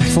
Ik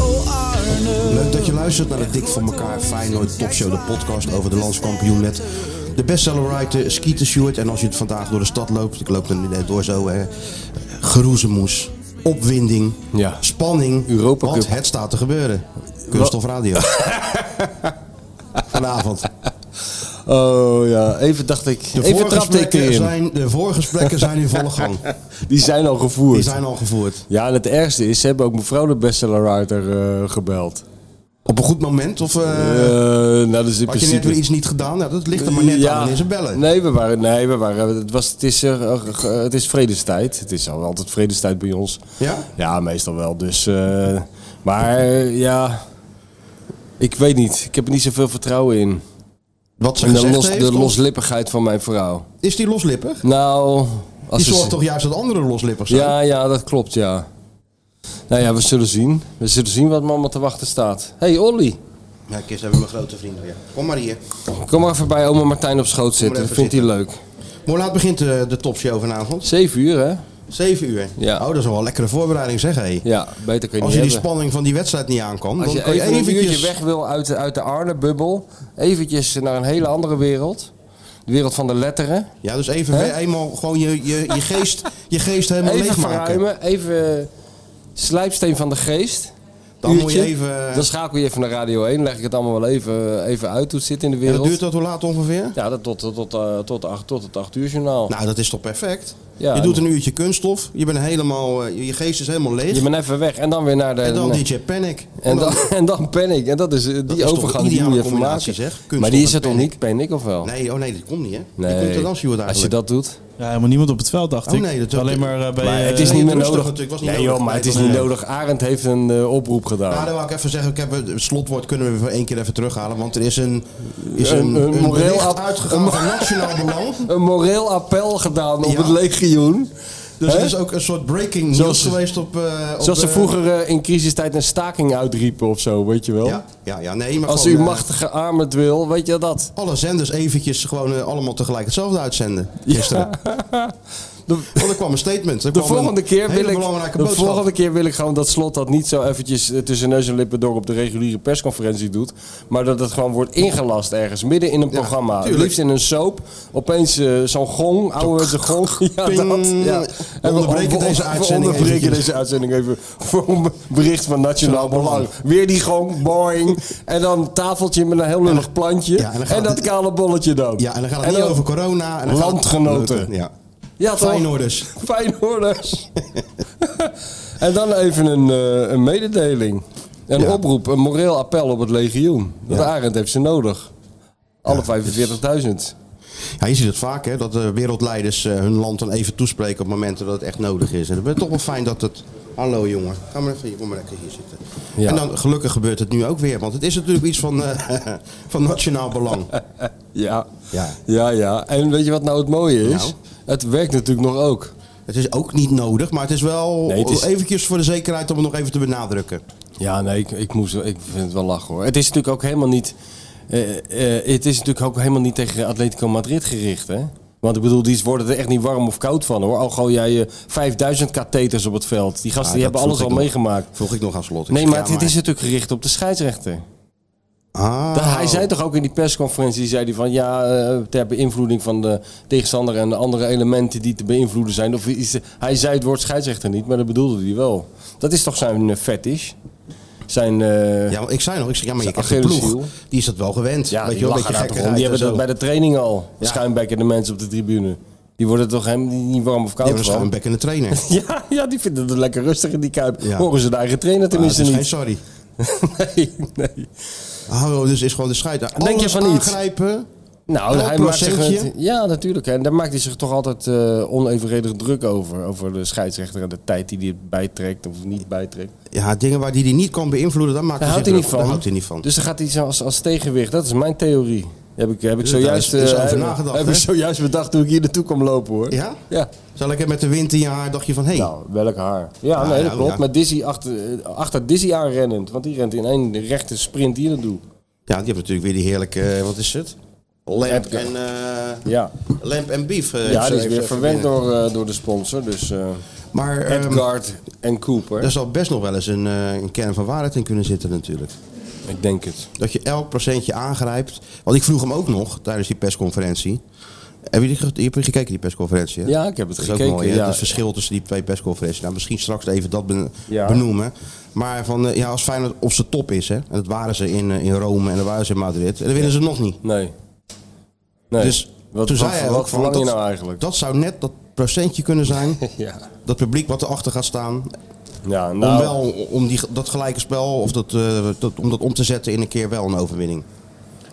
Oh Arne. Leuk dat je luistert naar de Dik voor elkaar Feyenoord Topshow, de podcast over de landskampioen met de bestseller writer Skeeter Stewart. En als je het vandaag door de stad loopt, ik loop er nu net door zo, hè, geroezemoes, opwinding, Ja. spanning, Europa want Cup. het staat te gebeuren. Kunststof Radio. Vanavond. Oh ja, even dacht ik. De even trapte ik voorgesprekken, erin. zijn, de voorgesprekken zijn in volle gang. Die zijn al gevoerd. Die zijn al gevoerd. Ja, en het ergste is, ze hebben ook mevrouw de bestsellerwriter eh gebeld. Op een goed moment? Of eh, Eh nou, dat is in had je net principe- weer iets niet gedaan? Nou, dat ligt er maar net Ja. aan wanneer ze bellen. Nee, we waren, nee we waren, het, was, het, is, eh, eh, eh, het is vredestijd. Het is al altijd vredestijd bij ons. Ja? Ja, meestal wel. Dus, eh, maar eh, ja, ik weet niet. Ik heb er niet zoveel vertrouwen in. Wat ze En de, gezegd los, heeft, de of- loslippigheid van mijn vrouw. Is die loslippig? Nou, als Die ze- zorgt toch juist dat anderen loslippig zijn? Ja, ja, dat klopt, ja. Nou ja, we zullen zien. We zullen zien wat me allemaal te wachten staat. hey, Olly. Ja, Kist hebben we mijn grote vrienden. Ja. Kom maar hier. Kom maar even bij oma Martijn op schoot maar zitten. Dat even vindt hij leuk. Hoe laat begint eh, de, de topshow vanavond? Zeven uur, hè? 7 uur. Ja. Oh, dat is wel een lekkere voorbereiding zeg. Hé. Ja, beter kun je Als niet je die hebben. spanning van die wedstrijd niet aankan, Als dan je kan je even een uurtje eventjes... weg wil uit de, uit de Arne-bubbel. Eventjes naar een hele andere wereld. De wereld van de letteren. Ja, dus even Hè? eenmaal gewoon je, je, je, geest, je geest helemaal Even leegmaken. verruimen. Even eh, slijpsteen van de geest. Dan moet je Uurtje. even- Dan schakel je even naar Radio 1. Leg ik het allemaal wel even, even uit hoe het zit in de En wereld. dat duurt dat hoe laat ongeveer? Ja, dat tot, tot, tot, eh, tot, acht, tot het 8 uur journaal. Nou, dat is toch perfect? Ja. je doet een uurtje kunststof, je, bent helemaal, eh, je geest is helemaal leeg. je bent even weg en dan weer naar de... En dan naar- DJ Panic. en dan, en dan panic. En dat is eh, die is toch een overgang die ideale moet je even combinatie, maken. zeg. Kunststof maar die is en er toch panic. niet, panic of wel? Nee, oh nee, dat komt niet hè? Nee. Die komt er dan, zie je het Als je eigenlijk. dat doet. Ja, helemaal niemand op het veld, dacht Oh, ik. nee, dat- Alleen maar eh, bij... Maar eh, het is nee, niet meer rustig nodig. natuurlijk, was niet nee nodig. joh, maar het is Nee, niet nee. nodig. Arend heeft een eh, oproep Ja, gedaan. dan wil ik even zeggen, ik heb het het slotwoord kunnen we voor één keer even terughalen. Want er is een, is Een- een, een een, moreel bericht app- uitgegaan van nationaal belang. Een moreel appel gedaan op Ja. het legioen. Dus Hè? het is ook een soort breaking news Zoals ze- geweest op... eh, op Zoals ze eh, vroeger eh, in crisistijd een staking uitriepen of zo, weet je wel. Ja, ja, ja, nee, maar Als gewoon, u eh, machtige armen het wil, weet je dat. alle zenders eventjes gewoon eh, allemaal tegelijk hetzelfde uitzenden gisteren. De- Want er kwam een statement. Er De kwam een volgende, keer wil hele ik, belangrijke de boodschap. volgende keer wil ik gewoon dat slot dat niet zo eventjes eh, tussen neus en lippen door op de reguliere persconferentie doet. Maar dat het gewoon wordt ingelast ergens, midden in een Ja, programma. tuurlijk. Liefst in een soap. Opeens eh, zo'n gong, ouderwetse gong. Ja, ping. dat. Ja. We En we- onderbreken we- deze we uitzending onderbreken eventjes. deze uitzending even voor een bericht van nationaal belang. Weer die gong, boing. En dan een tafeltje met een heel lullig plantje. ja, en dan en, gaat dat het- kale bolletje dan. Ja, en dan gaat het niet over corona. En dan gaat het- Landgenoten. Ja. Ja, toch? Feyenoorders. Feyenoorders. en dan even een, eh, een mededeling. Een Ja. oproep, een moreel appel op het legioen. Dat Arend heeft ze nodig. Alle dus- 45.000. Ja, je ziet het vaak, hè, dat de wereldleiders eh, hun land dan even toespreken op momenten dat het echt nodig is. En het is toch wel fijn dat het... Hallo jongen, ga maar even hier, kom maar lekker hier zitten. Ja. En dan gelukkig gebeurt het nu ook weer, want het is natuurlijk iets van, eh, van nationaal belang. Ja. Ja. ja, ja. En weet je wat nou het mooie is? Nou? Het werkt natuurlijk nog ook. Het is ook niet nodig, maar het is wel Nee, het is- eventjes voor de zekerheid om het nog even te benadrukken. Ja, nee, ik, ik, moest, ik vind het wel lachen hoor. Het is natuurlijk ook helemaal niet... eh, eh, het is natuurlijk ook helemaal niet tegen Atletico Madrid gericht, hè? Want ik bedoel, die worden er echt niet warm of koud van hoor. Al gooi jij je 5000 katheters op het veld. Die gasten Ja, dat die hebben alles al vroeg ik nog. meegemaakt. Vroeg ik nog aan Oh. slot. Ik Nee, zeg, maar ja, dit is natuurlijk gericht op de scheidsrechter. Ah. Dat- Hij zei toch ook in die persconferentie, zei hij van ja, eh, ter beïnvloeding van de tegenstander en de andere elementen die te beïnvloeden zijn. Of iets, hij zei het woord scheidsrechter niet, maar dat bedoelde hij wel. Dat is toch zijn eh, fetish? Zijn, eh, Ja, want ik zei nog, ik zeg, ja, maar je Zijn krijgt een Achilleshiel. ploeg. Die is dat wel gewend. ja, Weet die je wel, lachen een beetje daar toch gekkigheid om. Die hebben en dat zo. bij de training al, Ja. schuimbekken de mensen op de tribune. Die worden toch helemaal niet warm of Die koud hebben van? een schuimbekkende trainer. Maar Ja, ja, die vinden het lekker rustig in die kuip. Ja. Horen ze de eigen trainer het Ah, is tenminste geen niet. sorry. nee, nee. Oh, dus is gewoon de scheid. Alles je van niet? aangrijpen. Nou, Elk hij maakt zich procentje? ja, natuurlijk. En daar maakt hij zich toch altijd eh, onevenredig druk over. Over de scheidsrechter en de tijd die hij bijtrekt of niet bijtrekt. Ja, dingen waar die die niet kan beïnvloeden, daar maakt Daar hij houdt zich hij druk- niet van. Daar houdt hij niet van. Dus dan gaat hij zo als, als tegenwicht. Dat is mijn theorie. Heb ik, heb ik Dus zojuist daar is- is eh, over heb- nagedacht, heb hè? ik zojuist bedacht toen ik hier naartoe kwam lopen hoor. Ja? Ja. Zo lekker met de wind in je haar dacht je van, hé, hey, Dus- Nou, welk haar. Ja, Ja, nee, dat ja, klopt. ja. Met Dizzy achter, eh, achter Dizzy aanrennend. Want die rent in één rechte sprint hier naartoe. Ja, die hebben natuurlijk weer die heerlijke, eh, wat is het? Lamp Epke. en, eh, Ja. lamp en beef. eh, Ja, die is even- weer even verwend binnen. door, eh, door de sponsor. Dus eh Maar ehm, dus- Edgard en Cooper. daar zal best nog wel eens een, eh, een kern van waarheid in kunnen zitten natuurlijk. Ik denk het. Dat je elk procentje aangrijpt. Want ik vroeg hem ook nog tijdens die persconferentie. Heb je, die, ge- je hebt gekeken die persconferentie? hè? Ja, ik heb het Dat is gekeken, ook mooi, hè? ja. Het verschil tussen die twee persconferenties. Nou, misschien straks even dat ben- Ja. benoemen. Maar van, eh, ja, als Feyenoord op zijn top is, hè, en dat waren ze in, eh, in Rome en dat waren ze in Madrid, en dan winnen ze nog niet. Nee. nee. Dus wat, toen wat, zei hij wat ook van, verlang je dat- nou eigenlijk? Dat zou net dat procentje kunnen zijn. ja. Dat publiek wat erachter gaat staan. Ja, Om, nou, wel, om die, dat gelijke spel, of dat, eh, dat, om dat om te zetten in een keer wel een overwinning.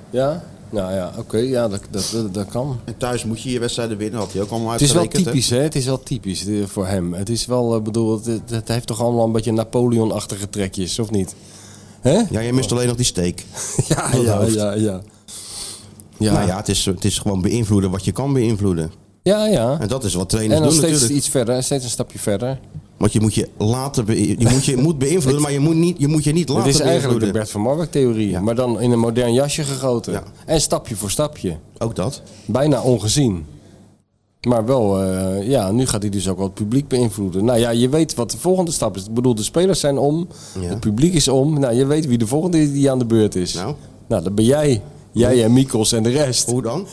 ja? Nou ja, oké, ja, dat, dat, dat, dat kan. En thuis moet je je wedstrijden winnen, had hij ook allemaal Het is wel uitgerekend. hè? typisch, hè? Het is wel typisch eh, voor hem. Het is wel, ik bedoel, het, het- het heeft toch allemaal een beetje Napoleon-achtige trekjes, of niet? Hè? Ja, je mist alleen nog die steek. Ja, ja, ja, ja. Ja, Nou ja, het is, het is gewoon beïnvloeden wat je kan beïnvloeden. ja, ja. En dat is wat trainers En dan doen steeds natuurlijk. iets verder, steeds een stapje verder. Want je moet je later be- je moet je moet beïnvloeden, maar je moet, niet, je moet je niet later Dat is eigenlijk de beïnvloeden. Bert van Marwijk-theorie, maar dan in een modern jasje gegoten. Ja. En stapje voor stapje. Ook dat. Bijna ongezien. Maar wel, eh, ja, nu gaat hij dus ook wel het publiek beïnvloeden. Nou ja, je weet wat de volgende stap is. Ik bedoel, de spelers zijn om, Ja. het publiek is om. Nou, je weet wie de volgende is die aan de beurt is. Nou? nou dat ben jij. Jij en Mikos en de rest. Hoe dan?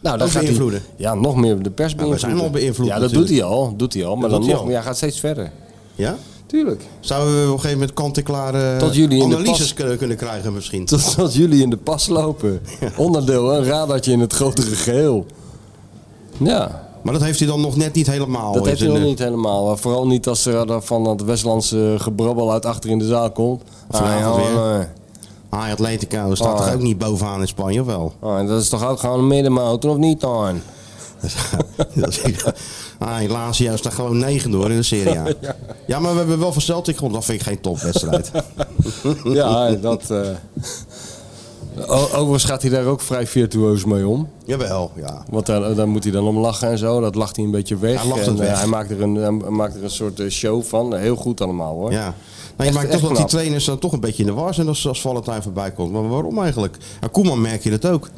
nou, ook hij- beïnvloeden? ja, nog meer de pers we beïnvloeden. zijn al beïnvloed Ja, dat natuurlijk. doet hij al. Doet hij al. Maar dan doet hij nog, al. ja, gaat steeds verder. Ja? Tuurlijk. Zouden we op een gegeven moment kant-en-klare Tot jullie in de analyses pas- kunnen- kunnen krijgen misschien? Tot, tot jullie in de pas lopen. Onderdeel, een radartje in het grotere geheel. Ja, Maar dat heeft hij dan nog net niet helemaal. Dat in heeft hij zijn, nog eh, niet helemaal. Vooral niet als er eh, van dat Westlandse gebrabbel uit achter in de zaal komt. Ah, ja, vanavond weer. maar- Ah, Atletico staat Ah. toch ook niet bovenaan in Spanje, of wel? ah, dat is toch ook gewoon een middenmotor of niet dan? Dat is- ah, helaas, juist staat gewoon negen door in de Serie A. ja. maar we hebben wel van Celtic gewonnen. Dat vind ik geen topwedstrijd. Ja, dat... eh. O- Overigens gaat hij daar ook vrij virtuoos mee om. Jawel, ja. Want daar, daar moet hij dan om lachen en zo. Dat lacht hij een beetje weg. Hij lacht het en, eh, weg. hij, maakt er een, hij maakt er een soort eh, show van. Heel goed allemaal hoor. ja. Nou, je Echt- maakt echt toch dat die knap. trainers dan toch een beetje in de war zijn als, als Valentijn voorbij komt. Maar waarom eigenlijk? Aan Koeman merk je dat ook.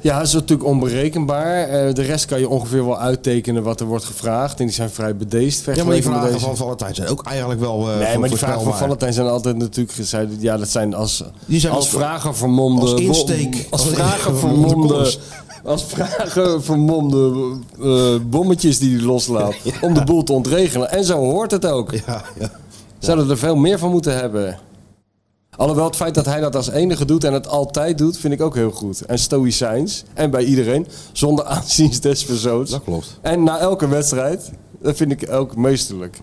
Ja, dat is natuurlijk onberekenbaar. Eh, de rest kan je ongeveer wel uittekenen wat er wordt gevraagd. En die zijn vrij bedeesd Ja, maar die vergeleken met vragen deze. van Valentijn zijn ook eigenlijk wel eh Nee, maar die vragen van voorspelbaar. Valentijn zijn altijd natuurlijk gezegd. Ja, dat zijn als, Die zijn als ook- vragen vermomde. als wo- insteek. Als Als vragen insteek- vermomde. komst. Als vragen vermomde eh, bommetjes die hij loslaat. Om de boel te ontregelen. En zo hoort het ook. Ja, ja. Zouden er veel meer van moeten hebben. Alhoewel het feit dat hij dat als enige doet en het altijd doet, vind ik ook heel goed. En stoïcijns. En bij iedereen. Zonder aanzien des persoons. Dat klopt. En na elke wedstrijd. Dat vind ik ook meesterlijk.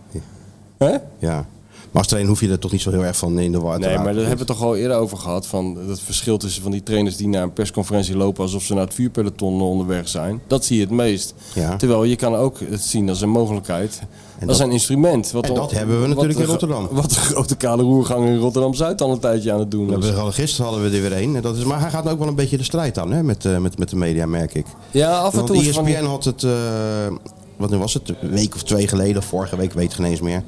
Hè? ja. Maar als trainer hoef je er toch niet zo heel erg van in de war te Nee, raken. maar daar hebben we het toch al eerder over gehad. Van dat verschil tussen van die trainers die naar een persconferentie lopen alsof ze naar het vuurpeloton onderweg zijn. Dat zie je het meest. Ja. Terwijl je kan ook het zien als een mogelijkheid. als dat- een instrument. Wat en dat hebben we wat natuurlijk de in gro- Rotterdam. Wat de grote kale roergang in Rotterdam-Zuid al een tijdje aan het doen We is. hadden- Gisteren hadden we er weer één. En dat is, maar hij gaat ook wel een beetje de strijd aan hè, met, eh, met, met de media, merk ik. Ja, af en Want E toe is het van die- ESPN had het, eh, wat nu was het, een week of twee geleden, of vorige week, weet ik geen eens meer.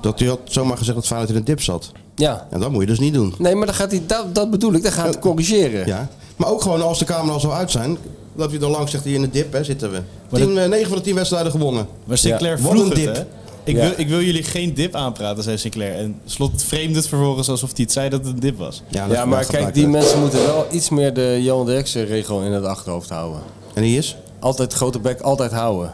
Dat hij had zomaar gezegd dat Feyenoord in een dip zat. Ja. En dat moet je dus niet doen. Nee, maar dan gaat hij, dat, dat bedoel ik, dan gaat hij corrigeren. Ja. Maar ook gewoon als de camera's al uit zijn, Loopt hij dan langs, zegt hij in de dip, hè, zitten we. Maar Tien, eh, negen van de tien wedstrijden gewonnen. Maar Sinclair Ja. Wat vroeg een het, dip. hè? Ik, Ja. wil, ik wil jullie geen dip aanpraten, zei Sinclair. En Slot vreemde het vervolgens alsof hij het zei dat het een dip was. dat Ja, maar maakt kijk, uit, die hè. mensen moeten wel iets meer de Johan Derksen regel in het achterhoofd houden. En die is? Altijd grote bek, altijd houden.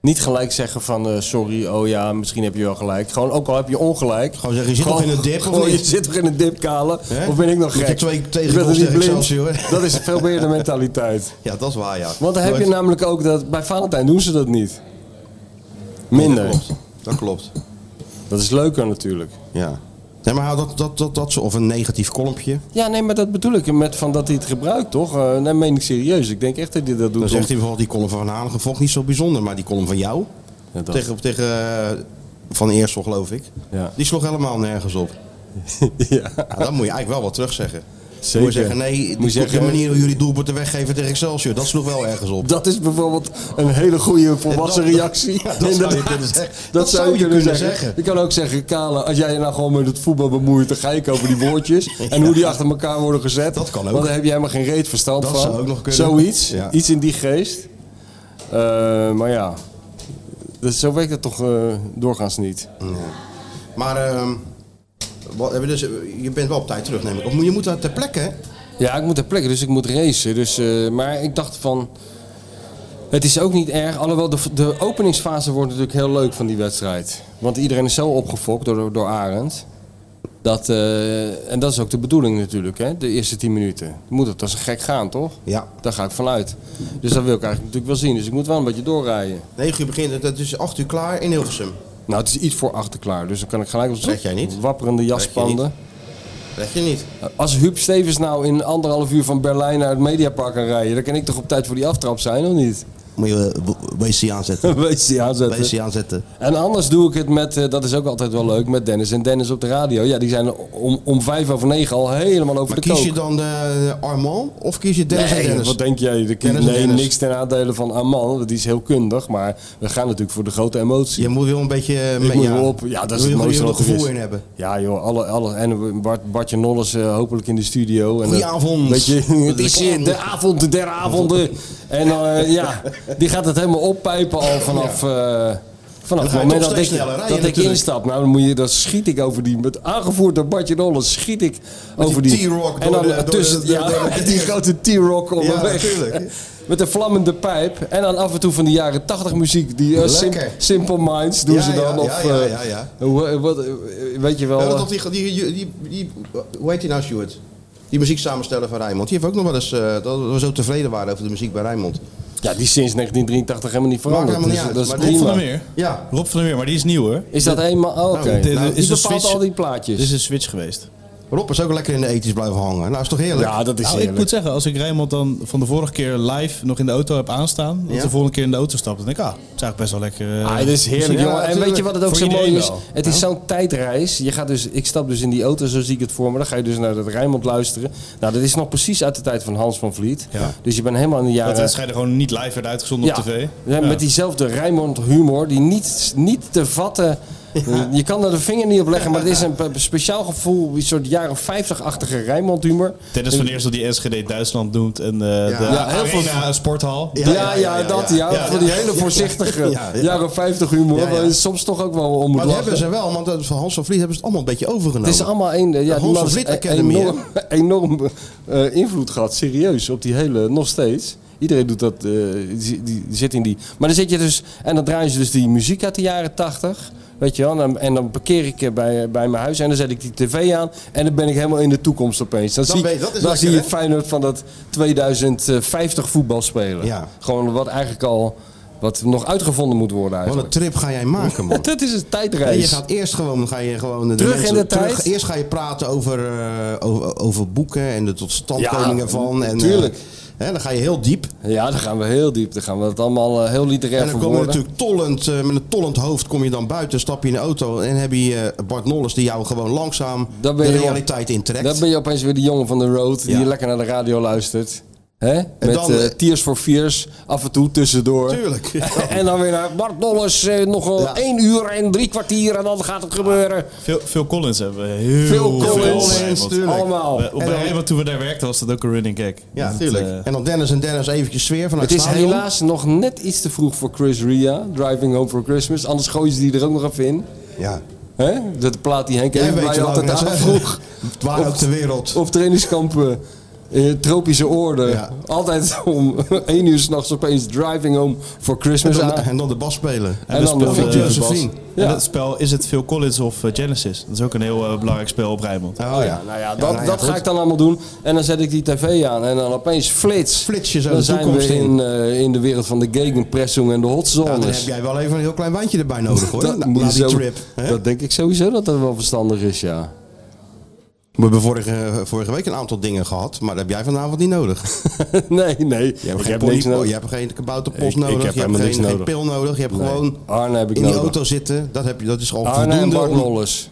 Niet gelijk zeggen van eh, sorry, oh ja, misschien heb je wel gelijk. Gewoon, ook al heb je ongelijk. Gewoon zeggen, je zit nog in de dip, of gewoon, niet? Je zit toch in de dip, Kale? Hè? Of ben ik nog Moet je gek? twee tegen Ik ben er goals niet tegen blind. Excelsior, hè? Dat is veel meer de mentaliteit. Ja, dat is waar, ja. Want dan heb je nou Nooit. namelijk ook dat... Bij Valentijn doen ze dat niet. Minder. Dat klopt. Dat klopt. Dat is leuker natuurlijk. Ja. Nee, maar hou dat, dat, dat, dat, zo- of een negatief kolmpje. Ja, nee, maar dat bedoel ik met van dat hij het gebruikt, toch? Eh nee, meen ik serieus. Ik denk echt dat hij dat doet. Dan zegt om- hij bijvoorbeeld, die column van Van Hanegem vond ik niet zo bijzonder. Maar die column van jou, Ja, dat- tegen, tegen eh, Van Eersel geloof ik, Ja. die sloeg helemaal nergens op. ja. Ja, dan moet je eigenlijk wel wat terugzeggen. Zeker. Moet je zeggen, nee, die- Moet je zeggen- de manier hoe jullie doelpunten weggeven tegen Excelsior, dat sloeg wel ergens op. Dat is bijvoorbeeld een hele goede volwassen Dat- dat- reactie. ja, dat zou je kunnen Inderdaad. zeggen. Dat, zou je kunnen, zeggen. Je kan ook zeggen, Kale, als jij je nou gewoon met het voetbal bemoeit, dan ga ik over die woordjes. En hoe die achter elkaar worden gezet. Dat kan ook. Want daar heb je helemaal geen reet verstand Dat van. zou ook nog kunnen. Zoiets. Ja. Iets in die geest. Eh, maar ja, dus zo werkt het toch eh, doorgaans niet. Maar ehm, wat, hebben we dus, je bent wel op tijd terug, neem ik. Of moet- je moet daar ter plekke, hè? Ja, ik moet ter plekke, dus ik moet racen. Dus, eh, maar ik dacht van. Het is ook niet erg. Alhoewel, de, de openingsfase wordt natuurlijk heel leuk van die wedstrijd. Want iedereen is zo opgefokt door, door Arend. Dat, eh, en dat is ook de bedoeling natuurlijk, hè? de eerste 10 minuten. Moet het als een gek gaan, toch? Ja. Daar ga ik vanuit. Dus dat wil ik eigenlijk natuurlijk wel zien. Dus ik moet wel een beetje doorrijden. 9 uur begint, het, het is 8 uur klaar in Hilversum. Nou, het is iets voor achterklaar. Dus dan kan ik gelijk op zo'n Trek jij niet? wapperende jaspanden. Red je niet. Eh, Als Huub Stevens nou in anderhalf uur van Berlijn naar het Mediapark kan rijden, dan kan ik toch op tijd voor die aftrap zijn, of niet? Moet je eh, w- WC aanzetten. Weet je die aanzetten. WC aanzetten. En anders doe ik het met, eh, dat is ook altijd wel leuk, met Dennis en Dennis op de radio. Ja, die zijn om, om vijf over negen al helemaal over Maar de kook. kies je dan de Armand of kies je Dennis en Nee, Dennis? wat denk jij? De kie- Dennis en nee, Dennis. niks ten aandele van Aman, want die is heel kundig. Maar we gaan natuurlijk voor de grote emotie. Je moet wel een beetje... eh, Ik mee- moet ja. wel op. Ja, Wil dat is je- het wil je mooiste er wat er gevoel is. in hebben. Ja joh, alle, alle, en Bart, Bartje Nolles eh, hopelijk in de studio. En dat- avond. Weet je, het is eh, Lekker. de avond der avonden. En eh, ja, die gaat het helemaal oppijpen al vanaf... eh, Vanaf Dan het ga je moment toch dat ik, steeds sneller rijden dat ik natuurlijk. instap, nou dan, moet je, dan schiet ik over die, met, aangevoerd door Bartje Nolles, schiet ik over die. T-Rock en door dan de- door de- tussen door de- ja, door de- met die grote T-Rock op Ja, de weg. natuurlijk. Met een vlammende pijp. En dan af en toe van die jaren 80 muziek, die eh, Sim- Lekker. Simple Minds doen Ja, ze dan. ja, of, ja, ja, eh, ja, ja. hoe- eh, wat, eh, weet je wel. Ja, eh, dat op die, die, die, die, die- hoe heet die nou, Stuart? Die muziek samenstellen van Rijnmond. Die heeft ook nog wel eens eh, dat we zo tevreden waren over de muziek bij Rijnmond. ja, die is sinds 1983 helemaal niet veranderd. helemaal niet Dus uit, dat maar is Rob van prima. der Meer. Ja. Rob van der Meer, maar die is nieuw hoor. Is dat eenmaal? Oh, Oké. dit- dit Nou, is die een bepaalt switch- al die Dit is plaatjes. een switch geweest. Rob is ook lekker in de ethisch blijven hangen. Nou, is toch heerlijk? Ja, dat is Nou, ik heerlijk. moet zeggen, als ik Rijnmond dan van de vorige keer live nog in de auto heb aanstaan, dat Ja. de volgende keer in de auto stap, dan denk ik, ah, het is eigenlijk best wel lekker. eh, Ah, dit is heerlijk, Ja, jongen. En weet natuurlijk. je wat het ook Voor zo mooi iedereen is? wel. Het is zo'n tijdreis. Je gaat dus, ik stap dus in die auto, zo zie ik het voor me. Dan ga je dus naar het Rijnmond luisteren. Nou, dat is nog precies uit de tijd van Hans van Vliet. Ja. Dus je bent helemaal in de jaren... Dat het schijnt gewoon niet live werd uitgezonden op tv. Ja, Met diezelfde Rijnmond humor, die niet, niet te vatten. Je kan er de vinger niet op leggen, maar het is een pe- speciaal gevoel, een soort jaren 50-achtige Rijnmond humor. Dennis van Eersel die SGD Duitsland noemt en eh, de Ja, heel veel- Arena Sporthal. Ja, ja, dat ja. Voor die hele voorzichtige Ja, ja. jaren 50 humor, Ja, ja. waar je soms toch ook wel om moet maar dat hebben lachen. ze wel, want dat- van Hans van Vliet hebben ze het allemaal een beetje overgenomen. Het is allemaal een, eh, ja, Hans die man van heeft Vliet een Academy, hè? enorm, enorm eh, invloed gehad, serieus, op die hele, nog steeds. Iedereen doet dat, eh, die, die zit in die. Maar dan zit je dus, en dan draaien ze dus die muziek uit de jaren tachtig. Weet je wel, en dan, en dan parkeer ik eh, bij, bij mijn huis en dan zet ik die tv aan. En dan ben ik helemaal in de toekomst opeens. Dan, Dan zie, ben ik, je- dat is dan lekker, zie je hè? Feyenoord van dat 2050 voetbal spelen. Ja. Gewoon wat eigenlijk al, wat nog uitgevonden moet worden Wat een eigenlijk. trip ga jij maken, man. Dat is een En tijdreis. je gaat eerst gewoon, ga je gewoon de Terug in de tijd? Eerst ga je praten over, eh, over, over boeken en de totstandkoming Ja, ervan. En, tuurlijk. eh, hè, dan ga je heel diep. Ja, dan gaan we heel diep. Dan gaan we het allemaal eh, heel literair En dan kom je verwoorden. natuurlijk tollend, eh, met een tollend hoofd kom je dan buiten, stap je in de auto en heb je eh, Bart Nolles die jou gewoon langzaam Dan de ben je wel- realiteit intrekt. Dan ben je opeens weer die jongen van de road die Ja. lekker naar de radio luistert. Hè? Met dan, eh, eh, Tears for Fears af en toe tussendoor. Tuurlijk. en dan weer naar Bart Dollers, eh, nog wel Ja. één uur en drie kwartier en dan gaat het gebeuren. Phil, Phil Collins hebben we heel Phil veel Collins, bijbels. tuurlijk. allemaal. Bij- Bij Rijnmond toen we daar werkten was dat ook een running gag. Ja, Dat, tuurlijk. eh, en dan Dennis en Dennis eventjes sfeer vanuit Het is stadion. helaas nog net iets te vroeg voor Chris Ria, Driving Home for Christmas. Anders gooien ze die er ook nog even in. Ja. Hè? Dat plaat die Henk Jij even weet bij je wat altijd ik net aan zei. vroeg. Het waren ook de wereld. Op trainingskampen, eh, tropische orde. Ja. Altijd om 1 uur s'nachts opeens Driving Home for En Christmas dan, aan. en dan de bas spelen. En dan de speelde, Van fictieve bas. Josephine. En Ja. dat spel is het Phil Collins of eh, Genesis. Dat is ook een heel eh, belangrijk spel op Rijnmond. Oh ja. Nou ja, dat, nou ja, dat goed. ga ik dan allemaal doen. En dan zet ik die tv aan en dan opeens flits. Flits je zo dan de zijn toekomst we in, in. eh, in de wereld van de gegenpressing en de Ja, dan hotzones. heb jij wel even een heel klein wijntje erbij nodig hoor. dat, Na- moet na je die zo- trip. hè? dat denk ik sowieso dat dat wel verstandig is, ja. We hebben vorige, vorige week een aantal dingen gehad, maar dat heb jij vanavond niet nodig. nee, nee. Je hebt ik geen heb niks pony- nodig. Je hebt geen kabouterpost Ik- ik nodig. heb je hebt helemaal geen, niks geen nodig. pil nodig. Je hebt Nee, gewoon Arne heb ik in die nodig. Ah, auto zitten. Dat, heb je, dat is al Arne en voldoende. Bart om- Nolles.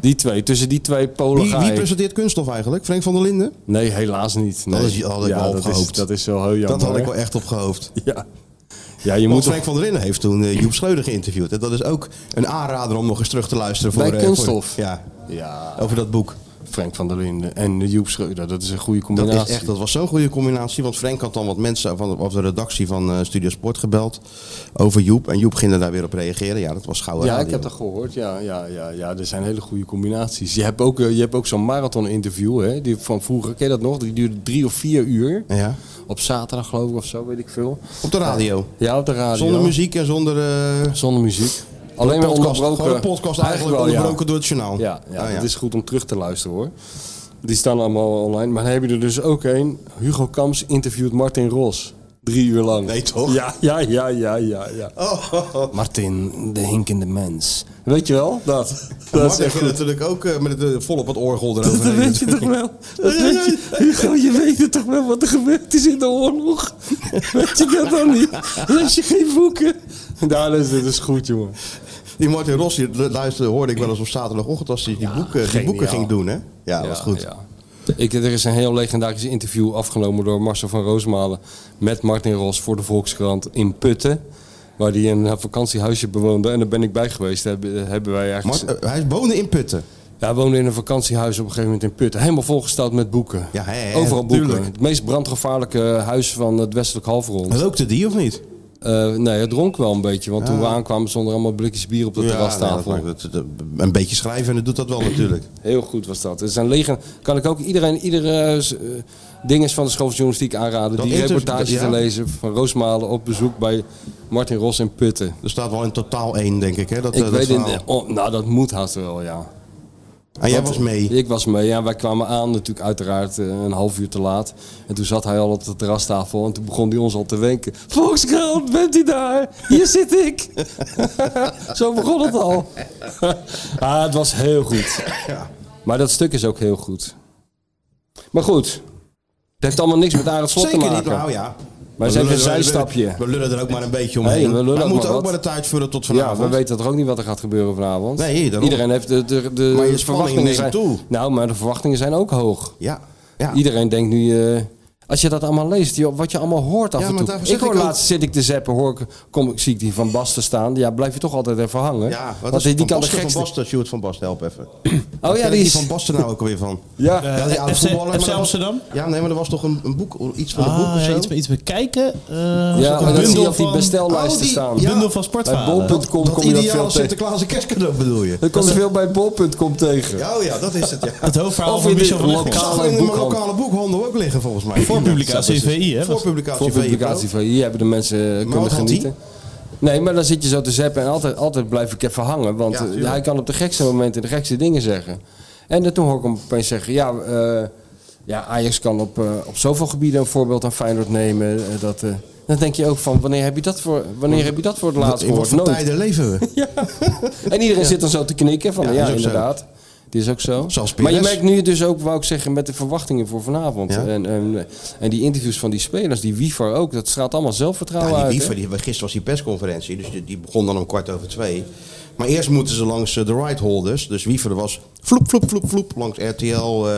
Die twee, tussen die twee polen Wie, ga wie ik. presenteert kunststof eigenlijk? Frank van der Linden? Nee, helaas niet. Nee. Dat is- had ik ja, wel dat Is, gehoopt. dat is wel heel jammer. dat had ik hè? wel echt op gehoofd. Ja, ja je Want moet Frank van der Linden heeft toen eh, Joep Schreuder geïnterviewd. En dat is ook een aanrader om nog eens terug te luisteren. Voor, Bij eh, voor- Kunststof. ja, Ja, over dat boek. Frank van der Linden en Joep Schreuder, dat is een goede Dat, combinatie. is echt, dat was zo'n goede combinatie. Want Frank had dan wat mensen van de, of de redactie van eh Studio Sport gebeld over Joep. En Joep ging er daar weer op reageren. Ja, dat was gauw. Ja, ik heb dat gehoord. Ja, ja, ja, ja, er zijn hele goede combinaties. Je hebt ook, eh, je hebt ook zo'n marathon-interview hè, die van vroeger. Ken je dat nog? Die duurde drie of vier uur. Ja. Op zaterdag geloof ik of zo, weet ik veel. Op de radio. Ja, op de radio. Zonder muziek en zonder eh, Zonder muziek. Alleen maar podcast. onderbroken. Gewoon een podcast eigenlijk wel, ja. onderbroken door het journaal. Ja, Nou, ja, Ah, dat is goed om terug te luisteren hoor. Die staan allemaal online. Maar dan heb je er dus ook een. Hugo Kams interviewt Martin Ros. Drie uur lang. Nee, toch? Ja, ja, ja, ja, ja. ja. Oh, Martin, de hinkende mens. Weet je wel? Dat. Dat Dat is echt goed. natuurlijk ook eh, met het, eh, volop het orgel Dat eroverheen. weet je toch wel? Dat weet je, Hugo, je weet het toch wel wat er gebeurd is in de oorlog? Weet je dat dan niet? Lees je geen boeken? Nou, dat is, dat is goed, jongen. Die Martin Ros, die luisterde, hoorde ik wel eens op zaterdagochtend als hij die, boeken, die geniaal. boeken ging doen. Hè? Ja, dat was goed. Ik, er is een heel legendarisch interview afgenomen door Marcel van Roosmalen met Martin Ros voor de Volkskrant in Putten. Waar hij een vakantiehuisje bewoonde en daar ben ik bij geweest. Hebben, hebben wij eigenlijk... Mart- eh, hij woonde in Putten. Ja, hij woonde in een vakantiehuis op een gegeven moment in Putten. Helemaal volgesteld met boeken. Ja, hè, hè, Overal boeken. tuurlijk. Het meest brandgevaarlijke huis van het westelijk halfrond. Rookte die of niet? Eh, nee, het dronk wel een beetje. Want toen we aankwamen stonden er allemaal blikjes bier op de terrastafel. nou, dat maakt het- een beetje schrijven en dat doet dat wel natuurlijk. Heel goed was dat. Het zijn lege... Kan ik ook iedereen, iedere eh, s- eh, ding is van de school van journalistiek aanraden. Dat die inter- reportage ja. te lezen van Roosmalen op bezoek bij Martin Ros in Putten. Er staat wel in totaal één, denk ik. Hè? Dat, Ik eh, dat weet verhaal. in, oh, nou, dat moet haast wel, ja. En jij Want- was mee. Ik was mee. Ja, wij kwamen aan natuurlijk uiteraard eh, een half uur te laat. En toen zat hij al op de terrastafel en toen begon hij ons al te wenken. Volkskrant, bent u daar? Hier zit ik. Zo begon het al. ah, het was heel goed. Maar dat stuk is ook heel goed. Maar goed, het heeft allemaal niks met Arend Slot Zeker te maken. niet, nou ja. Maar We het is even een lullen- zijstapje. We lullen er ook maar een beetje Hey, omheen. we lullen we ook moeten maar ook wat. maar de tijd vullen tot Ja, vanavond. we weten toch ook niet wat er gaat gebeuren vanavond. Nee, daarom. Iedereen heeft de, de, de Maar je spanning verwachtingen neemt zijn toe. Nou, maar de verwachtingen zijn ook hoog. Ja, ja. Iedereen denkt nu. eh, als je dat allemaal leest, joh, wat je allemaal hoort af Ja, en maar toe. daarvoor zeg Ik hoor ik ook- laatst zit ik te zappen, hoor ik, kom, ik- zie ik die Van Basten staan. Ja, blijf je toch altijd even hangen. Ja, wat Want is die, die van kan de Basten, gekste... Van Basten, Sjoerd van Basten, help even. Oh ja, Ken die ik is... Van Basten nou ook alweer van. ja. Ja, die oude FC voetballer. maar dat was- Amsterdam? Ja, nee, maar er was toch een, een boek, iets van een boek of Ah, zo? ja, iets, iets bekijken. eh, ja, zo'n maar dan zie bundel je op die van- bestellijsten Oh, die- staan. ja. Bundel van Bij sportverhalen. bol.com dat kom je dat ideale veel tegen. Sinterklaas kerstcadeau bedoel je? Dat kom je veel bij bol.com tegen. Ja, oh ja, dat is het, ja. Het hoofdverhaal Of van in de Michel van Ik lokale- Egmond. zag in de boekhandel. lokale boekhandel ook liggen volgens mij. Voor publicatie Ja, precies. VI, hè, Voor was- publicatie Voor VI, publicatie bro. van hier hebben de mensen eh, kunnen wat had genieten. Nee, maar dan zit je zo te zappen en altijd, altijd blijf ik even hangen. Want Ja, eh, tuurlijk. hij kan op de gekste momenten de gekste dingen zeggen. En dan- toen hoor ik hem opeens zeggen... Ja, eh, ja Ajax kan op, eh, op zoveel gebieden een voorbeeld aan Feyenoord nemen. eh, dat, eh, dan denk je ook van, wanneer heb je dat voor, wanneer heb je dat voor het laatst In wat gehoord? voor Nooit. tijden leven we? Ja. En iedereen zit dan zo te knikken van Ja, ja, is ook zo. inderdaad. Dit is ook zo. Zoals Pires. maar je merkt nu dus ook, wou ik zeggen, met de verwachtingen voor vanavond. Ja. En, en, en die interviews van die spelers, die Wiefer ook, dat straalt allemaal zelfvertrouwen Ja, die uit. hè? Wiever, die, gisteren was die persconferentie, dus die, die begon dan om kwart over twee. Maar eerst moeten ze langs eh, de rightholders. Dus Wiever was vloep, vloep, vloep, vloep. Langs RTL, eh,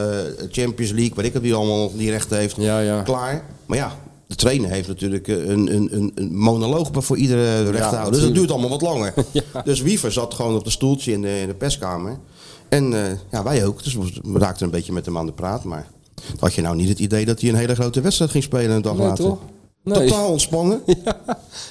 Champions League, weet ik het, die allemaal die rechten heeft. Ja, ja. Klaar. Maar ja, de trainer heeft natuurlijk eh, een, een, een, een monoloog voor iedere rechthouder. dus dat natuurlijk. duurt allemaal wat langer. Dus Wiever zat gewoon op de stoeltje in de, in de perskamer. En eh, ja, wij ook. Dus we we raakten een beetje met hem aan de praat. Maar had je nou niet het idee dat hij een hele grote wedstrijd ging spelen een dag Nee, later? toch? Nee. Totaal ontspannen.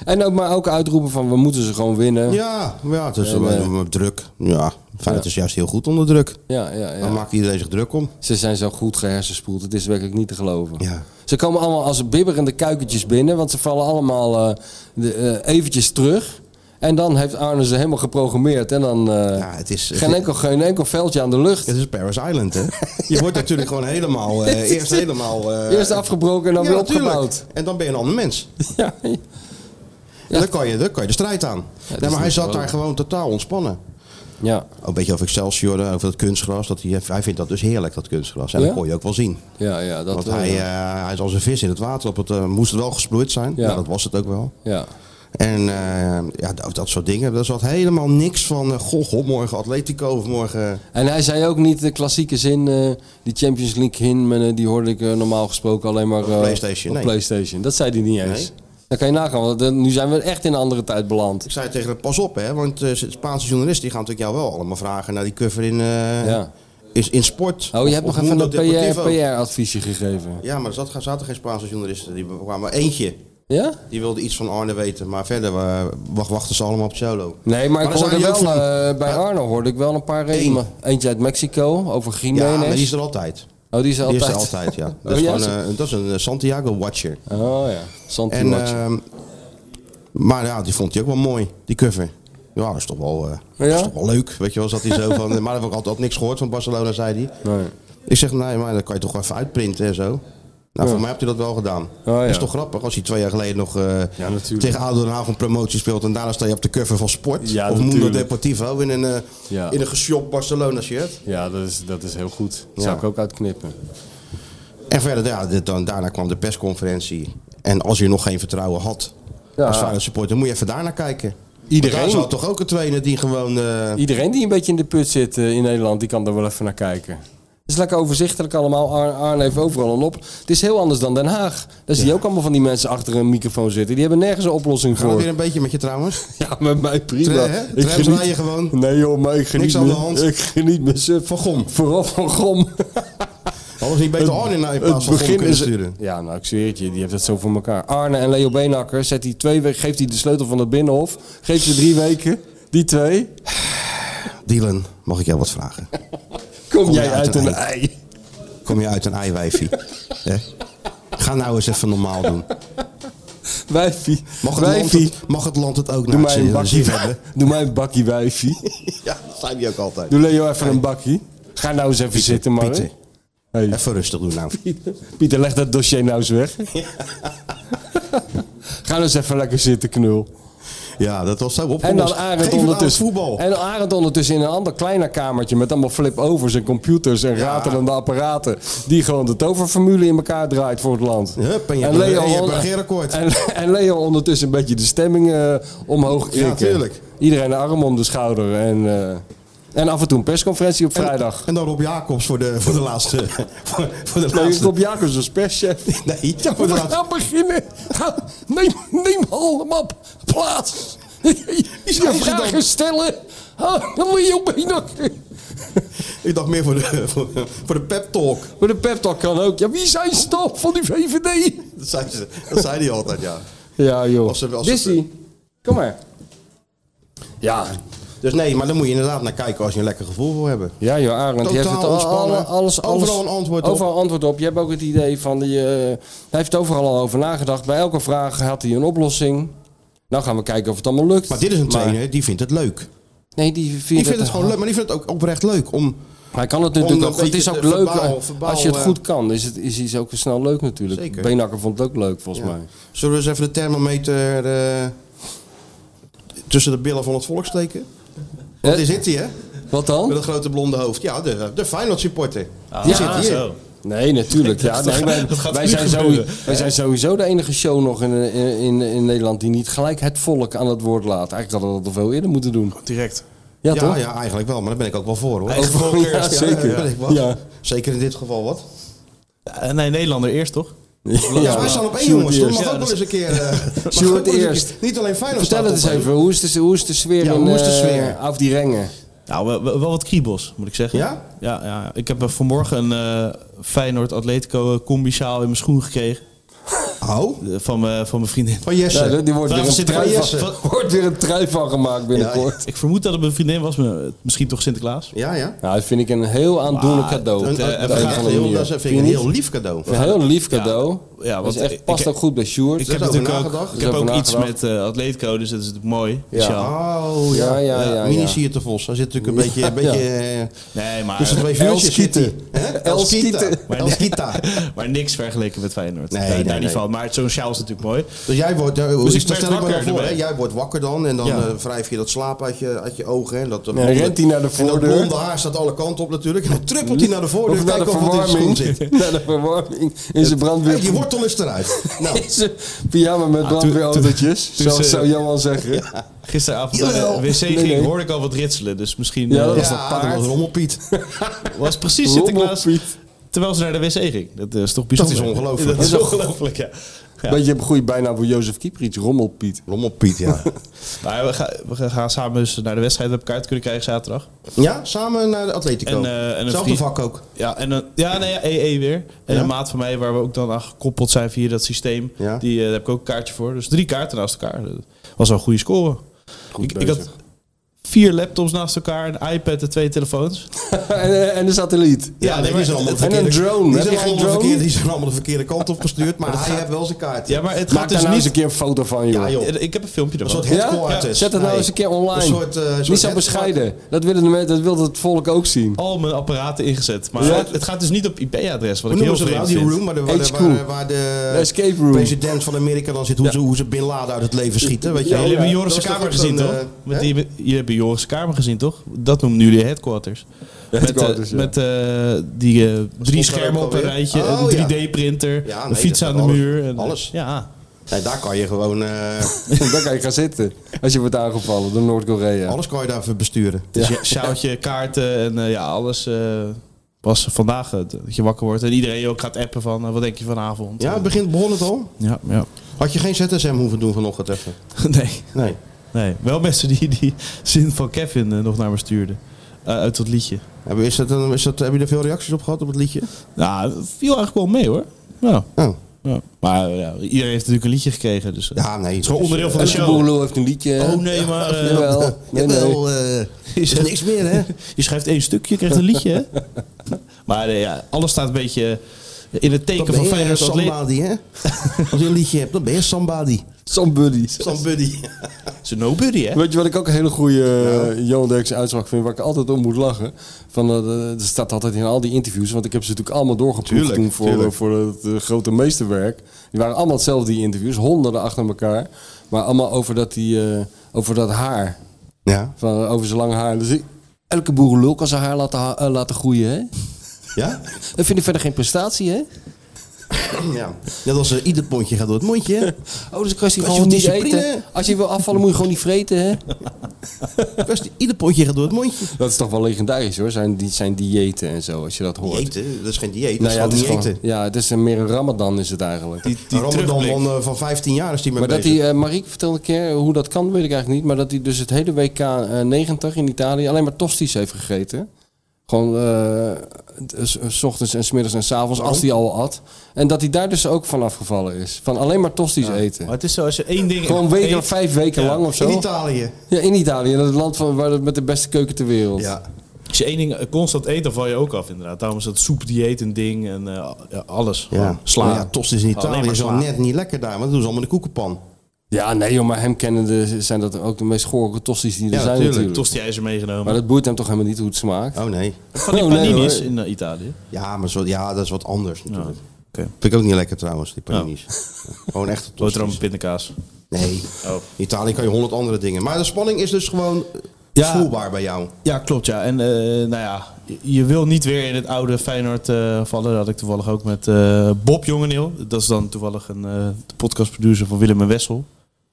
En ook maar ook uitroepen van we moeten ze gewoon winnen. Ja, maar ja, het is wel nee. wel druk. Ja, Feyenoord is juist heel goed onder druk. ja, ja. ja. Dan maakt iedereen zich druk om. Ze zijn zo goed gehersenspoeld, het is werkelijk niet te geloven. Ja. Ze komen allemaal als bibberende kuikentjes binnen, want ze vallen allemaal eh, de, eh, eventjes terug. En dan heeft Arne ze helemaal geprogrammeerd en dan eh, Ja, het is, geen, enkel, geen enkel veldje aan de lucht. het is Paris Island, hè? Je wordt natuurlijk gewoon helemaal... eh, eerst helemaal... eh, Eerst afgebroken en dan ja, weer natuurlijk. opgebouwd. En dan ben je een ander mens. Ja, ja. En dan, kan je, dan kan je de strijd aan. nee, is maar hij niet zat zo. daar gewoon totaal ontspannen. ja, Ook Een beetje over Excelsior, eh, over dat kunstgras. Dat hij, hij vindt dat dus heerlijk, dat kunstgras. En Ja? dat kon je ook wel zien. ja, ja, dat Want wel, hij, ja. eh, hij is als een vis in het water. Op het, eh, moest het wel gesproeid zijn. Ja. Ja. dat was het ook wel. ja. En eh, ja, dat, dat soort dingen. Daar zat helemaal niks van. eh, goh, goh, morgen Atletico of morgen. eh, En hij zei ook niet de klassieke zin, eh, die Champions League hymne, die hoorde ik eh, normaal gesproken alleen maar eh, PlayStation, op nee. PlayStation. Dat zei hij niet eens. Nee. Dan kan je nagaan, want eh, nu zijn we echt in een andere tijd beland. Ik zei tegen hem, pas op hè. Want eh, Spaanse journalisten die gaan natuurlijk jou wel allemaal vragen naar die cover in, eh, Ja. in, in sport. Oh, Of- je hebt of nog even Mundo een Deportivo. PR-adviesje gegeven. Ja, maar er zat, zaten geen Spaanse journalisten. Die kwamen maar eentje. Ja? Die wilde iets van Arne weten. Maar verder eh, wacht, wachten ze allemaal op solo. Nee, maar, Maar ik daar hoorde zijn wel, die ook eh, bij Ja. Arno hoorde ik wel een paar Eén. redenen. Eentje uit Mexico, over Ja, Jiménez. maar die is er altijd. Oh, die is er Die altijd. is er altijd, ja. Dat is, Oh, ja, gewoon, zo- eh, dat is een eh, Santiago Watcher. Oh ja, Santi En, Watch. ehm, maar ja, die vond hij ook wel mooi, die cover. Ja, dat is toch wel, eh, dat Ja? is toch wel leuk. Weet je wel, zat hij zo van. Maar daar heb ik altijd ook niks gehoord van Barcelona, zei hij. Nee. Ik zeg, nee, maar dan kan je toch wel even uitprinten en zo. Nou, voor mij hebt hij dat wel gedaan. Oh, ja. Dat is toch grappig als hij twee jaar geleden nog eh, tegen ADO Den Haag een promotie speelt. En daarna sta je op de cover van Sport. Ja, of Mundo natuurlijk. Deportivo in een, eh, Ja. in een gesjopt Barcelona shirt. Ja, dat is, dat is heel goed. Ja. Zou ik ook uitknippen. En verder, ja, dit, dan, daarna kwam de persconferentie. En als je nog geen vertrouwen had Ja. als Feyenoord supporter, moet je even daarna kijken. Iedereen. Want Daar zat toch ook een trainer die gewoon... eh, Iedereen die een beetje in de put zit eh, in Nederland, die kan er wel even naar kijken. Het is lekker overzichtelijk allemaal. Ar- Arne heeft overal een op. Het is heel anders dan Den Haag. Daar zie je ook allemaal van die mensen achter een microfoon zitten. Die hebben nergens een oplossing Gaat het voor. weer een beetje met je trouwens? Ja, met mij prima. Tre- hè? Trams geniet- rijden gewoon. Nee joh, maar ik geniet Niks aan de me- hand. Ik geniet me suf. Van Gom. Vooral van Gom. Alles niet beter Arne naar in plaats van Gom kunnen sturen. Ja, nou ik zweer het je, die heeft het zo voor elkaar. Arne en Leo Beenakker, zet die twee weken, geeft hij de sleutel van het Binnenhof. Geeft ze drie weken. Die twee. Dylan, mag ik jou wat vragen? Kom, Kom jij je uit uit een een ei. Kom je uit een eiwijfie? Hè? Ga nou eens even normaal doen. Wijfie. Mag het, land wijfie. het, mag het land het ook Doe naar mij, een zijn bakje, zin hebben? doe mij een bakje wijfie. Ja, dat zijn die ook altijd. Doe Leo even een bakje. Ga nou eens even zitten, man. Pieter, Hey. even rustig doen nou. Pieter, leg dat dossier nou eens weg. Ga nou eens even lekker zitten, knul. Ja, dat was zo En opgelost. dan Arend Geef het aan het ondertussen. voetbal. En Arend ondertussen in een ander kleiner kamertje met allemaal flip-overs en computers en ratelende apparaten. Die gewoon de toverformule in elkaar draait voor het land. Hup, en je hebt een- en je hebt een regeerakkoord. En, en Leo ondertussen een beetje de stemming eh, omhoog krikken. Ja, tuurlijk. Iedereen de arm om de schouder. En, eh, en af en toe een persconferentie op vrijdag. En dan Rob Jacobs voor de, voor de laatste... Voor, voor de Nee, laatste... Rob Nou, Jacobs als perschef. Nee, Ja, voor we de laatste... gaan nou beginnen. Ga- Neem, neem allemaal op. plaats. Je zijn ze vragen dan? stellen. Ah, Leo Beenakker. Ik dacht meer voor de, voor, voor de pep talk. Maar de pep talk kan ook. Ja, wie zijn ze dan van die VVD? Dat zei, ze, dat zei hij altijd, ja. Ja, joh. Als ze- als ze- Dizzy, kom maar. Ja. Dus nee, maar dan moet je inderdaad naar kijken als je een lekker gevoel wil hebben. Ja, joh, Arend. die heeft het Totaal al, ontspannen. alle- alles, alles, Overal een antwoord op. overal antwoord op. Je hebt ook het idee van die. eh, hij heeft overal al over nagedacht. Bij elke vraag had hij een oplossing. Nou gaan we kijken of het allemaal lukt. Maar dit is een trainer, die vindt het leuk. nee, die vindt, Die vindt het gewoon leuk, maar die vindt het ook oprecht leuk om... Hij kan het Om natuurlijk een ook. Het is beetje ook te leuk. verbaal- eh, verbaal, als je het eh, goed kan, is het is, is ook snel leuk natuurlijk. Zeker. Beenakker vond het ook leuk volgens mij. Zullen we eens even de thermometer eh, tussen de billen van het volk steken? Eh, Wat is dit hier, hè? Met Wat dan? dat grote blonde hoofd. Ja, de, de Feyenoord supporter. Ja, die zit hier. Zo. Nee, natuurlijk. Ja, nee, wij, dat gaat wij nu zijn gebeuren. sowieso, wij zijn sowieso de enige show nog in, in, in, in Nederland die niet gelijk het volk aan het woord laat. Eigenlijk hadden we dat al veel eerder moeten doen. Direct. Ja, ja, toch? ja, eigenlijk wel. Maar daar ben ik ook wel voor hoor. Ook voor- Voorkeur, ja, zeker. daar ben ik wel. Ja. Zeker in dit geval wat. Eh, Nee, Nederlander eerst toch? Ja, wij staan op één Sjoerd jongens. Dat eerst. mag ook wel eens een keer. eh, mag ook Sjoerd wel eens een eerst. keer- Niet alleen Feyenoord Vertel staat het eens op één. even, hoe is de, hoe is de sfeer Ja, in hoe is de eh, sfeer? Af die Rengen? Nou, wel, wel- wel wat kriebels, moet ik zeggen. Ja? Ja, ja. ik heb eh, vanmorgen een eh, Feyenoord-Atletico combi-sjaal in mijn schoen gekregen. Oh, eh, van, mijn- van mijn vriendin. van Jesse. Ja, die- die wordt weer, Waarom een zit er trui wel van, Jesse? wordt weer een trui van gemaakt binnenkort. Ik vermoed dat het mijn vriendin was, maar eh, misschien toch Sinterklaas. Ja, ja. Nou, dat vind ik een heel aandoenlijk cadeau. Een, Op de een- een een- of een- andere heel, manier. dat vind ik Vind een je heel niet? lief cadeau. Een heel lief cadeau. Ja, ja, dat want is echt, ik- past ik- ook goed bij Sjoerd. Ik heb is over natuurlijk ook, nagedacht. ik Er heb is over ook iets met nagedacht. eh Atletico, dus dat is natuurlijk mooi. Ja. sjaal. Oh ja, Ja, ja, ja, mini ja. zie je te vos. Hij zit natuurlijk een beetje, een beetje eh, Nee, maar, tussen twee vuurtjes. zit hij. Elskieten. Hè? Elskieten. Elskieten. Elskieten. maar niks vergeleken met Feyenoord. Nee, Nee, nee, daar niet nee. van. Maar zo'n sjaal is natuurlijk mooi. Dus jij wordt, daar, Dus dus ik dat werd stel ik me dan wakker voor, hè? erbij. jij wordt wakker dan en dan Ja. eh, wrijf je dat slaap uit je, uit je ogen. hè, En dat, dat Ja, rent hij naar de En dat voordeur. blonde haar staat alle kanten op natuurlijk. En dan trippelt hij naar de voordeur. Of naar Kijk de of wat in zijn schoen zit. verwarming. Naar de verwarming in zijn Hey, die brandweer. wortel is eruit. Nou, In zijn pyjama met brandweerautootjes. toen Zo ze- zou Johan zeggen. Gisteravond naar de Jawel. wc Nee, ging, nee. hoorde ik al wat ritselen. Dus misschien Ja, eh, dat was, was ja, dat paard. was Rommelpiet. precies Sinterklaas terwijl ze naar de wc ging. Dat eh, is toch bijzonder. is ongelooflijk. Dat is ongelooflijk, ja. Ja. Beetje een goede bijnaam voor Jozef Kieprits, Rommelpiet. Rommelpiet, ja. Maar we, gaan- we gaan samen dus naar de wedstrijd. We hebben elkaar kunnen krijgen zaterdag. ja, samen naar de Atletico. En, eh, en een Zelfde vriend- vak ook. Ja, en een, ja, nee, ja, EE weer. En Ja? een maat van mij waar we ook dan aan gekoppeld zijn via dat systeem. Ja. Die, eh, daar heb ik ook een kaartje voor. Dus drie kaarten naast elkaar. Dat was wel een goede score. ik, ik had bezig. vier laptops naast elkaar, een iPad en twee telefoons. en, en een satelliet. Ja, nee, die zijn allemaal de en verkeerde- een drone. Die zijn, Heb je geen allemaal de drone? verkeerde, die zijn allemaal de verkeerde kant op gestuurd, maar hij heeft wel zijn kaart. Ja, maar het Maak gaat daar dus nou eens een niet... keer een foto van, joh. Ja, joh. keer- Ik heb een filmpje Een ervan. soort Ja? headquarters. Zet het nou Nee. eens een keer Een online. soort, eh, soort niet zo bescheiden. Dat, willen de, me- dat wil het volk ook zien. Al mijn apparaten ingezet. Maar Ja. het, het gaat dus niet op IP-adres, wat Hoe ik noemen heel ze dat nou? vreemd Die vind. room waar de, waar, de, HQ. waar, waar de, De escape room. president van Amerika dan zit. Hoe, ze, hoe ze Bin Laden uit het leven schieten. Weet je Ja, wel. jullie hebben Dat Joris' is toch kamer ook gezien, zo'n, toch? eh, Met hè? die, jullie hebben Joris' kamer gezien, toch? Dat noemen jullie headquarters. Headquarters, met eh, met eh, die eh, drie ook schermen op een alweer? rijtje, Oh, ja. een 3D-printer, Ja, nee, een fiets dat aan de gaat alles. muur. en- Alles. Ja. Nee, daar kan je gewoon... eh, Dan kan je gaan zitten. Als je wordt aangevallen door Noord-Korea. alles kan je daarvoor besturen. Dus je sjaaltje, kaarten en eh, ja, alles eh, was vandaag eh, dat je wakker wordt. En iedereen ook gaat appen van eh, wat denk je vanavond. Ja, het begint, begon het al. ja, ja. Had je geen ZSM hoeven doen vanochtend even? nee, Nee. nee, wel mensen die die zin van Kevin eh, nog naar me stuurden. Eh, uit dat liedje. Hebben- Is dat, een- is dat, heb je er veel reacties op gehad op het liedje? Nou, dat viel eigenlijk wel mee hoor. Ja. Oh. Ja. Maar ja, iedereen heeft natuurlijk een liedje gekregen. Dus, eh, Ja, nee. Eh, het is gewoon onderdeel van de Elke show. boerlul heeft een liedje. Oh nee, maar eh, Jawel. Nee, nee. Jawel, eh, is er niks meer, hè? je schrijft één stukje, je krijgt een liedje. Hè? Maar eh, ja, alles staat een beetje in het Dan teken ben van je eh, Feyenoord. als lid. somebody, hè? Als je een liedje hebt, dan ben je somebody. Somebody. Somebody. Ze nobody hè? Weet je wat ik ook een hele goede eh, Johan Derksen uitspraak vind, waar ik altijd om moet lachen? Van, eh, de- er staat altijd in al die interviews, want ik heb ze natuurlijk allemaal doorgeproefd Tuurlijk, toen voor, tuurlijk. voor het eh, grote meesterwerk. Die waren allemaal hetzelfde, die interviews, honderden achter elkaar. Maar allemaal over dat, die, eh, over dat haar, Ja. van, over zijn lange haar. Dus ik- elke boerenlul kan zijn haar laten, ha- eh, laten groeien, hè? Ja? Dat vind ik verder geen prestatie, hè? Ja. Net als eh, ieder pondje gaat door het mondje, hè? Oh, dus kan je Kwestie gewoon van niet discipline. eten. Als je wil afvallen, moet je gewoon niet vreten, hè? Best, ieder pondje gaat door het mondje. Dat is toch wel legendarisch, hoor, zijn, die, zijn diëten en zo, als je dat hoort. Eten, dat is geen dieet, Nou ja, dat het is is gewoon niet gewoon- eten. ja, het is een meer een ramadan is het eigenlijk. Die Ramadan terugblik. van, eh, van 15 jaar is die mee maar dat bezig. hij, eh, Marieke vertelde een keer hoe dat kan, weet ik eigenlijk niet. Maar dat hij dus het hele WK eh, 90 in Italië alleen maar tosti's heeft gegeten. Gewoon eh, s- s ochtends en s middags en s avonds, als hij al at. En dat hij daar dus ook van afgevallen is. Van alleen maar tosti's eten. Maar het is zo, als je één ding... Gewoon weken, eet- vijf weken Ja. lang of zo. In Italië. ja, in Italië, dat is het land van, waar het met de beste keuken ter wereld. Ja. Als je één ding eh, constant eet, dan val je ook af inderdaad. Daarom is dat soepdieet een ding en eh, ja, alles. Ja. Oh, Gewoon Sla. Maar Ja, tost is in Alleen Italië maar zo sla. net niet lekker daar, want dat doen ze allemaal in de koekenpan. Ja, nee joh, maar hem kennende zijn dat ook de meest gore tosti's die er zijn natuurlijk. Tosti ijzer meegenomen. Maar dat boeit hem toch helemaal niet hoe het smaakt. Oh nee. Van die Oh, nee, paninis hoor. in eh, Italië. Ja, maar zo, ja, dat is wat anders natuurlijk. Oké. Vind ik ook niet lekker trouwens, die paninis. Gewoon echt Boterham tosti's. met pindakaas. Nee. Oh. In Italië kan je honderd andere dingen. Maar de spanning is dus gewoon eh, Ja. voelbaar bij jou. Ja, klopt ja. En eh, nou ja, je- je wil niet weer in het oude Feyenoord eh, vallen. Dat had ik toevallig ook met eh, Bob Jongeneel. Dat is dan toevallig een eh, de podcastproducer van Willem en Wessel.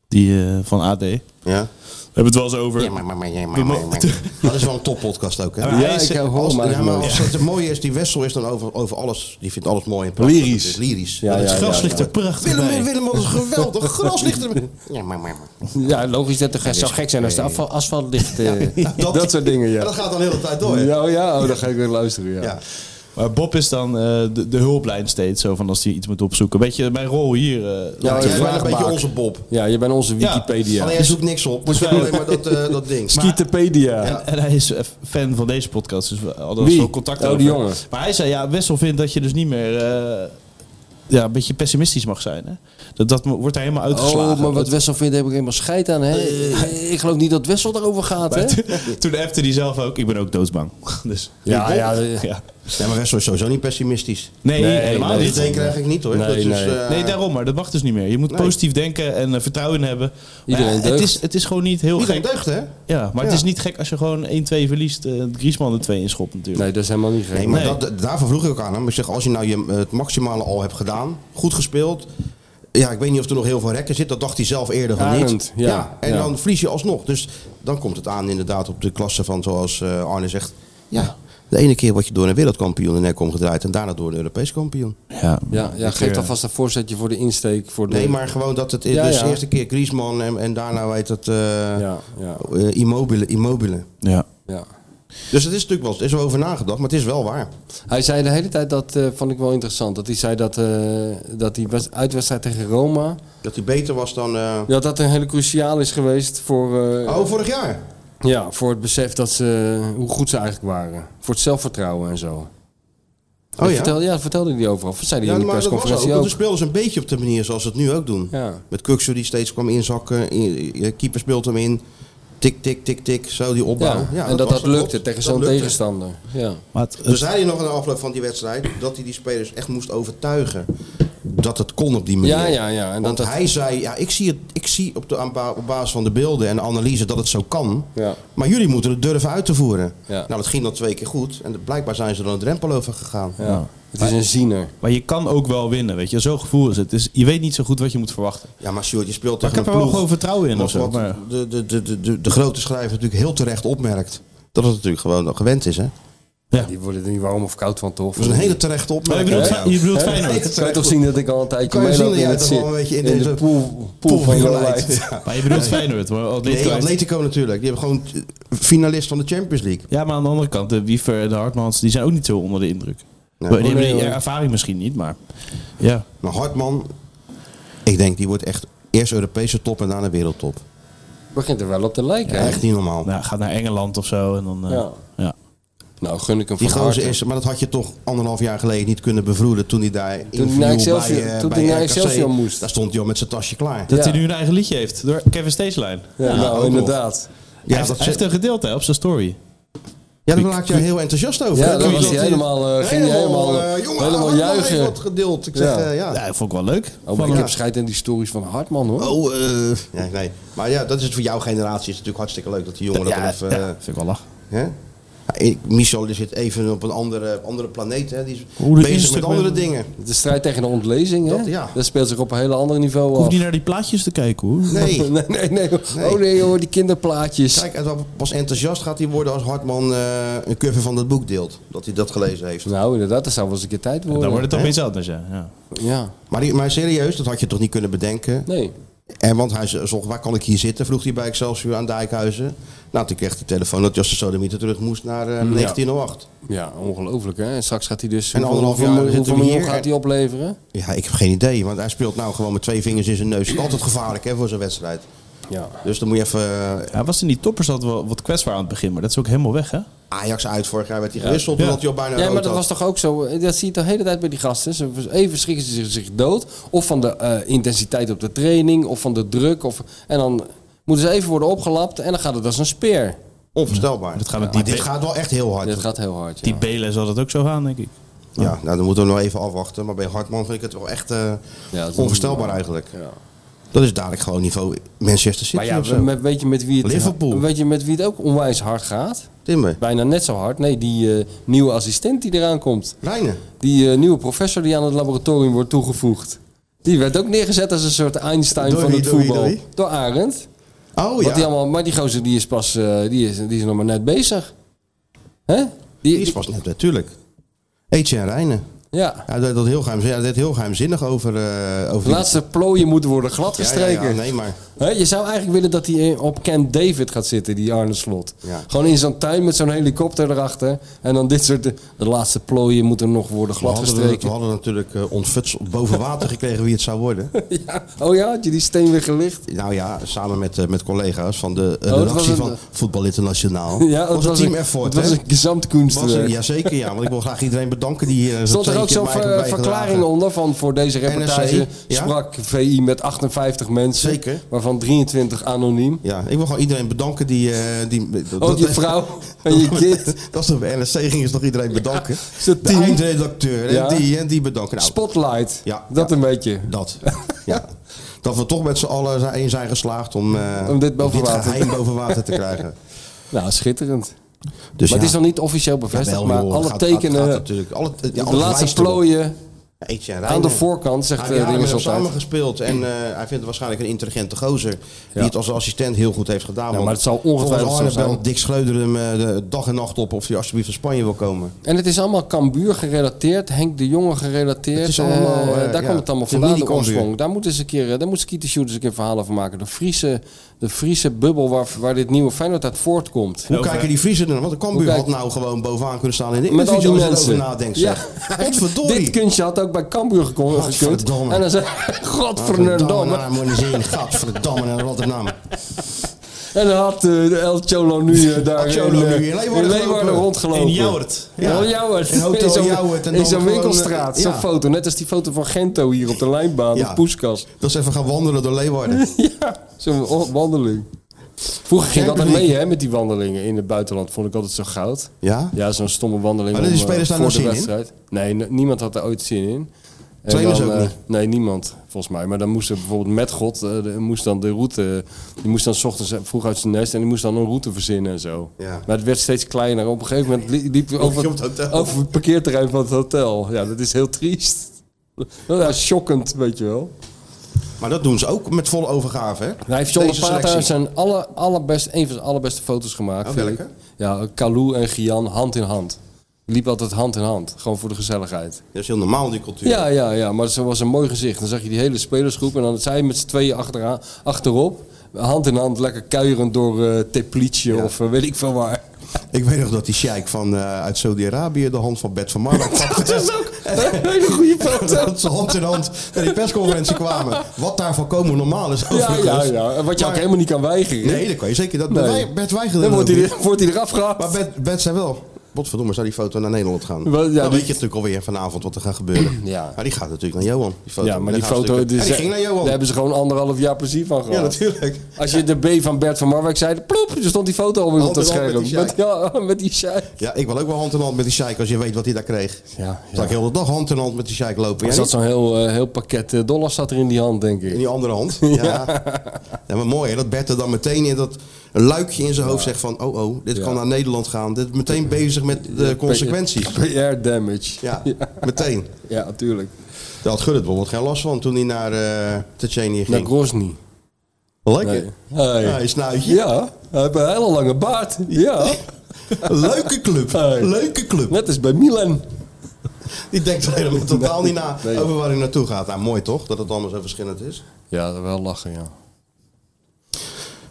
Die eh, van AD. Ja. hebben het wel eens over. Ja, maar, maar, maar, ja, maar, maar, maar. Dat is wel een toppodcast ook, hè? Ja, Hij ik is- hou als, hem ja, Oh, maar eigenlijk als het mooie is, die Wessel is dan over, over alles. Die vindt alles mooi en prachtig. Lyrisch. Het is lyrisch. Ja, Dat ja, is Gras ja, ligt ja. er prachtig bij. Willem, Willem, wat is geweldig. Gras ligt er... Ja, maar, maar, maar. Ja, logisch dat het zou gek zijn als de afval, asfalt ligt. eh, dat, soort dingen, En ja. dat gaat dan de hele tijd door, hè? Ja, oh ja, oh, dan ga ik weer luisteren. Ja. Ja. Maar Bob is dan eh, de, de hulplijn steeds, zo van als hij iets moet opzoeken. Weet je, mijn rol hier. eh, Ja, Ja, de jij bent een vraagbaak. beetje onze Bob. Ja, je bent onze Wikipedia. Alleen jij zoekt niks op. Dus alleen maar dat, eh, dat ding. Skitopedia. Ja. En hij is eh, fan van deze podcast, dus we hadden Wie? wel contact Oh, over. die jongen. Maar hij zei, ja, Wessel vindt dat je dus niet meer eh, ja, een beetje pessimistisch mag zijn. Hè? Dat, dat mo- wordt daar helemaal uitgeslagen. Oh, maar wat Dat- Wessel vindt, heb ik helemaal scheid aan. Hè? ik geloof niet dat Wessel daarover gaat. Hè? Toen appte hij zelf ook, ik ben ook doodsbang. Dus, Ja, ja, ja. ja. Nee, maar Wessel is sowieso niet pessimistisch. Nee, Nee, helemaal nee, Dit niet. denk ik eigenlijk niet, hoor. Nee, dat is, nee. eh, Nee, daarom maar. Dat mag dus niet meer. Je moet positief denken en eh, vertrouwen in hebben. Maar Iedereen ja, het, deugt. is, het is gewoon niet heel Iedereen gek. deugd, hè? Ja, maar het Ja. is niet gek als je gewoon 1-2 verliest. eh Griezmann er 2 in schopt natuurlijk. Nee, dat is helemaal niet gek. Nee, maar Nee. Dat, daarvoor vroeg ik ook aan hem. Ik zeg, als je nou je, het maximale al hebt gedaan, goed gespeeld. Ja, ik weet niet of er nog heel veel rekken zit. Dat dacht hij zelf eerder van niet. Arend, ja. en Ja. dan verlies je alsnog. Dus dan komt het aan inderdaad op de klasse van zoals eh, Arne zegt. Ja, de ene keer word je door een wereldkampioen de nek omgedraaid. En daarna door een Europees kampioen. Ja, Ja, ja, geef alvast een voorzetje voor de insteek. Voor de... eh, Nee, maar gewoon dat het Ja, dus ja. de eerste keer Griezmann en, en daarna weet het eh, Ja, ja, eh, immobile, immobile. ja. ja. Dus het is natuurlijk wel, er is wel over nagedacht, maar het is wel waar. Hij zei de hele tijd, dat eh, vond ik wel interessant. Dat hij zei dat, eh, dat die wes- uitwedstrijd tegen Roma... Dat hij beter was dan... eh, Ja, dat een hele cruciaal is geweest voor, eh, Oh, vorig jaar. ja, voor het besef dat ze, hoe goed ze eigenlijk waren. Voor het zelfvertrouwen en zo. Oh dat ja. vertelde, ja, dat vertelde hij overal. Dat zei hij in de maar dat was persconferentie want ook. De spelers een beetje op de manier zoals ze het nu ook doen. Ja. Met Kuksu die steeds kwam inzakken. in- eh, Keeper speelt hem in. Tik, tik, tik, tik. Zo die Ja, opbouw. Ja, en dat was dat het. lukte tegen Dat zo'n lukte. tegenstander. Ja. Maar het, We zeiden nog aan de afloop van die wedstrijd dat hij die spelers echt moest overtuigen dat het kon op die manier. Ja, ja, ja. En Want dat, dat, hij zei, ja, ik zie, het, ik zie op, de, aan ba- op basis van de beelden en de analyse dat het zo kan. Ja. Maar jullie moeten het durven uit te voeren. Ja. Nou, dat ging dan twee keer goed. En blijkbaar zijn ze er een drempel over gegaan. ja. Het is een ziener. maar je kan ook wel winnen, weet je. Zo'n gevoel is het. Dus je weet niet zo goed wat je moet verwachten. Ja, maar Sjoerd, je speelt Maar tegen ik heb er een wel ploeg gewoon vertrouwen in wat- of zo. wat Maar, de, de, de, de, de, de grote schrijver natuurlijk heel terecht opmerkt. Dat het natuurlijk gewoon gewend is, hè? Die worden er niet warm of koud van, toch? Dat is een hele terechte maar je opmerking. bedoelt, van Fe- jou. je bedoelt Hè? Feyenoord. Kan je toch zien dat ik al een tijdje Kan je zien meeloop dat jij het toch zit- wel een beetje in de deze pool, pool Poel van van je Jolijt. lijkt. Ja. Maar je bedoelt Feyenoord, hoor. Atletico Nee, Feyenoord. Atletico natuurlijk. Die hebben gewoon eh, finalist van de Champions League. Ja, maar aan de andere kant, de Wiefer en de Hartmans, die zijn ook niet zo onder de indruk. die hebben Nee, die hoor. ervaring misschien niet, maar... Ja. Maar Nou, Hartman, ik denk die wordt echt eerst Europese top en daarna wereldtop. Begint er wel op te lijken. hè? Echt niet normaal. Nou, gaat naar Engeland of zo en dan... eh, Ja. ja. Nou, gun ik hem Die van harte. gozer is, maar dat had je toch anderhalf jaar geleden niet kunnen bevroeden toen hij daar hij inviel naar bij, Excelsior- eh, toen bij hij naar RKC. Excelsior moest. Daar stond hij al met zijn tasje klaar. Dat Ja. hij nu een eigen liedje heeft, door Kevin Steeslijn. Ja, nou, inderdaad. ja, hij heeft, dat, hij heeft een gedeelte hè, op zijn story. ja, daar maak je heel enthousiast over. Ja, Dat doe daar je was hij dat- helemaal, eh, ging hij helemaal, eh, jongen, helemaal Hartman heeft juichen. wat gedeeld. Ik zeg, Ja. eh, ja. Ja, dat vond ik wel leuk. Oh, maar ik heb scheid aan die stories van Hartman, hoor. eh, Oh, eh, ja, nee. Maar ja, dat is voor jouw generatie is het natuurlijk hartstikke leuk dat die jongen dat ja, dan even... eh, ja, vind ik wel lach. hè? Ja, ik- Michel die zit even op een andere, andere planeet. Hè? Die is Hoe de bezig met Instagram- andere dingen. De strijd tegen de ontlezing, hè? Dat, ja. Dat speelt zich op een hele ander niveau Hoef af. niet naar die plaatjes te kijken hoor. Nee. nee, nee, nee. Oh nee, hoor, die kinderplaatjes. Kijk, en dan pas enthousiast gaat hij worden als Hartman eh, een cover van dat boek deelt. Dat hij dat gelezen heeft. Nou, inderdaad, dat zou wel eens een keer tijd worden. Dan wordt het opeens anders, ja. ja. Ja, Maar, die- maar serieus, dat had je toch niet kunnen bedenken? nee. En want hij zocht, waar kan ik hier zitten? Vroeg hij bij Excelsior aan Dijkhuizen. Nou, toen kreeg hij telefoon dat Justus Sodemieter terug moest naar eh, Mm, 1908. Ja, ongelooflijk, hè? En straks gaat hij dus... En hoeveel- anderhalf jaar hoeveel- zitten we Hoeveel miljoen hier. gaat hij opleveren? Ja, ik heb geen idee, want hij speelt nou gewoon met twee vingers in zijn neus. Het is altijd gevaarlijk hè, voor zo'n wedstrijd. Ja. Dus dan moet je even... eh, Hij was in die toppers altijd wel wat kwetsbaar aan het begin, maar dat is ook helemaal weg hè. Ajax uit vorig jaar werd hij gewisseld, Ja. omdat hij al bijna Ja, rood maar dat had. was toch ook zo. Dat zie je de hele tijd bij die gasten. Ze- Even schrikken ze zich, zich dood. Of van de eh, intensiteit op de training. Of van de druk. Of, en dan moeten ze even worden opgelapt. En dan gaat het als een speer. Onvoorstelbaar. Mm, Dat gaat met Maar die dit be- gaat wel echt heel hard. Dit gaat heel hard. Die Ja. Belen zal dat ook zo gaan, denk ik. Ja, nou, dan moeten we nog even afwachten. Maar bij Hartman vind ik het wel echt eh, dat is- onvoorstelbaar eigenlijk. Dat is dadelijk gewoon niveau Manchester City Maar ja, of zo. met, weet, je met wie het, Liverpool. weet je met wie het ook onwijs hard gaat? Timmer, Bijna net zo hard. Nee, die eh, nieuwe assistent die eraan komt. Rijnen. Die eh, nieuwe professor die aan het laboratorium wordt toegevoegd. Die werd ook neergezet als een soort Einstein Door van wie, het door wie, voetbal. door wie? Door Arend. Oh ja, Wat die die, allemaal, maar die gozer die is pas eh, die is, die is nog maar net bezig. Hè? Die, is pas net, natuurlijk. Eetje en Rijnen. Ja. Ja, dat, dat heel geheimzinnig, ja, dat heel geheimzinnig over, eh over De laatste plooien moeten worden gladgestreken. Ja, ja, ja, nee, maar... Hè, je zou eigenlijk willen dat hij eh, op Camp David gaat zitten, die Arne Slot. Ja. Gewoon in zo'n tuin met zo'n helikopter erachter. En dan dit soort... De laatste plooien moeten nog worden We hadden, we gladgestreken. hadden natuurlijk eh ontfuts boven water gekregen wie het zou worden. Ja. Oh ja, had je die steen weer gelicht? Nou ja, samen met, eh, met collega's van de eh, Oh, dat was redactie een- van Voetbal Internationaal. Ja, was het team effort, Het was hè? een gezamtkunstwerk. Was een- Jazeker, ja. Want ik wil graag iedereen bedanken die eh, hier... Er stond er ook zo'n ver- verklaring onder van voor deze reportage NRC, ja? sprak VI met 58 mensen, Zeker. waarvan 23 anoniem. Ja, ik wil gewoon iedereen bedanken die... eh die dat- Ook je dat- Oh, vrouw en je kind. Dat is toch bij NSC ging is nog iedereen bedanken. zo'n de team. eindredacteur en Ja. die en die bedanken. Nou, Spotlight, Ja, dat een beetje. dat. Ja. Dat we toch met z'n allen zijn- één zijn geslaagd om, eh, Om dit boven water- geheim boven water te krijgen. Nou, schitterend. Dus maar ja. het is nog niet officieel bevestigd, Jawel, maar joh, alle gaat- tekenen, gaat- gaat natuurlijk. Alle- ja, de alles laatste wijst erop. plooien Ja, Eetje en aan Reiner. de voorkant, zegt Ah, de ja, we Rinus hebben altijd. samen gespeeld en eh, hij vindt waarschijnlijk een intelligente gozer. Ja. Die het als assistent heel goed heeft gedaan. want maar het zal ongetwijfeld volgens zo Arne zijn. belt Dick Schreuder hem eh, de dag en nacht op of hij alsjeblieft van Spanje wil komen. En het is allemaal Cambuur gerelateerd, Henk de Jonge gerelateerd. Het is allemaal, Eh, eh, daar ja, komt het allemaal het is niet vandaan, de die Cambuur. oorsprong. Daar moeten ze een keer, eh, daar moet Skeeter Shooters een keer verhalen van maken. De Friese, de Friese bubbel waar, waar dit nieuwe Feyenoord uit voortkomt. Hoe kijken die Friesen dan? Want de Cambuur Hoe had kijken- nou gewoon bovenaan kunnen staan in de Met al die als je mensen. erover nadenkt. zeg. Godverdorie. Dit kunstje had ook bij Cambuur gekund. gekund. Godverdomme. En dan zei Ah, godverdomme. naar Moniseen, gadverdamme naar Rotterdam. En dan had eh, El Cholo nu eh, daar El Cholo eh, nu in Leeuwarden Leeuwarden gelopen. rondgelopen. In Jouwert. Ja. Ja. El Jouwert. In Hotel In zo'n- Jouwert en In dan zo'n gewoon, winkelstraat, eh, zo'n ja. foto. Net als die foto van Gento hier op de lijnbaan, Ja. op Poeskas. Dat is even gaan wandelen door Leeuwarden. Ja, zo'n o- wandeling. Vroeger ging dat Champions altijd mee hè, met die wandelingen in het buitenland. Vond ik altijd zo goud. Ja? Ja, zo'n stomme wandeling. Maar die om, eh, spelers daar voor nou de zin in? wedstrijd. Nee, n- niemand had er ooit zin in. En Trainers dan, ook eh, niet? Nee, niemand volgens mij. Maar dan moest er bijvoorbeeld met God, eh, de- moest dan de route, die moest dan 's ochtends eh, vroeg uit zijn nest en die moest dan een route verzinnen en zo. Ja. Maar het werd steeds kleiner. Op een gegeven moment li- liep hij over, op het hotel. over het parkeerterrein van het hotel. Ja, dat is heel triest. Ja, shockend, weet je wel. Maar dat doen ze ook met volle overgave, hè? Nou, hij heeft John Deze Pata selectie. zijn alle, allerbest, een van zijn allerbeste foto's gemaakt. Oh, vind welke? ik. Ja, Kalou en Gian hand in hand. Die liepen altijd hand in hand. Gewoon voor de gezelligheid. Dat is heel normaal, die cultuur. Ja, ja, ja. Maar ze was een mooi gezicht. Dan zag je die hele spelersgroep. En dan zij met z'n tweeën achteraan, achterop. Hand in hand, lekker kuierend door eh Teplice of eh, weet ik veel waar. Ik weet nog dat die sheik van, eh, uit Saudi-Arabië de hand van Bert van Marwijk pakte. Dat is ook een hele goede foto. dat ze hand in hand naar die persconferentie kwamen. Wat daar volkomen normaal is Ja, overigens. ja, ja. En wat je ook Maar- helemaal niet kan weigeren. Nee, dat kan je zeker. Dat Nee. Wij- Bert weigerde Dan dat wordt ook hij, niet. wordt hij eraf gehaald. Maar Bert, Bert zei wel... Godverdomme, zou die foto naar Nederland gaan? Wel, ja, dan dat- weet je natuurlijk alweer vanavond wat er gaat gebeuren. Ja. Maar die gaat natuurlijk naar Johan. Die foto. Ja, maar En die dan gaan ze foto, natuurlijk- die En die ze- ging naar Johan. daar hebben ze gewoon anderhalf jaar plezier van gehad. Ja, natuurlijk. Als je de B van Bert van Marwijk zei, ploep, er stond die foto alweer op Hand in dat hand met scherm. die Met, ja, met die shai. Ja, ik wil ook wel hand in hand met die sheik als je weet wat hij daar kreeg. Ja, Zal ik heel de dag hand in hand met die sheik lopen. Er Jij zat zo'n heel, eh, heel pakket eh, dollars zat er in die hand, denk In ik. die andere hand. Ja. ja. maar mooi hè, dat Bert er dan meteen in dat luikje in zijn hoofd zegt van... Oh, oh, dit Ja. kan naar Nederland gaan. Dit is meteen bezig met de consequenties. PR damage. Ja, meteen. ja natuurlijk. Daar had Gullit bijvoorbeeld geen last van toen hij naar eh Tsjetsjenië Naar ging. Grozny. Lekker. Hey. Ja, nou een snuitje. Ja, hij heeft een hele lange baard. Ja. Leuke club. Hey. Leuke club. Net als bij Milan. Die denkt er helemaal totaal niet na Nee. over waar hij naartoe gaat. Nou, mooi toch? Dat het allemaal zo verschillend is. Ja, wel lachen, ja.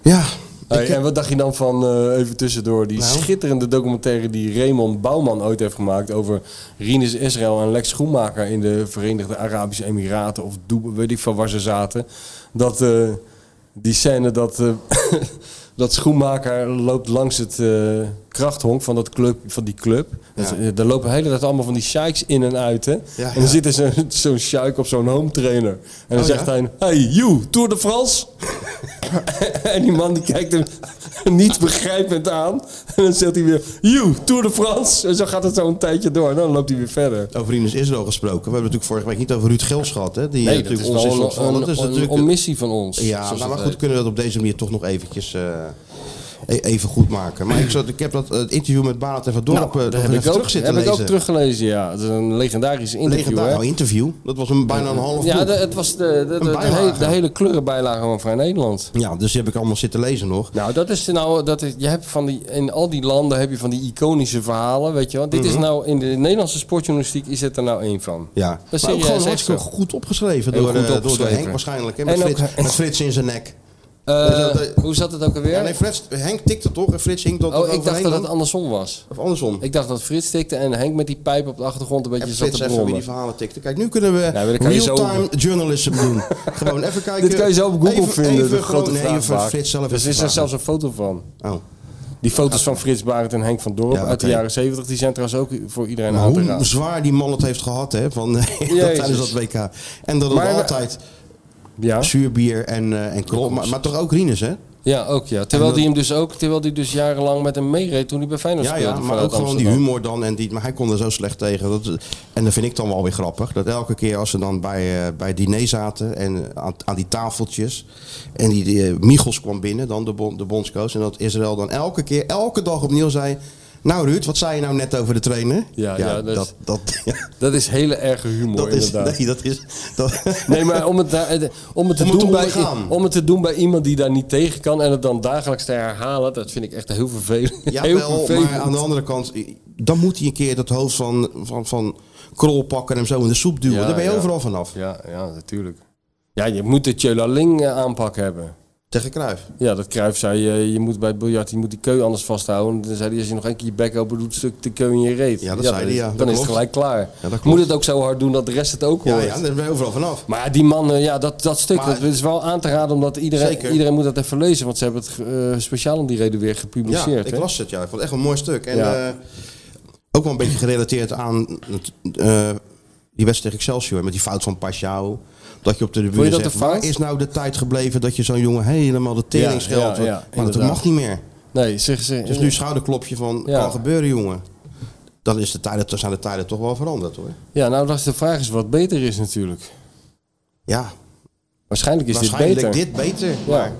Ja. Hey, ik- en wat dacht je dan van, eh, even tussendoor, die Nou? schitterende documentaire die Raymond Bouwman ooit heeft gemaakt over Rinus Israël en Lex Schoenmaker in de Verenigde Arabische Emiraten of Dubai, weet ik van waar ze zaten. Dat eh, die scène dat, eh, dat Schoenmaker loopt langs het eh, krachthonk van, dat club, van die club. Dat, eh, daar lopen de hele tijd allemaal van die sheiks in en uit. Hè? Ja, En dan ja. zit er zo'n zo'n sheik op zo'n home trainer. En dan Oh, zegt ja? hij, hey you, Tour de France? En die man die kijkt hem niet begrijpend aan. En dan zegt hij weer, you, Tour de France. En zo gaat het zo een tijdje door. En dan loopt hij weer verder. Over Rinus Israël gesproken. We hebben natuurlijk vorige week niet over Ruud Gils gehad. Hè? Die eh, natuurlijk ons is ontvallen. een, Dat is een, natuurlijk omissie van ons. Ja, zoals nou, het maar goed, heet. kunnen we dat op deze manier toch nog eventjes... eh, e- even goed maken. Maar ik, zat, ik heb dat eh, het interview met Barend en Van Dorp eh, nog Nou, heb even ik ook, terug zitten heb lezen. ik ook teruggelezen, ja. Het is een legendarisch interview, Legendaar, hè? nou, interview. Dat was een, bijna een half Ja, boek. de- het was de, de, de, de bijlage. hele- de hele kleurenbijlage van Vrij Nederland. Ja, dus die heb ik allemaal zitten lezen nog. Nou, dat is nou, dat is, je hebt van die, in al die landen heb je van die iconische verhalen, weet je wel. Dit is nou, in de Nederlandse sportjournalistiek is het er nou één van. Mhm. Ja, Dat maar zie ook je gewoon echt hartstikke zo. goed opgeschreven Heel door, goed eh, door de opgeschreven. Henk waarschijnlijk. hè, Met, En ook- Frits, met Frits in zijn nek. Eh, dat- dat- hoe zat het ook alweer? Ja, nee, Frits, Henk tikte toch en Frits hing dat oh, ik dacht overheen dat het dan? andersom was. Of andersom. Ik dacht dat Frits tikte en Henk met die pijp op de achtergrond een beetje En zat Frits te even wie brommen. Nou, die verhalen tikte. Kijk, nu kunnen we maar dan kan je zo- real-time journalism doen. gewoon even kijken. Dit kan je zo op Google Even- vinden, even de grote gewoon- Nee, even vraagbaak. Frits zelf Dus even er is er vragen. zelfs een foto van. Oh. Die foto's van Frits Barend en Henk van Dorp Ja, uit de oké. jaren 70, die zijn trouwens ook voor iedereen Maar aan te hoe raden. zwaar die man het heeft gehad, hè, van, dat tijdens dat WK. En dat het Maar we- altijd Ja? zuurbier en, eh en krol, maar, maar toch ook Rinus, hè? ja, ook ja. Terwijl die hem dus ook, terwijl die dus jarenlang met hem meereed toen hij bij Feyenoord Ja, speelde. ja, maar vanuit ook gewoon die Amsterdam. humor dan. En die, maar hij kon er zo slecht tegen. Dat, en dat vind ik dan wel weer grappig. Dat elke keer als ze dan bij, eh bij diner zaten en eh, aan, aan die tafeltjes. En die, die, eh, Michels kwam binnen, dan de, bon, de bondscoach. En dat Israël dan elke keer, elke dag opnieuw zei... Nou Ruud, wat zei je nou net over de trainer? Ja, ja, dat- dat, dat, ja, Dat is hele erge humor dat is... inderdaad. Nee, dat is... Dat, Nee, maar om het, daar- eh, om, het te Om het doen te bij, ondergaan. om het te doen bij iemand die daar niet tegen kan en het dan dagelijks te herhalen, dat vind ik echt heel vervelend. heel Jawel, maar aan de andere kant, dan moet hij een keer dat hoofd van, van, van Krol pakken en hem zo in de soep duwen. Ja, Daar ben je ja. overal vanaf. Ja, ja, natuurlijk. Ja, je moet de Tjölaling eh, aanpak hebben. Tegen Kruif. Ja, dat Cruijff zei, eh, je moet bij het biljart je moet die keu anders vasthouden. Dan zei hij, als je nog één keer je bek open doet, stuk de keu in je reet. Ja, dat zei dan hij, is- ja, dat Dan is het klopt. gelijk klaar. dat klopt. moet het ook zo hard doen dat de rest het ook Ja, hoort. ja, daar ben je overal vanaf. Maar ja, die man, eh, ja, dat, dat stuk Maar- dat is wel aan te raden, omdat iedereen, Zeker. iedereen moet dat even lezen. Want ze hebben het eh, speciaal om die reden weer Ja, gepubliceerd. ik hè? las het, ja. Ik vond het echt een mooi stuk. En Ja. eh, ook wel een beetje gerelateerd aan het, eh, die wedstrijd tegen Excelsior. Met die fout van Pashao. Dat je op de je tribune dat zegt, een fout? waar is nou de tijd gebleven dat je zo'n jongen helemaal de tering Ja, scheldt? ja, ja, maar dat inderdaad. mag niet meer. Nee, zeg ze. Dus nu schouderklopje van, Ja. kan gebeuren jongen. Dan is de tijden, zijn de tijden toch wel veranderd hoor. Ja, nou, dat is de vraag is wat beter is natuurlijk. Ja, Waarschijnlijk is dit waarschijnlijk beter. dit beter. Maar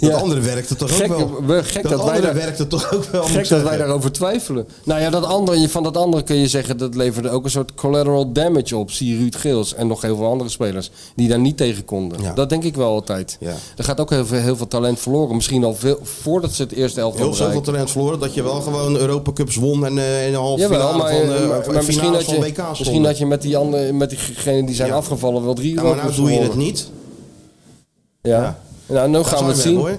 dat Ja. andere werkte toch Gek- ook wel. we- gek dat wij andere daar- werkte toch ook wel. moet ik Gek dat wij zeggen. daarover twijfelen. Nou ja, dat andere, van dat andere kun je zeggen dat leverde ook een soort collateral damage op. Zie Ruud Geels en nog heel veel andere spelers die daar niet tegen konden. Ja. Dat denk ik wel altijd. Ja. Er gaat ook heel veel, heel veel talent verloren. Misschien al veel, voordat ze het eerste elftal Heel zoveel bereiken. talent verloren dat je wel gewoon Europa Cups won en eh, in de halve Jawel, finale maar, van, eh, eh, maar- of- maar finales misschien, had van WK je, misschien stonden. had je met die andere, met diegenen die zijn Ja. afgevallen wel drie Ja, maar nou Europa's doe je het gewonnen. niet. Ja. Ja. Nou, nu Dat gaan we het zou je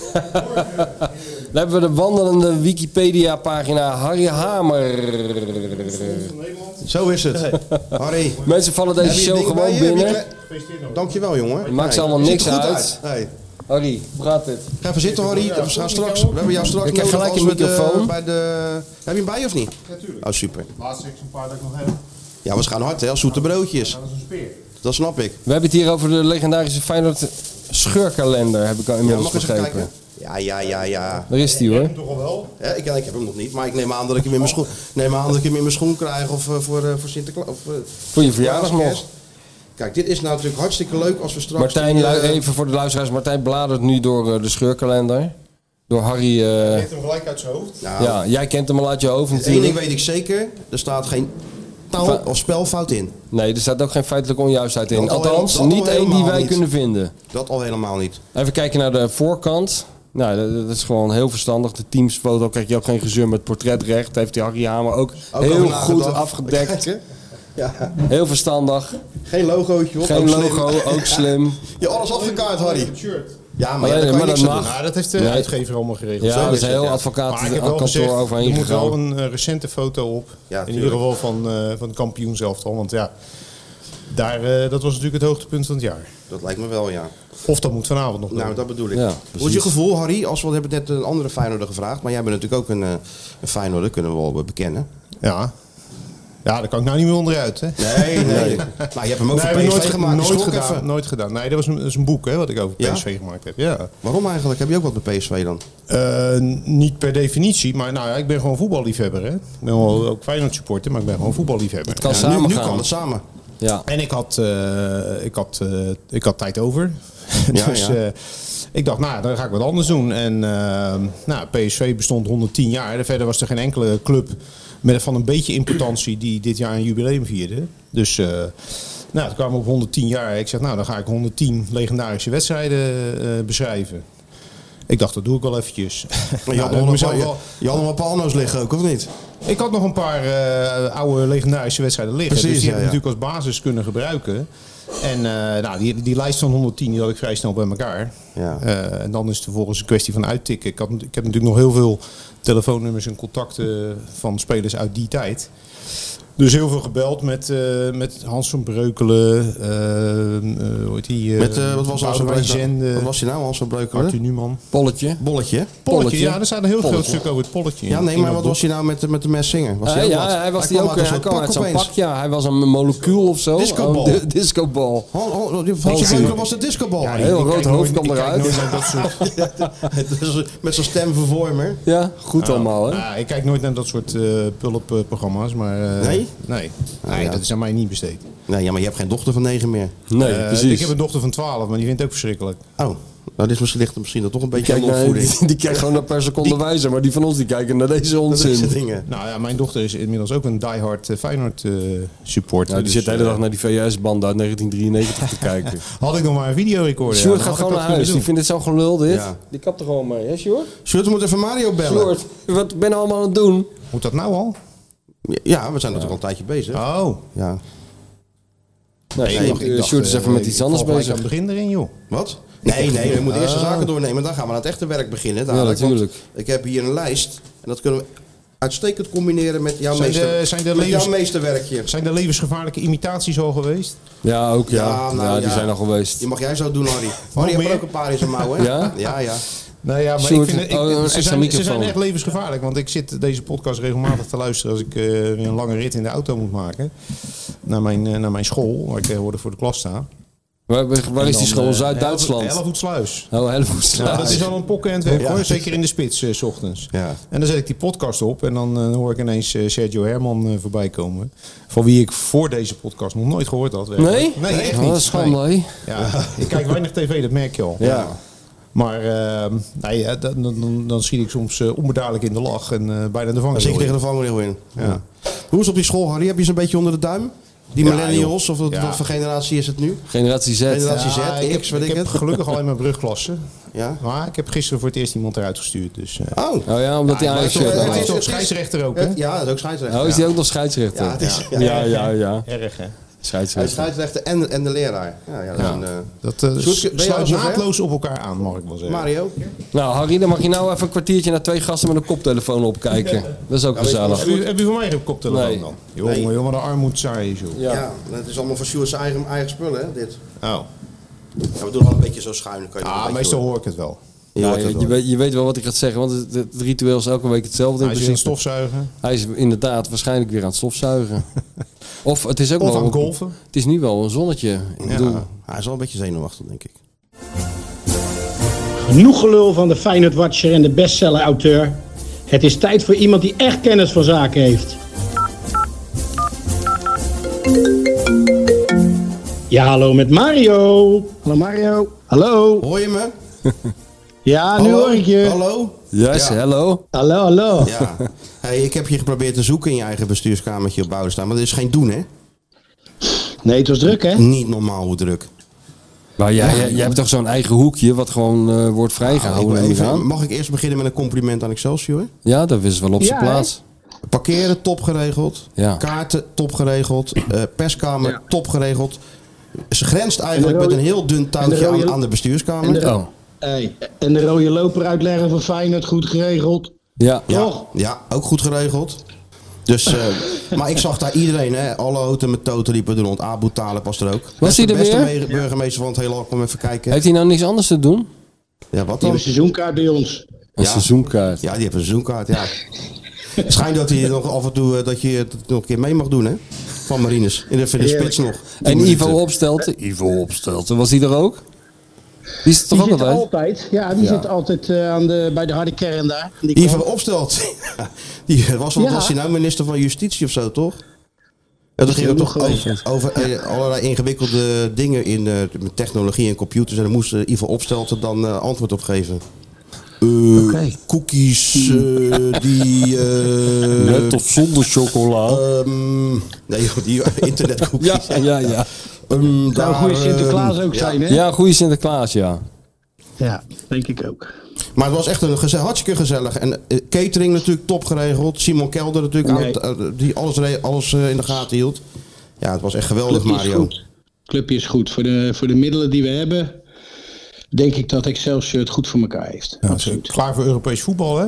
zien. hebben, Dan hebben we de wandelende Wikipedia-pagina Harry Hamer. hoor. Zo is het. Harry. Mensen vallen heb deze je show dingen bij gewoon je? Heb je binnen. kle- Dankjewel jongen. Het maakt ze allemaal niks uit. Nee. Harry, hoe gaat het? Ga even zitten Harry. we, gaan straks, we hebben jou straks Ik heb nodig gelijk als een we de- microfoon. bij de... Heb je hem bij je of niet? Natuurlijk. Oh super. Laatste exemplaar dat ik nog heb. Ja we gaan hard hè, als zoete broodjes. Dat is een speer. Dat snap ik. We hebben het hier over de legendarische Feyenoord scheurkalender, heb ik al Ja, inmiddels mag ik eens even begrepen. kijken? Ja, ja, ja, ja. Daar is die hoor. Toch al wel? Ja, ik, ik heb hem nog niet, maar ik neem aan dat ik hem in mijn schoen, neem aan dat ik hem in mijn schoen krijg of eh, voor, eh, voor Sinterklaas. Of, eh, Voor je verjaardag Sinterklaas, nog. kerst. Kijk, dit is nou natuurlijk hartstikke leuk als we straks... Martijn, die, eh, lu- even voor de luisteraars. Martijn bladert nu door eh, de scheurkalender. Door Harry. eh, Heeft hem gelijk uit zijn hoofd. nou, ja, jij kent hem al uit je hoofd één ding natuurlijk. weet ik zeker, er staat geen taal Va- of spelfout in. Nee, er staat ook geen feitelijke onjuistheid in. Dat al Althans, heel- dat al niet één die helemaal wij niet. kunnen vinden. Dat al helemaal niet. Even kijken naar de voorkant. Nou, dat, dat is gewoon heel verstandig. De teamsfoto krijg je ook geen gezeur met portretrecht. Heeft die Harry Hamer ook, Ook heel over goed nagedacht. Kijk, afgedekt. hè? ja, Heel verstandig. geen logootje op. Geen ook slim. logo, ook slim. Je alles afgekaart, Harry. Het shirt. Ja, maar, Maar ja, ja, daar kan maar je niks dat aan mag. doen. Ja, Nou, dat heeft de Nee. uitgever allemaal geregeld. Ja, Zo dat is het, heel ja. advocaat- Maar ik heb wel kantoor gezegd, overheen Er moet gegaan. wel een eh, recente foto op. Ja, in tuurlijk. ieder geval van, eh, van het kampioenselftal. Want ja, daar, eh, dat was natuurlijk het hoogtepunt van het jaar. Dat lijkt me wel, ja. Of dat moet vanavond nog. Nou, dat bedoel ik. Ja, Hoe is je gevoel, Harry? Als we, we hebben net een andere Feyenoorder gevraagd. Maar jij bent natuurlijk ook een, eh, een Feyenoorder, kunnen we wel eh, bekennen. Ja. ja, daar kan ik nou niet meer onderuit. Hè? Nee, nee. nou, je hebt hem ook voor heb ik PSV gemaakt. nooit, Schrok gedaan, even. nooit gedaan. Nee, dat was een, dat is een boek hè, wat ik over Ja? PSV gemaakt heb. Ja. Waarom eigenlijk? Heb je ook wat met PSV dan? Eh, niet per definitie, maar nou ja, ik ben gewoon voetballiefhebber. Hè? Ik ben wel ook Feyenoord supporter, maar ik ben gewoon voetballiefhebber. Kan nu, nu samengaan. kan het samen. Ja. En ik had, eh, ik had, eh, ik had tijd over. dus ja. eh, ik dacht, nou, dan ga ik wat anders doen. En eh, nou, PSV bestond 110 jaar. Verder was er geen enkele club met van een beetje importantie die dit jaar een jubileum vierde. Dus eh nou, het kwam op 110 jaar. Ik zeg, nou, dan ga ik 110 legendarische wedstrijden eh, beschrijven. Ik dacht, dat doe ik wel eventjes. Je, Nou, dat had nog heb ik een mezelf paar, wel- je, Eh, je had nog een paar anno's liggen ook, of niet? ik had nog een paar eh, oude legendarische wedstrijden liggen. Precies, dus die ja, heb ik ja. natuurlijk als basis kunnen gebruiken. En eh, nou, die, die lijst van 110 die had ik vrij snel bij elkaar. Ja. Eh, en dan is het vervolgens een kwestie van uittikken. Ik, had, ik heb natuurlijk nog heel veel telefoonnummers en contacten van spelers uit die tijd. Dus heel veel gebeld met, eh, met Hans van Breukelen. eh, eh, hoe heet die? eh, Met, eh, wat was Hans van Boudewijn Breukelen? Zende, Wat was je nou, Hans van Arthur Breukelen? Newman. Polletje. Bolletje. hè? Polletje, Polletje. ja, daar staat een heel groot Polletje. stuk over het polletje in. Ja, nee, in maar dat wat boek. was je nou met, de- met de mes zingen? Was Eh, hij ook ja, wat? hij was die kwam ook. eh, een Hij soort kwam uit zo'n opeens. pak. Ja, hij was een molecuul of zo. Discobal. Oh, de- discobal. Hol- hol- hol- oh, die- Hans van Breukelen was de discobal. Ja, die- Heel ik rood kijk nooit- hoofd kwam ik kijk eruit. nooit naar dat soort met zijn stemvervormer. Ja, goed allemaal hè. Nou, ik kijk nooit naar dat soort eh pulp-programma's, maar... eh, Nee? Nee, Ah, Nee, ja. dat is aan mij niet besteed. Nee, Nou ja, maar je hebt geen dochter van negen meer. Nee, Eh, precies. Ik heb een dochter van 12, maar die vindt het ook verschrikkelijk. Oh, nou, dit is misschien, ligt er misschien dan toch een beetje aan Kijk, de naar, opvoeding. die, die kijkt gewoon naar per seconde wijzer, maar die van ons die kijken naar deze Dat onzin. zijn dingen. Nou ja, mijn dochter is inmiddels ook een diehard eh, Feyenoord eh, supporter. Ja, die dus, zit de hele eh, dag naar die VS-banden uit 1993 te kijken. Had ik nog maar een videorecorder. ja, Sjoerd dan gaat had ik gewoon naar dat kunnen huis. Die doen. vindt het zo gelul, dit. Ja. Die kapt er gewoon mee, hè, Sjoerd? Sjoerd, we moeten even Mario bellen. Sjoerd, wat ben je allemaal aan het doen? Moet dat nou al? Ja, Ah. we zijn natuurlijk al een tijdje bezig. Oh. Ja. Nee, ik dacht, Sjoerd, ik dacht, Sjoerd is eh, even met ik iets anders val gelijk bezig. aan het begin erin, joh. Wat? Nee, nee, we moeten eerst de zaken doornemen. Dan gaan we aan het echte werk beginnen. dadelijk. Want natuurlijk. Ik heb hier een lijst. En dat kunnen we uitstekend combineren met jouw, Zijn de- meester, zijn de met levens- jouw meesterwerkje. Zijn er levensgevaarlijke imitaties al geweest? Ja, ook ja. Ja, nou die ja. zijn al geweest. Die mag jij zo doen, Harry. Harry heeft meer? er ook een paar in zijn mouw, hè? Ja? Ja, ja. Nou ja, maar Sjoerd, ik vind het- ik- oh, een extra ze, zijn, ze microfoon. zijn echt levensgevaarlijk. Want ik zit deze podcast regelmatig te luisteren als ik eh, weer een lange rit in de auto moet maken. Naar mijn, eh, naar mijn school, waar ik tegenwoordig voor de klas sta. Waar, waar waar is die school? Zuid-Duitsland. Helvoetsluis. Oh, Helvoetsluis. Ja, dat is al een pokken en het werk Ja. hoor, zeker in de spits eh, s ochtends. Ja. En dan zet ik die podcast op en dan eh, hoor ik ineens eh, Sergio Herman eh, voorbij komen. Van wie ik voor deze podcast nog nooit gehoord had. werkelijk. Nee? Nee, echt Oh, niet. dat is schande, hè? Ja, ik kijk weinig tv, dat merk je al. Ja. Maar ehm, nee, eh, dan, dan- dan, dan schiet ik soms eh, onbedaarlijk in de lach en eh, bijna de Dan vangen. zit je tegen de vangrail in. Ja. Hoe is het op die school, Harry? Heb je ze een beetje onder de duim? Die Ja, millennials, of wat, joh. Ja. wat voor generatie is het nu? Generatie Z. Generatie- Ja, Z, ik heb, X, weet ik ik heb het. gelukkig al in mijn brugklasse. Ja. Maar ik heb gisteren voor het eerst iemand eruit gestuurd. Dus, eh. Oh. Oh ja, omdat die Ja, Ajax maar shirt het aan is had. toch scheidsrechter ook, hè? Het- Ja, dat is ook scheidsrechter. Oh, is ja. die ook nog Ja, het scheidsrechter? is, ja. Ja, ja, ja. Erg, hè? Hij is Scheidsrechter. scheidsrechter en, en de leraar. Ja, ja, dat is een, eh, Dat eh, Sjoerd, ben je al sluit zover? naadloos op elkaar aan, mag ik wel zeggen. Mario? Nou, Harry, dan mag je nou even een kwartiertje naar twee gasten met een koptelefoon opkijken. Dat is ook gezellig. Heb u, heb u voor mij geen koptelefoon Nee. dan? Jongen, Nee. jongen, de armoed saai is, joh. Ja. Ja. dat is allemaal van Sjoerd zijn eigen, eigen spullen, hè, dit. Oh. Ja, we doen al een beetje zo schuin. dan Kan je nog Ah, een beetje meestal door. hoor ik het wel. Je Ja, hoort het je, wel. weet, je weet wel wat ik ga zeggen, want het, het ritueel is elke week hetzelfde. in Hij is een principe. stofzuigen. Hij is inderdaad waarschijnlijk weer aan het stofzuigen. of het is ook Of wel aan een- het golfen. Het is nu wel een zonnetje. Ik bedoel, Ja, hij is wel een beetje zenuwachtig, denk ik. Genoeg gelul van de Feyenoord Watcher en de bestseller auteur. Het is tijd voor iemand die echt kennis van zaken heeft. Ja, hallo met Mario. Hallo Mario. Hallo. Hoor je me? Ja, nu hoor ik je. Hallo? yes, Ja. hello. Hallo, hallo. Ja. hey, ik heb je geprobeerd te zoeken in je eigen bestuurskamertje op Boudestein, maar dat is geen doen, hè? Nee, het was druk hè? Niet normaal hoe druk. Maar jij, jij, jij hebt toch zo'n eigen hoekje wat gewoon eh, wordt vrijgehouden? Nou, ik ben neem ik even, aan? mag ik eerst beginnen met een compliment aan Excelsior? Ja, dat is wel op zijn Ja, hè? plaats. Parkeren top geregeld. Ja. Kaarten top geregeld. eh, perskamer top geregeld. Ze grenst eigenlijk En de met rode- een heel dun en de touwtje rode- aan, aan de En bestuurskamer. de, Oh. hey, en de rode loper uitleggen van Feyenoord goed geregeld. Ja. Ja, Toch? ja, ook goed geregeld. Dus, eh, maar ik zag daar iedereen, hè, alle houten met toten liepen er rond. Abu Talib was er ook. Dat is hij de er beste weer? me- burgemeester van het hele land. Kom even kijken. Heeft hij nou niks anders te doen? Ja, wat Die dan? hebben seizoenkaart bij ons. Een Ja. seizoenkaart. Ja, die heeft een seizoenkaart, ja. Schijnt dat hij nog af en toe eh, dat je het nog een keer mee mag doen, hè? Van Marines. In de, in de spits nog. En Tien Ivo minuten. Opstelten. Ivo Opstelten, was die er ook? Die is er toch Die ook zit altijd? altijd, ja, die Ja. zit altijd eh, aan de, bij de harde kern daar. Die Ivo kant. Opstelt. die was, wat Ja. was hij nou minister van Justitie of zo, toch? Ja, dat ging heel toch goed over, over eh, allerlei ingewikkelde dingen in eh, met technologie en computers. En daar moest eh, Ivo Opstelten dan eh, antwoord op geven. Eh, Cookies Hmm. eh, die... eh, Met of zonder chocola. Ehm, nee, joh, die internetcookies. Ja, ja, ja. Ehm, daar, Zou een goede Nou, Sinterklaas ehm, ook ja. zijn, hè? eh, Ja, goede Sinterklaas, ja. Ja, denk ik ook. Maar het was echt een geze- hartstikke gezellig. En eh, catering natuurlijk top geregeld. Simon Kelder natuurlijk, Nee. oud- eh, die alles, re- alles eh, in de gaten hield. Ja, het was echt geweldig, Clubje is Mario. goed. Clubje is goed. Voor de, voor de middelen die we hebben, denk ik dat Excelsior het goed voor elkaar heeft. Absoluut. Klaar voor Europees voetbal, hè?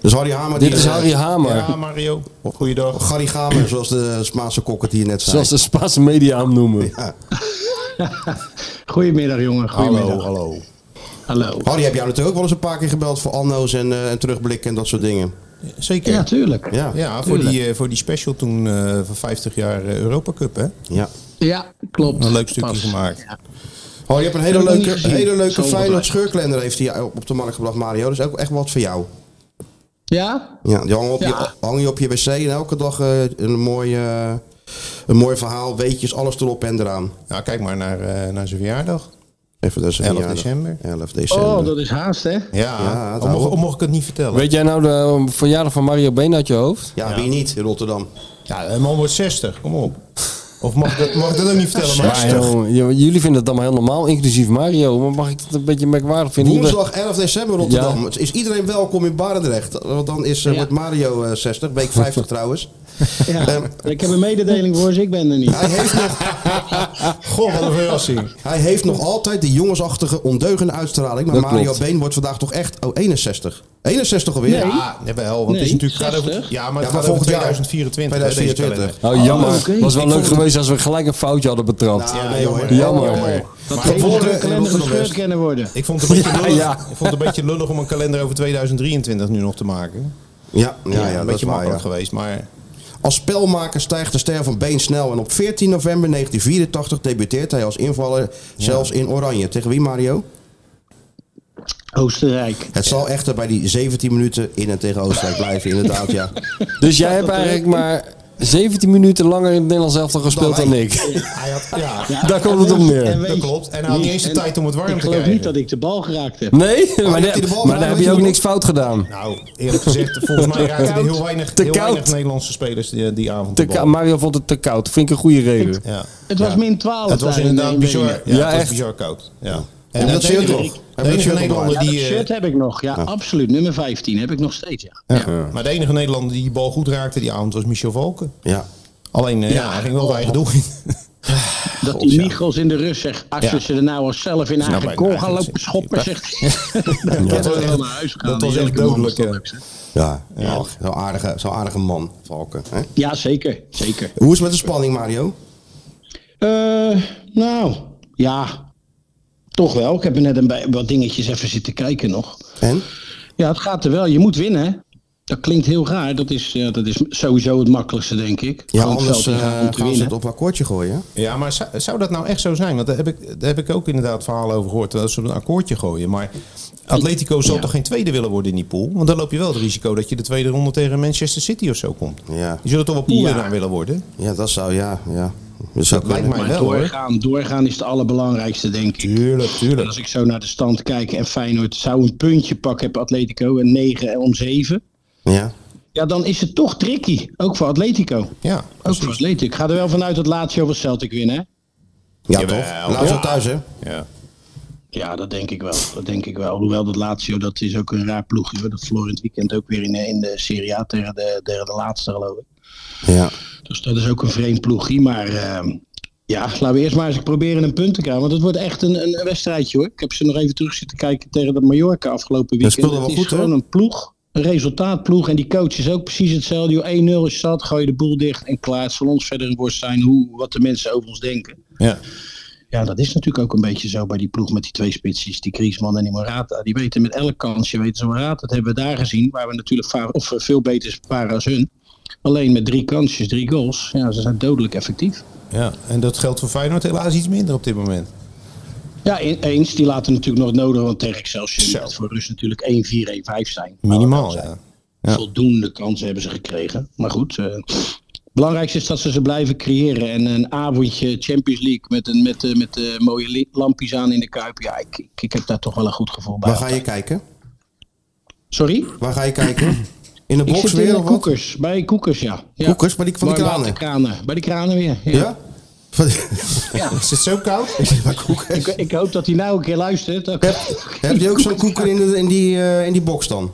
Dus Harry Hamer... Dit die, is eh, Harry Hamer. Ja, Mario. Goeiedag. Harry Gamer, zoals de Spaanse kok het hier net zei. Zoals de Spaanse media hem noemen. Goedemiddag, jongen. Goedemiddag. Hallo, hallo. Hallo. Harry, heb jij natuurlijk ook wel eens een paar keer gebeld voor anno's en, eh, en terugblikken en dat soort dingen? Zeker. Ja, Ja, tuurlijk. Ja, ja. voor, die, eh, voor die special toen eh, van 50 jaar eh, Europa Cup, hè? Ja, klopt. Een leuk stukje Pas. gemaakt. Harry, je hebt een hele Heb ik nog leuke, niet gezien. hele leuke Zal wel Feyenoord blijven. scheurkalender heeft hij op de markt gebracht, Mario. Dus ook echt wat voor jou. Ja? Ja, die hangen op, Ja. Je, hangen je op je wc en elke dag eh, een, mooi, eh, een mooi verhaal, weetjes, alles erop en eraan. Nou, kijk maar naar, eh, naar zijn verjaardag. Even dat is een 11 verjaardag. december. 11 december. Oh, dat is haast, hè? Ja, Ja, al, daarom. mocht, al mocht ik het niet vertellen. Weet jij nou de eh, verjaardag van Mario Been uit je hoofd? ja, wie niet in Rotterdam? Ja, een man wordt 60, kom op. Of mag ik dat, mag ik dat ook niet vertellen? Maar, Maar jongen, j- jullie vinden dat dan maar heel normaal, inclusief Mario. Maar mag ik dat een beetje merkwaardig vinden? Woensdag 11 december Rotterdam. Ja. Het Is iedereen welkom in Barendrecht? Want dan is eh, Ja. wordt Mario eh, 60, week 50 trouwens. Ja. Ehm, Ik heb een mededeling voor ze, ik ben er niet. Hij heeft, nog, goh, wat een verrassing. hij heeft nog altijd die jongensachtige, ondeugende uitstraling. Maar Dat Mario klopt. Been wordt vandaag toch echt... Oh, 61. 61 alweer? Nee. Ja, jawel, want het is Nee, natuurlijk... gaat 60. over, ja, maar Ja, het maar gaat over volgend jaar. 2024. hè, deze 2024. kalender. Oh, jammer. Oh, oké. Was wel Ik leuk vond het- geweest als we gelijk een foutje hadden betrapt. Ja, Ah, nee, hoor. Jammer. Dat Maar hele geboren drukkalender in Rotterdam gescheurd West. kunnen worden. Ik vond, het een beetje Ja, lullig, ja. ik vond het een beetje lullig om een kalender over 2023 nu nog te maken. Ja, ja, ja, een dat is beetje waar, makkelijk ja. geweest, maar... Als spelmaker stijgt de ster van Been snel. En op 14 november 1984 debuteert hij als invaller zelfs in Oranje. Tegen wie, Mario? Oostenrijk. Het zal echter bij die 17 minuten in en tegen Oostenrijk blijven, inderdaad, ja. Dus jij hebt eigenlijk maar 17 minuten langer in het Nederlands elftal gespeeld dan, Dan wij. ik. Hij had, ja, Daar komt het op En neer. weet- dat klopt. En hij had niet eens de en tijd om het warm Ik te geloof krijgen. niet dat ik de bal geraakt heb. Nee, maar, heeft hij de bal daar- maar gedaan, daar weet heb je Oh, je ook nog? niks fout gedaan. Nou, eerlijk gezegd, volgens mij raakten er heel weinig, Te heel weinig koud. Nederlandse spelers die, eh, die avond Te de bal. koud. Mario vond het te koud. Vind ik een goede reden. Ja. Het was Ja. min 12. Het was daar in inderdaad Nijmegen. bizar. Ja, Ja, het was echt. bizar koud. Ja. En dat de enige- shirt nog. De En dat enige shirt nog. Nederlander Ja, dat die... eh, shirt heb ik nog. Ja, absoluut. Nummer 15 heb ik nog steeds, ja. ja. Maar de enige Nederlander die die bal goed raakte die avond was Michel Valken. Ja, Alleen, eh, ja. hij ging wel het eigen doel in. Dat die Michels in de rust zegt, als Ja. ze er nou als zelf in Nou, eigen bij- goal gaan eigenlijk zit- lopen schoppen, zegt hij. Dan Dat kunnen was we wel echt- naar huis gaan. dat was Die echt leuke man dodelijk, is dat ja. ook, zeg. ja. Ach, Zo'n aardige, zo'n aardige man, Valken. Hè? Ja, zeker. zeker. Hoe is het met de spanning, Mario? Eh, nou, ja. Toch wel. Ik heb er net een bij- wat dingetjes even zitten kijken nog. En? Ja, het gaat er wel. Je moet winnen. hè. Dat klinkt heel raar. Dat is, ja, dat is sowieso het makkelijkste, denk ik. Ja, Gewoon het anders veld eh, ingaan om te gaan ze winnen. het op een akkoordje gooien. hè? Ja, maar zou, zou dat nou echt zo zijn? Want daar heb ik, daar heb ik ook inderdaad verhalen over gehoord. Dat ze op een akkoordje gooien. Maar Atletico zal Ja. toch geen tweede willen worden in die pool? Want dan loop je wel het risico dat je de tweede ronde tegen Manchester City of zo komt. Ja. Je zullen toch wel poolwinnaar willen worden? Ja, dat zou, ja, ja. Dat zou Lijkt kunnen. mij Maar wel hoor. doorgaan, doorgaan is het allerbelangrijkste, denk ik. Tuurlijk, En tuurlijk. als ik zo naar de stand kijk en Feyenoord zou een puntje pakken, heb Atletico en 9 om 7. Ja. Ja, dan is het toch tricky. Ook voor Atletico. Ja, Ook voor Atletico. Ik ga er wel vanuit dat Lazio van Celtic winnen. hè? Ja, Jawel. toch? Laat ze Ja. thuis, hè? Ja. Ja, dat denk ik wel. Dat denk ik wel. Hoewel dat Lazio, dat is ook een raar ploegje. hoor. Dat verloor in het weekend ook weer in, de- in de Serie A tegen de, tegen de laatste, geloof ik. Ja. Dus dat is ook een vreemd ploegje. Maar ehm, ja, laten we eerst maar eens proberen een punt te krijgen. Want het wordt echt een, een wedstrijdje hoor. Ik heb ze nog even terug zitten kijken tegen dat Mallorca afgelopen weekend. speelden wel het goed, is hè? gewoon een ploeg. Een resultaatploeg. En die coach is ook precies hetzelfde. joh. 1-0 is zat, gooi je de boel dicht en klaar. Het zal ons verder een worst zijn hoe, wat de mensen over ons denken. Ja. Ja, dat is natuurlijk ook een beetje zo bij die ploeg met die twee spitsjes, die Griezmann en die Morata. Die weten met elk kansje, weten ze Morata. Dat hebben we daar gezien, waar we natuurlijk vaar, of eh, veel beter waren als hun. Alleen met drie kansjes, drie goals, ja, ze zijn dodelijk effectief. ja, en dat geldt voor Feyenoord helaas iets minder op dit moment. Ja, e- eens, die laten natuurlijk nog het nodig, want tegen Excelsior Zo. moet het voor Rus natuurlijk 1-4, 1-5 zijn. Nou, Minimaal, ja. Ja. Voldoende kansen hebben ze gekregen. Maar goed, eh, belangrijkste is dat ze ze blijven creëren. En een avondje Champions League met, een, met, eh, met eh, mooie li- lampjes aan in de Kuip. Ja, ik, ik, ik heb daar toch wel een goed gevoel bij. Waar ga je kijken? Sorry? Waar ga je kijken? In de Ik box zit in weer de of wat? koekers, bij koekers, ja. ja. Koekers, maar die van die Warm kranen? waterkranen, Bij de kranen weer. Ja? Ja? Is het zo koud? Ik, ik hoop dat hij nou een keer luistert. Dat- Heb je ook zo'n koeker in, de, in, die, eh, in die box dan?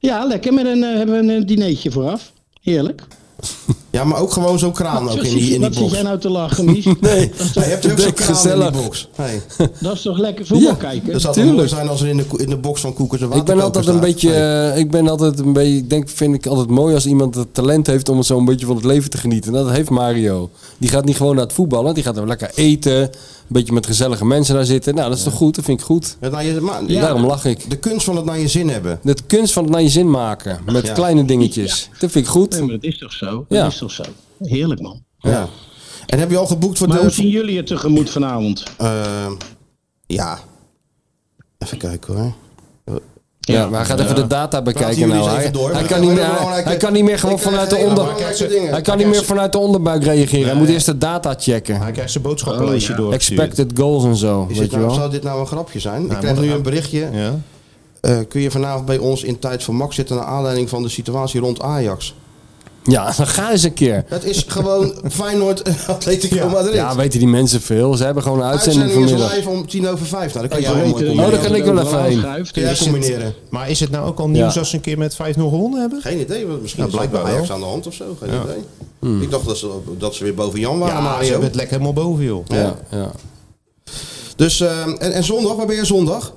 Ja, lekker. Met een, eh, hebben we een eh, dinertje vooraf. Heerlijk. Ah, Ja, maar ook gewoon zo'n kraan ook Zo nou, in zit- die, in die wat zit jij box. nou te lachen, Mies? Nee, dat, is Ja, toch, je hebt ook zo'n Denk kraan in gezellig. die box. Nee. dat is toch lekker voetbal Ja, kijken? Dat zou toch Tuurlijk. mooi zijn als er in de, ko- in de box van koekers een Ik ben waterkoker altijd een staat. beetje, Nee. eh, ik ben altijd een beetje, ik denk, vind ik altijd mooi als iemand het talent heeft om het zo een beetje van het leven te genieten. En dat heeft Mario. Die gaat niet gewoon naar het voetballen, die gaat er lekker eten, een beetje met gezellige mensen daar zitten. Nou, dat is toch goed, dat vind ik goed. Het naar je- maar- Daarom lach ik. De kunst van het naar je zin hebben. De kunst van het naar je zin maken, met Ja. kleine dingetjes. Dat vind ik goed. Nee, maar dat is toch zo? Dat Ja. is toch zo? Heerlijk, man. Ja. En heb je al geboekt voor Maar hoe de... zien jullie het tegemoet vanavond? eh, ja. Even kijken hoor. Ja, maar hij gaat even de data bekijken jullie nou. eens Hij, even door, hij maar kan ik niet heb meer, hele hij, belangrijke- hij kan niet meer gewoon Ik krijg vanuit de hele onder, belangrijke dingen. hij kan niet meer vanuit de onderbuik reageren. Hij moet eerst de data checken. Hij krijgt zijn boodschappenlijstje Oh, ja. door. Expected goals en zo, Is weet dit je nou, wel. zou dit nou een grapje zijn? ik moet krijg nu het- een berichtje. Ja. Eh, kun je vanavond bij ons in tijd voor Max zitten naar aanleiding van de situatie rond Ajax? Ja, dan ga eens een keer. Het is gewoon Feyenoord en Atletico Madrid. Ja, weten die mensen veel. Ze hebben gewoon een uitzending Uitzending is vanmiddag. live om tien over vijf. Nou, dat kan Ja, je wel weet mooi je, Oh, dat combineren. kan ik wel even overal heen. schuift, Kun jij dus- combineren. Maar is het nou ook al nieuws Ja. als ze een keer met 5-0 gewonnen hebben? Geen idee, want misschien Ja, is het bij blijkbaar wel. Ajax aan de hand of zo. Geen idee. Ik dacht dat ze, dat ze weer boven Jan waren, Ja, ze Mario. hebben het lekker helemaal boven, joh. Ja, ja. Dus, eh, en, en zondag, waar ben je zondag?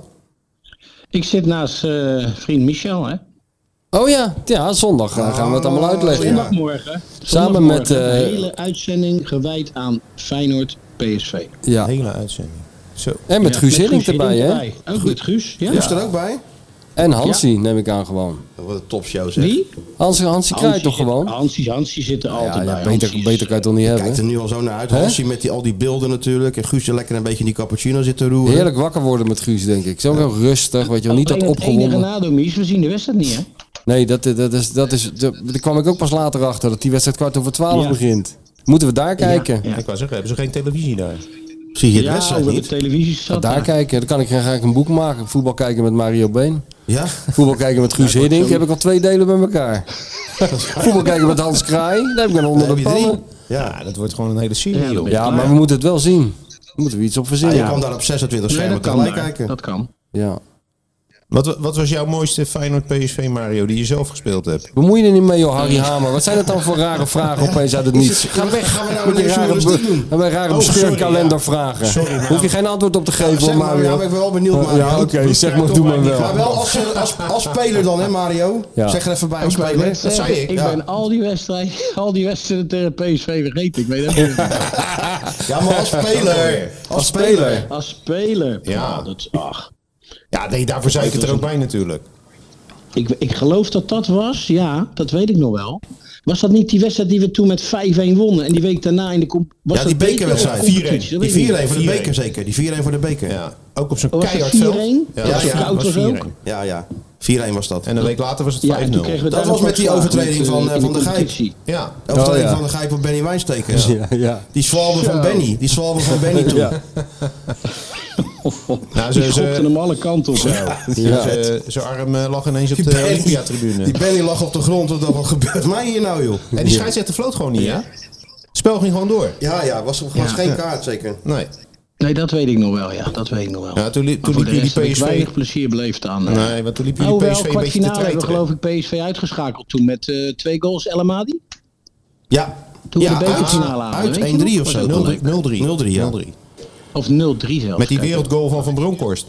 Ik zit naast eh, vriend Michel, hè? Oh ja, ja, zondag eh, gaan we het Oh, allemaal uitleggen. ja. Zondagmorgen. Samen met, eh, Zondagmorgen, Een hele uitzending gewijd aan Feyenoord PSV. Ja. Hele uitzending. Zo. En met Ja, Guus Hiddink erbij, hè? erbij. Ook met Guus, ja. Is er ook bij? En Hansi, neem ik aan gewoon. Wat een topshow zeg. Wie? Hansi, Hansi krijgt toch zit- gewoon? Hansi, Hansi zit er Ja, altijd ja, bij. Hansi beter, is- beter kan je het toch niet Kijkt er hebben? nu al zo naar uit. Hè? Hansie met die, al die beelden natuurlijk. En Guusje lekker een beetje in die cappuccino zit te roeren. Heerlijk wakker worden met Guus, denk ik. Zo heel rustig, weet je wel. Alleen Niet dat het enige opgewonden. nadeel, Mies, we zien de wedstrijd niet, hè? Nee, dat, eh, dat is, dat is, dat- daar kwam ik ook pas later achter. Dat die wedstrijd kwart over twaalf Ja. begint. Moeten we daar kijken? Ja. Ik wou zeggen, hebben ze geen televisie daar? Zie je het Ja, wedstrijd over niet? de televisie zat. Daar kijken. Dan kan ik, ga ik een boek maken. Voetbal kijken met Mario Been. Ja? Voetbal kijken met Guus Hiddink heb ik al twee delen bij elkaar. Voetbal kijken met Hans Kraai, daar heb ik een onder Heb de je drie? pannen. Ja, dat wordt gewoon een hele serie, Ja, dat joh. ben je Oh. Ja, klaar. maar we moeten het wel zien. Daar moeten we iets op Ja, verzinnen. je Ja. kan daar op 26 Nee, schermen dat kan tegelijk daar. kijken. Dat kan. Wat, wat was jouw mooiste Feyenoord PSV Mario die je zelf gespeeld hebt? Bemoei je er niet mee, joh, Harry Hamer. Wat zijn dat dan voor rare vragen opeens uit het niets? Ga weg. Gaan we nou Met die weer rare, journalistiek doen? be- met rare Oh, sorry, bescheurkalender vragen. Hoef je geen antwoord op te Zeg geven, hoor, maar, ja, Mario. ben ik ben wel benieuwd, Mario. Ja, oké, zeg maar, doe maar Maar wel. wel als, eh, als, als speler dan, hè Mario? Ja. Zeg er even bij als speler. Zeg, ik. Ja. ben al die wedstrijden, al die wedstrijden tegen PSV vergeten. Ik weet het niet. Ja, maar als speler. Als speler. Als speler. Ja. Ja. Oh, dat is, ach. Ja, nee, daarvoor zei ik het er ook bij natuurlijk. Ik, ik geloof dat dat was, ja, dat weet ik nog wel. Was dat niet die wedstrijd die we toen met 5-1 wonnen? En die week daarna in de comp- was Ja, dat die beker of bekerwedstrijd. competitie? Dat weet ik Die 4-1 niet. voor de beker zeker. Die 4-1 voor de beker. Ja, Ja, ook op zo'n Oh, was het keihard veld. 4-1? Ja, Ja, dat was ja. dat was Auto's 4-1. ja. ja. 4-1 was dat. En een week later was het 5-0. Ja, en toen kregen we Dat daar was nog met die slaag overtreding eh, van, eh, in de Van der Gijp. competitie. Ja. De overtreding Oh, ja. van de Gijp op Benny Wijnstekers. Ja, ja. Die zwalbe van Benny. Die zwalbe van Benny toen. Ja. Nou, Die ze- ze- schopten hem alle kanten op. Ja. Ze- Zijn arm eh, lag ineens op Die de Benny, Olympiatribune. die Benny lag op de grond. Wat wat gebeurt mij hier nou, joh? En die scheidsrechter floot gewoon niet, hè? Het spel ging gewoon door. Ja, ja. Was, was geen kaart zeker. Nee. Nee, dat weet ik nog wel, ja. Dat weet ik nog wel. Ja, toen li- Maar toen voor liep de jullie rest heb ik PSV... weinig plezier beleefd aan. eh. Nee, want toen liepen Nou, jullie wel, PSV een beetje te kwartfinale hebben we treiteren. geloof ik PSV uitgeschakeld toen met eh, twee goals El Amadi. Ja. Toen we ja, de bekerfinale uit- haalden, Uit, weet je 1-3 nog? of zo. Was het 0-3. 0-3. 0-3, ja. 0-3. Of 0-3 zelfs. Met die Kijk, wereldgoal van Van Bronckhorst.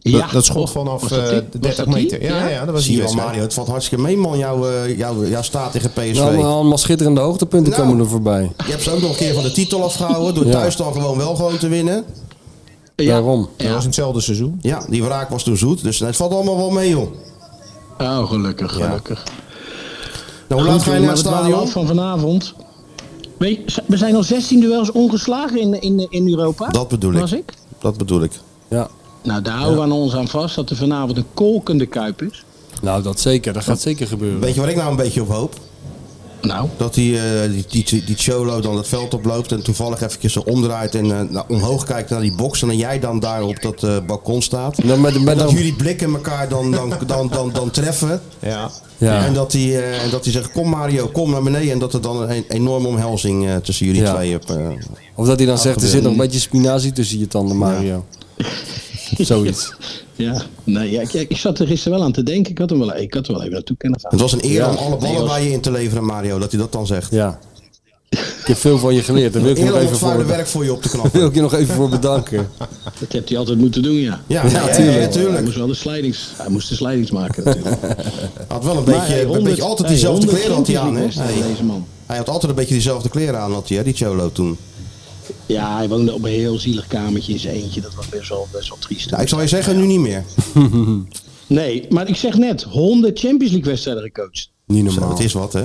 Ja. Dat, dat schot Oh, vanaf was dat eh, die? Was 30 dat die? meter. Ja, ja. dat was Zie die je wel, wedstrijd. Mario. Het valt hartstikke mee, man. Jouw eh, jouw- jouw staat tegen PSV. Allemaal, allemaal schitterende hoogtepunten Nou. komen er voorbij. Je hebt ze ook nog een keer van de titel afgehouden. Door Ja. thuis dan gewoon wel gewoon te winnen. Ja. Daarom. Dat was Ja. in hetzelfde seizoen. Ja, die wraak was toen zoet. Dus het valt allemaal wel mee, joh. Oh, gelukkig, gelukkig. Nou, hoe laat Goed, ga je jongen, naar het maar we dwalen stadion? af van vanavond. Weet je, we zijn al 16 duels ongeslagen in, in, in Europa. Dat bedoel ik. Was ik? Dat bedoel ik. Ja. Nou, daar houden we aan ons aan vast dat er vanavond een kolkende kuip is. Nou, dat zeker. Dat gaat zeker gebeuren. Weet je waar ik nou een beetje op hoop? Nou. Dat die, eh, die, die, die, Cholo dan het veld oploopt en toevallig eventjes zo omdraait en eh, naar- omhoog kijkt naar die box. En dan jij dan daar op dat eh, balkon staat. Nou, maar- maar en dat dan- jullie blikken elkaar dan, dan, dan, dan, dan treffen. Ja. Ja. En dat die, eh, en dat die zegt, kom Mario, kom naar beneden. En dat er dan een enorme omhelzing eh, tussen jullie Ja. twee op, eh, Of dat hij dan zegt, er Afgebeeld. zit nog een beetje spinazie tussen je tanden, Mario. Zoiets. Ja, nee, ja, ik, ik zat er gisteren wel aan te denken. Ik had hem wel, ik had er wel even naartoe kunnen gaan. Het was een eer Ja. om alle ballen Nee, was- bij je in te leveren, Mario, dat hij dat dan zegt. Ja. Ik heb veel van je geleerd. Daar wil ik je Eer nog om even het vuile voor, werk voor je op te daar knappen. wil ik je nog even voor bedanken. Dat heeft hij altijd moeten doen, ja. Ja, ja, ja, Hij- tuurlijk. Hij moest wel de slijdings, hij moest de slijdings maken natuurlijk. Had wel een Maar, eh, beetje, hey, een 100 beetje altijd hey, diezelfde 100 kleren had hij aan, hè? Champions League Hey. wedstrijden, Deze man. Hij had altijd een beetje diezelfde kleren aan, had hij, hè, die Cholo toen. Ja, hij woonde op een heel zielig kamertje in zijn eentje. Dat was best wel, best wel triest. Nou, ik zal je zeggen, nu niet meer. Nee, maar ik zeg net, 100 Champions League wedstrijden gecoacht. Niet Zo, normaal. het is wat, hè?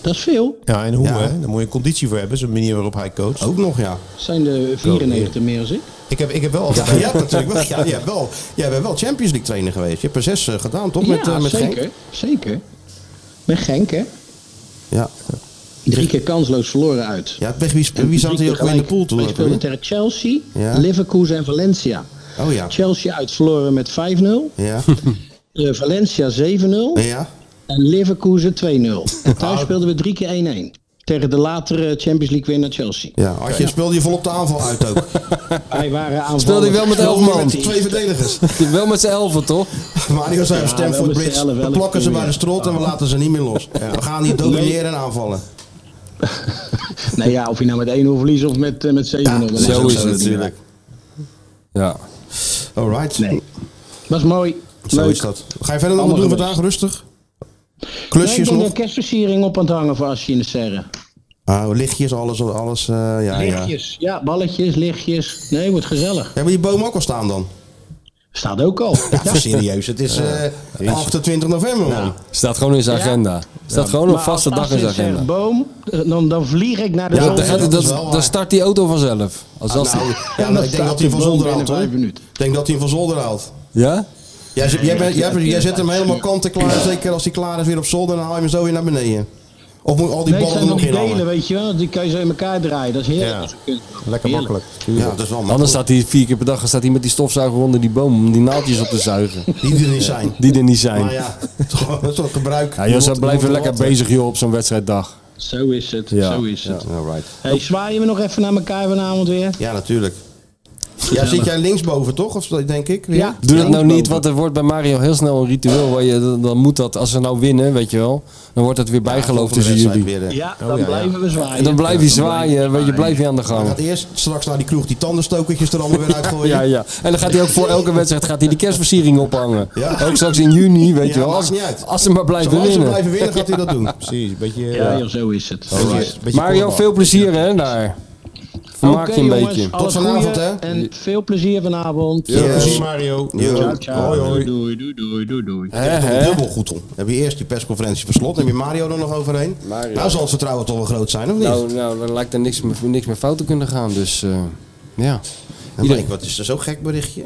Dat is veel. Ja, en hoe Ja. Oh. hè? Daar moet je conditie voor hebben. Zo'n manier waarop hij coacht. Ook nog, ja. Zijn er 94 meer dan ik? Ik heb, ik heb wel altijd... Ja, ja natuurlijk wel. Ja, jij, bent wel jij bent wel Champions League trainer geweest. Je hebt er zes eh, gedaan, toch? Met, ja, eh, met zeker. Genk? Zeker. Met Genk, hè? Ja. Drie keer kansloos verloren uit. ja, tegen wie, sp- wie zat Drie hij ook keer weer in de gelijk. pool toen? Wij ook weer? speelden tegen Chelsea, Ja. Leverkusen en Valencia. Oh ja. Chelsea uit verloren met 5-0. Ja. eh, Valencia 7-0. Ja. En Leverkusen 2-0. En Oh. thuis speelden we drie keer 1-1. Tegen de latere Champions League winnaar Chelsea. Ja, Artje speelde je volop de aanval uit ook. Wij waren aanvallend. Speelde hij wel met elf Speelde man? met- Twee verdedigers. Wel met z'n elfen, toch? Mario zei op Ja, we Stamford hebben ze Bridge, elf, we elf plakken ze keer bij de weer. strot en we laten ze niet meer los. We gaan niet domineren en aanvallen. Nee, ja, of je nou met 1-0 verliest of met, eh, met 7-0. Dat zo ook is het. natuurlijk. Ja. Alright. Nee. Was mooi. Zo Leuk. is dat. Ga je verder nog wat Allemaal doen geweest. vandaag? Rustig? Nee, ik Klusjes ben nog? een kerstversiering op aan het hangen voor als je in de serre. Ah, lichtjes, alles, alles. eh, ja, ja. ja, Lichtjes. Ja, balletjes, lichtjes. Nee, wordt gezellig. maar die boom ook al staan dan? Staat ook al. Ja, voor serieus. Het is eh, 28 november, man. Nou, Staat gewoon in zijn Ja. agenda. Staat gewoon een Maar vaste als eh, dag in zijn Astrid zegt agenda. boom, dan, dan vlieg ik naar de Ja, zon. Dan, dat- gaat, is dat, wel waar. dan start die auto vanzelf. Als Nou, dat, ja, dan maar ik denk staat dat hij van die boom zolder haalt, binnen hoor. vijf minuten. Ik denk dat hij van zolder haalt. ja? Jij, zet- jij, bent- jij, bent- jij ja, zet hem ja. helemaal kant en klaar. Zeker als hij klaar is weer op zolder, dan haal je hem zo weer naar beneden. Of moet al die Nee, ballen het zijn er nog nog die in delen, hangen? weet je wel. Die kan je zo in elkaar draaien. Dat is heerlijk. Ja. als een kunst. Lekker Heerlijk. makkelijk. Ja, dat is wel Anders makkelijk. staat hij vier keer per dag staat hij met die stofzuiger onder die boom om die naaldjes op te zuigen. Die er niet zijn. Die er niet zijn. Maar ja, toch, dat is toch gebruik. Ja, joh, ze blijven lekker bezig. bezig joh, op zo'n wedstrijddag. Zo is het, Ja. zo is het. Alright. Hey, zwaaien we nog even naar elkaar vanavond weer? Ja, natuurlijk. Ja, zit jij linksboven toch? Of denk ik? weer? Ja. Doe dat nou niet, Linksboven. want er wordt bij Mario heel snel een ritueel. Waar je, dan- dan moet dat, als ze nou winnen, weet je wel, dan wordt dat weer bijgeloof Volgende tussen wedstrijd jullie. weer, eh. Oh, Ja, dan blijven we zwaaien. En dan blijf je Ja, zwaaien, weet je, blijf je aan de Hij gang. gaat eerst straks naar die kroeg die tandenstokertjes er allemaal weer uitgooien. Ja, ja. En dan gaat hij ook voor elke wedstrijd gaat hij die kerstversiering ophangen. Ja. Ook straks in juni, weet Ja, je wel. maakt Als, niet uit. als ze maar blijven Zolang ze winnen. blijven winnen, gaat hij dat doen. Precies, een beetje... Ja, eh, joh, zo is het. beetje- beetje Mario, korfbal. veel plezier hè, daar. Vermaak Oké, je een jongens, beetje. alle Tot vanavond, goeie hè. En veel plezier vanavond. Veel Ja. plezier, Mario. Ja. Ciao, ciao. Hoi, hoi. Doei, doei, doei, doei, doei. Hè, Toch hè? dubbel goed om. Dan Heb je eerst die persconferentie per slot, dan heb je Mario er nog overheen. Mario. Nou zal het vertrouwen toch wel groot zijn, of niet? Nou, Nou, nou, dan lijkt er niks, meer- niks meer fout te kunnen gaan. Dus eh, ja. denk Iedereen. ik, wat is er zo'n gek berichtje?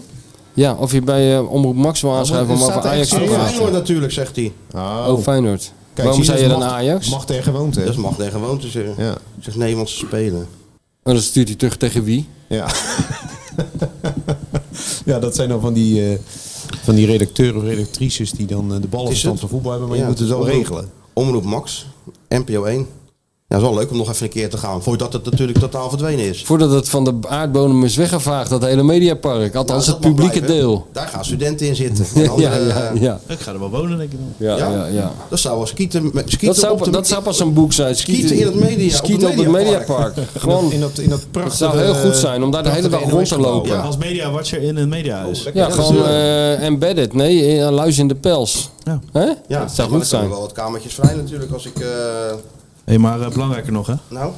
Ja, of je bij eh, Omroep Max wil aanschuiven om over Ajax te Feyenoord praten. natuurlijk, zegt hij. Ah, Oh, Feyenoord. kijk, Waarom zie zei je dat dan macht- Ajax? Macht en gewoonte. Dat mag tegen gewoonte zeggen. Ja. Ik zeg nee, want ze spelen. En Oh, dan stuurt hij terug tegen wie? Ja. ja, dat zijn dan van die, eh, van die redacteuren of redactrices die dan eh, de ballen verstand het? van voetbal hebben, maar Ja, je moet het wel omroep- regelen. Omroep Max, NPO 1. Ja, is wel leuk om nog even een keer te gaan, voordat het natuurlijk totaal verdwenen is. Voordat het van de aardbodem is weggevaagd, dat hele mediapark. Althans, Nou, het dat mag publieke blijven. deel. Daar gaan studenten in zitten. En Ja, andere, ja, eh, ja. Ik ga er wel wonen, denk ik dan. ja, Ja? ja, ja. Dat zou wel skieten, met- skieten Dat, op de- zou, dat zou pas een boek zijn. Skieten in het media- op Skieten het op het mediapark. mediapark. Gewoon, In dat, in dat het prachtige... zou heel goed zijn om daar de hele dag rond te lopen. Ja. Ja, Als mediawatcher in een Oh, mediahuis. gewoon eh, embedded. Nee, eh, luis in de pels. Ja. Hè? Ja, dat zou maar goed dan zijn. komen wel wat kamertjes vrij natuurlijk als ik... eh, Hé, hey, maar eh, belangrijker nog, hè? nou,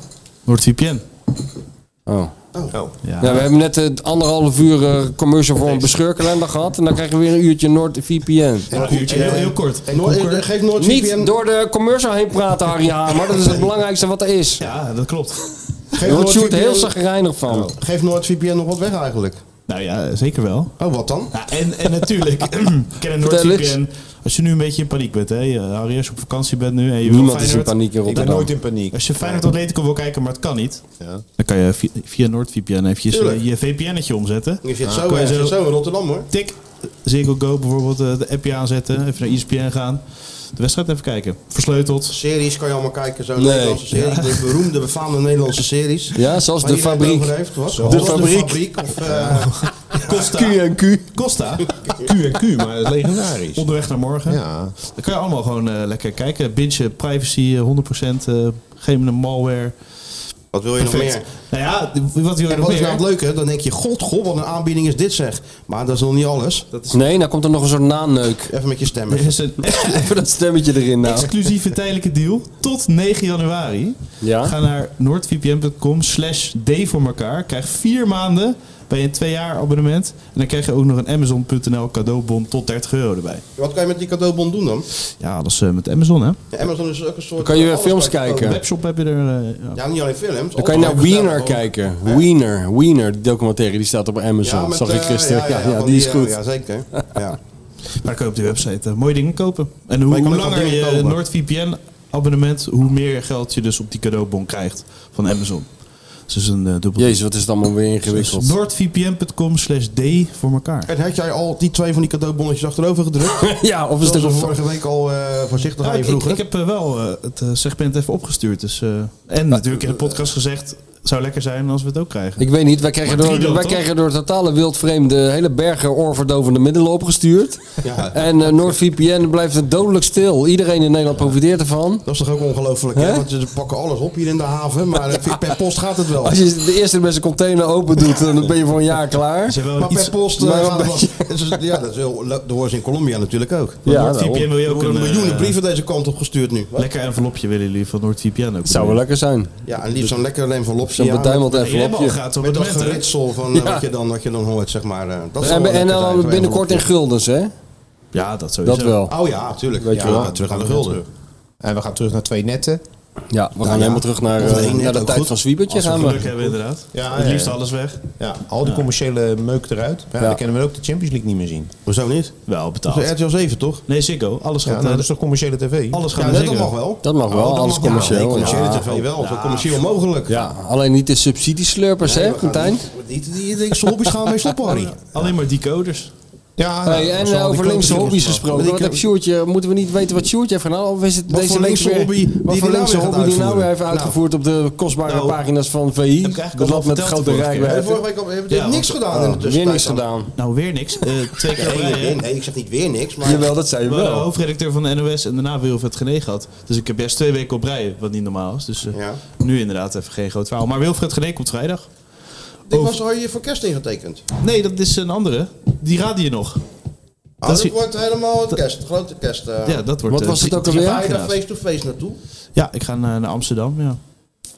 NordVPN. Oh. Ja. Ja, we hebben net het anderhalf uur eh, commercial voor een bescheurkalender gehad. En dan krijgen we weer een uurtje NordVPN. Ja, uurtje, heel, heel kort. en Noord, eh, geef Noord VPN Niet door de commercial heen praten, Harry Hamer. Dat is het belangrijkste wat er is. Ja, dat klopt. geef Je wordt Noord Sjoerd heel VPN Oh. zagrijnig van. geef Noord VPN nog wat weg eigenlijk. Nou ja, zeker wel. Oh, wat dan? Ja, en, en natuurlijk, Kennen Vertel Noordvliet eens. ben. Als je nu een beetje in paniek bent, hè, je- Harry, als je op vakantie bent nu en je wil Niemand is in Feyenoord- paniek in Ik ben Rotterdam. nooit in paniek. Als je Feyenoord Atletico wil kijken, maar het kan niet, dan kan je via, via NordVPN even je, Tuurlijk. je VPN'tje omzetten. Je Ah, zit, Dan zo, kan eh, je zit zo in Rotterdam hoor. tik, Ziggo Go bijvoorbeeld, eh, de appje aanzetten, even naar E ESPN gaan, de wedstrijd even kijken. Versleuteld. Series kan je allemaal kijken, zo'n Nee. Nederlandse serie. De beroemde, befaamde Nederlandse series. Ja, zoals Waar de iedereen het fabriek. over heeft, was. De Was fabriek. of, eh, Costa. Q&Q. Costa. Q&Q, maar dat is legendarisch. Onderweg naar morgen. Ja. Dan kan je allemaal gewoon eh, lekker kijken. Binge, privacy, eh, 100%, eh geen malware. wat wil je nog meer? Nou ja, wat wil je En nog wat is nou meer? het leuke? Dan denk je, god, god, wat een aanbieding is dit zeg. Maar dat is nog niet alles. Nee, nou komt er nog een soort naneuk. Even met je stemmen. Er is een ex- Even dat stemmetje erin nou. exclusieve tijdelijke deal tot 9 januari. Ja. Ga naar noordvpn.com slash d voor elkaar. Krijg vier maanden bij een twee jaar abonnement. En dan krijg je ook nog een Amazon.nl cadeaubon tot 30 euro erbij. Wat kan je met die cadeaubon doen dan? Ja, dat is eh, met Amazon hè. Ja, Amazon is ook een soort... Dan kan je weer alles films kan je kijken. kopen. Webshop heb je er... eh, ja. Ja, niet alleen films. Dan kan je naar Wiener kijken. Wiener, Wiener, die documentaire, die staat op Amazon. met, Zag ik eh, gisteren. Ja, ja, van die is eh, goed. Ja, zeker. Ja. Maar dan kun je op die website eh, mooie dingen kopen. En hoe, je kan hoe ook wat langer dingen je kopen. NordVPN abonnement, hoe meer geld je dus op die cadeaubon krijgt van Amazon. Dus dat is een eh, dubbel... Jezus, wat is het allemaal weer ingewikkeld. NordVPN.com slash d voor elkaar. En had jij al die twee van die cadeaubonnetjes achterover gedrukt? Ja, of is Dat het was ook een... vorige week al eh, voorzichtig aan je ik, ik, vroeger. ik heb eh, wel eh, het eh, segment even opgestuurd. Dus, eh, en natuurlijk in de podcast gezegd, het zou lekker zijn als we het ook krijgen. Ik weet niet, wij krijgen, Maar door, Tridel, wij toch? krijgen door totale wildvreemde hele bergen oorverdovende middelen opgestuurd. Ja. En eh NordVPN blijft het dodelijk stil. Iedereen in Nederland profiteert ervan. Dat is toch ook ongelooflijk, hè? Hè? Want ze pakken alles op hier in de haven, maar eh, per post gaat het wel. Als je de eerste beste container open doet, dan ben je voor een jaar klaar. Ze hebben Maar wel iets... per post eh, maar een gaat het wel. Het is- Ja, dat is heel... Dat horen ze in Colombia natuurlijk ook. Er Ja, nou, NordVPN daarom. wil je ook een, worden eh, miljoenen brieven deze kant op gestuurd nu. lekker envelopje willen jullie van NordVPN ook. Het zou wel lekker zijn. Ja, en liefst zo'n lekker envelopje. Zo'n ja, beduimeld Je hebt al envelopje. gratis op Met het dat moment, hè? geritsel van eh, Ja. wat, je dan, wat je dan hoort, zeg maar. eh, dat zou En, wel lekker en zijn, dan zo'n binnenkort in envelopje. guldens, hè? Ja, dat sowieso. Dat wel. Oh ja, natuurlijk. Weet je ja, wel. terug aan de gulden. En we gaan terug naar twee netten. Ja, we gaan ja. helemaal terug naar, Of eh, één naar net de ook tijd goed. van Zwiebertje Als we gaan geluk we. hebben inderdaad. Ja, het ja, liefst ja. alles weg. Ja, al die commerciële meuk eruit. Ja, Ja. Dan kennen we ook de Champions League niet meer zien. Nou, Hoezo niet? Wel Dat is betaald. RTL 7, toch? Nee, Ziggo. Alles Ja, gaat... nou, eh, dat is toch commerciële tv? alles gaat Ja, naar dat Ziggo. mag wel. Dat Oh, mag wel, alles Ja, nee, commercieel. commerciële Ja. tv wel, zo commercieel mogelijk. Ja, Ah, alleen niet de subsidieslurpers, hè, Quintijn? Die, die, die, die hobby's gaan mee stoppen, Harry. Alleen maar decoders. Ja, nou, Hey, en als we eh, al die over linkse coaches hobby's nog- gesproken. Maar Wat die heb Sjoerdje, moeten we niet weten wat Sjoerdje heeft gedaan? Of is het Wat deze voor week linkse weer- hobby die Wat voor die linkse nou weer hobby gaat die nou weer heeft uitvoeren? uitgevoerd op de kostbare Nou, pagina's van ik VI? eigenlijk Dat al land met de verteld grote de vorige keer. En rijkwijde. vorige dus week hebben we Ja, want- niks gedaan in de Weer tussentijd. niks dan. gedaan. Nou, weer niks. Eh, twee keer op Nee, rij, nee, hè? nee, ik zeg niet weer niks, maar... Jawel, dat zei je Ik ben de wel. hoofdredacteur van de NOS en daarna Wilfred Gené gehad. Dus ik heb juist twee weken op rij, wat niet normaal is. Dus eh, Ja. nu inderdaad even geen groot verhaal. Maar Wilfred Gené komt vrijdag. Ik Oh. was al hier voor kerst ingetekend. Nee, dat is een andere. Die raad je nog. Oh, Dat dat is- wordt helemaal het kerst, grote kerst. eh. Ja, dat wordt... Wat eh, was het drie- ook alweer? drie Ga je daar pagina's. face-to-face naartoe? Ja, ik ga naar, naar Amsterdam, ja.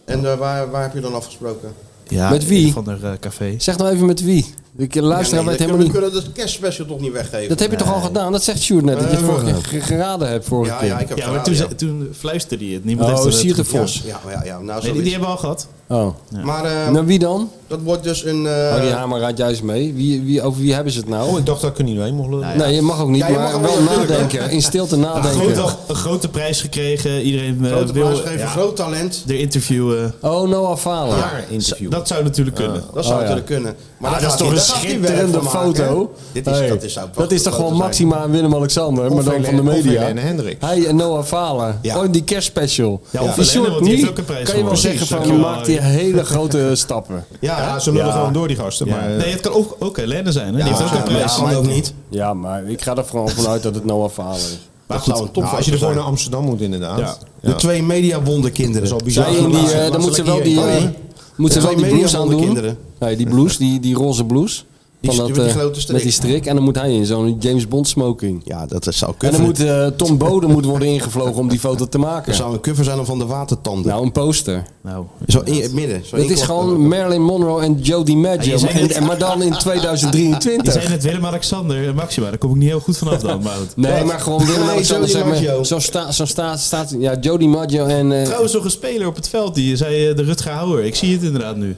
En eh, waar, waar heb je dan afgesproken? ja Met wie? Van de café. Zeg nou even met wie. Ik Ja, luister nee, weet dat helemaal kunnen, we niet. kunnen dat kerstspecial toch niet weggeven? Dat heb je toch al gedaan? Dat zegt Sjoerd net. Dat je het vorige keer ge- geraden hebt vorige ja, ja, keer. ik heb Ja, maar geraden, toen, ja. ze- toen fluisterde hij het. Niemand heeft Oh, het Siert de gevoel. Vos. Ja, ja, ja, nou Nee, zo die, die hebben we al gehad. Oh. Maar eh, Nou, wie dan? dat wordt dus een... eh, Oh, die hamer raadt juist mee. Wie, wie, over wie hebben ze het Oh, nou? ik dacht dat ik er niet doorheen mocht lopen. Nee, je mag ook niet, Ja, je mag maar hem wel wel natuurlijk, nadenken. In stilte Een nadenken. grote, een grote prijs gekregen. Iedereen eh, grote wil prijs geven, ja, groot talent. er interviewen. Oh, Noah Falen. interview. Dat zou natuurlijk kunnen. Dat zou Oh, ja. natuurlijk kunnen. Maar Ah, daar dat is gaat toch hij- een daar gaat hij werk schitterende van maken, hè? foto. Dit is, Hey, dat, is, zou dat is toch gewoon Maxima en Willem-Alexander, maar dan van de Helene- of media. Helene Hendricks. Hij en Noah Falen. Ja. Oh, die kerstspecial. Ja, of die Helene, want die heeft niet- ook een prijs Kan je wel gewonnen. zeggen Precies, van, je dankjewel, maakt die hele grote stappen. Ja, Ja, ze lullen Ja. gewoon door die gasten. Maar, eh, Nee, het kan ook, ook Helene zijn. Hè? Die heeft ook een maar prijs. dat kan ook niet. Ja, maar ik ga er gewoon vanuit dat het Noah Falen is. Maar dat zou een nou, als je topfoto er gewoon naar zijn. Amsterdam moet inderdaad. Ja. De twee mediawonderkinderen. Dat is al bizar. Zij in die, eh, dan moet ze wel die, eh, heen. moet ze Ja, wel die media blouse van aan de doen. kinderen. Nee, die blouse, die, die roze blouse. Die Van met dat, die eh, grote strik. Met die strik. En dan moet hij in zo'n James Bond smoking. Ja, dat dat zou En kunnen. dan moet eh, Tom Boden moet worden ingevlogen om die foto te Dat maken. zou een cover zijn dan van de watertanden. Nou, een poster. Nou, zo in het midden. Zo Dat is inklappen. gewoon Marilyn Monroe en Joe DiMaggio. Ja, je zei maar, net- en- maar dan in die 2023. zijn net Willem-Alexander en Maxima. Daar kom ik niet heel goed vanaf dan. Maar goed. Nee, maar gewoon Willem Nee, Alexander Joe zeg maar. DiMaggio. Zo'n staat, zo'n staat, staat, ja, Joe DiMaggio en. eh, Trouwens, nog een speler op het veld. Die zei eh, de Rutger Hauer. Ik zie het inderdaad nu.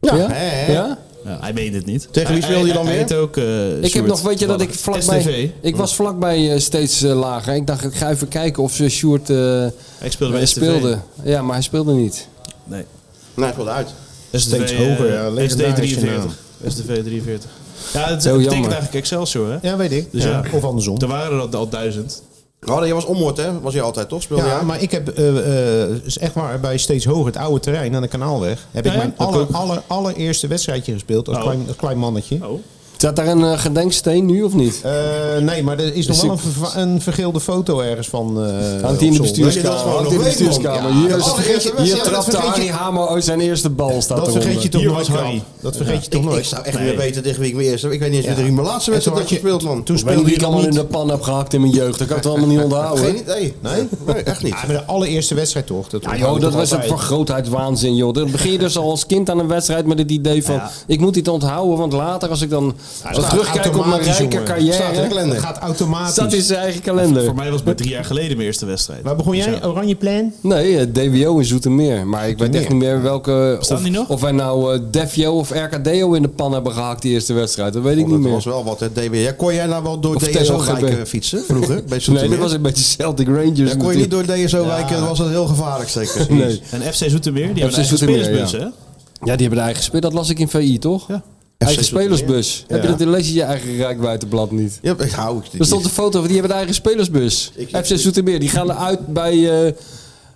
ja, Hè, ja, hè? Ja, Hij weet het niet. Tegen wie speelde je dan Hij weer? heet ook, eh, Ik heb Sjoerd nog, weet je dat ik toevallig. STV. vlakbij. Ik was vlakbij eh, steeds eh, lager. Ik dacht, ik ga even kijken of ze Sjoerd eh, Hij speelde bij STV. speelde. Ja, maar hij speelde niet. Nee. Nee, ik wilde uit. Steeds hoger, ja. SD Legendarische 43. STV 43. Ja, dat Heel betekent jammer. eigenlijk Excelsior, hè? Ja, weet ik. Dus ja. ja. Of andersom. Er waren er al duizend. Oh, nee, jij was omhoord, hè? Was je altijd, toch? Speelde Ja, je? maar ik heb, eh, eh, is echt waar, bij steeds hoger het oude terrein aan de Kanaalweg... heb ik Ja, ja, mijn dat aller, ook. aller, allereerste wedstrijdje gespeeld als Oh. klein, als klein mannetje. Oh. Staat daar een eh, gedenksteen nu of niet? Eh, nee, maar er is nog Dus wel een, ik- verva- een vergeelde foto ergens van... eh, Hangt hij in de op zolder. bestuurskamer? Hangt hij in de weet, man. bestuurskamer. Ja, Hier, dat vergeet je- hier dat trapte vergeet je- Arnie Hamer uit zijn eerste bal. Staat Dat eronder. vergeet je toch Hier nooit, was Kral. Harry. Dat vergeet je toch Ik, ik nooit. zou echt niet meer weten tegen wie ik mijn eerste... Ik weet niet eens tegen wie mijn laatste En toen wedstrijd had heb je- gespeeld, man. Toen Ik weet niet speelde je wie ik dan allemaal in niet... de pan heb gehakt in mijn jeugd. Dat kan ik het allemaal niet onthouden. Geen hoor. idee. Nee? Nee, echt niet. Ja, maar de allereerste wedstrijd toch? Dat Ja, joh, dat was een vergrootheidswaanzin, joh. Dan begin je dus al als kind aan een wedstrijd met het idee van... ik moet dit onthouden, want later als ik dan als terugkijk op mijn rijke Staat in de carrière... kalender. gaat automatisch. Staat in zijn eigen kalender. Voor mij was het maar drie jaar geleden mijn eerste wedstrijd. Waar begon jij? Oranje plan? Nee, eh, DWO in Zoetermeer. Maar ik weet echt niet meer welke... Bestaan of, die nog? of wij nou eh DFJO of RKDO in de pan hebben gehakt die eerste wedstrijd. Dat weet ik niet Dat was meer. wel wat, hè? DW. Ja, kon jij nou wel door Of DSO-wijken TLGB. eh, fietsen vroeger? Bij Nee, dat Zoetermeer? was een beetje Celtic Rangers. Ja, kon je niet door DSO-wijken, Ja. dat was dat heel gevaarlijk zeker. Nee. En FC Zoetermeer, die hebben een eigen Zoetermeer, spelersbus, ja. hè? Ja, die hebben de eigen speel. Dat las ik in VI, toch? Ja. Eigen FC Zoetermeer. spelersbus. Heb je dat in lees je je eigen rijkbuitenblad niet? Ja, ik hou ik Er stond een foto van die hebben de eigen spelersbus. Ik- FC Zoetermeer, die gaan eruit bij eh,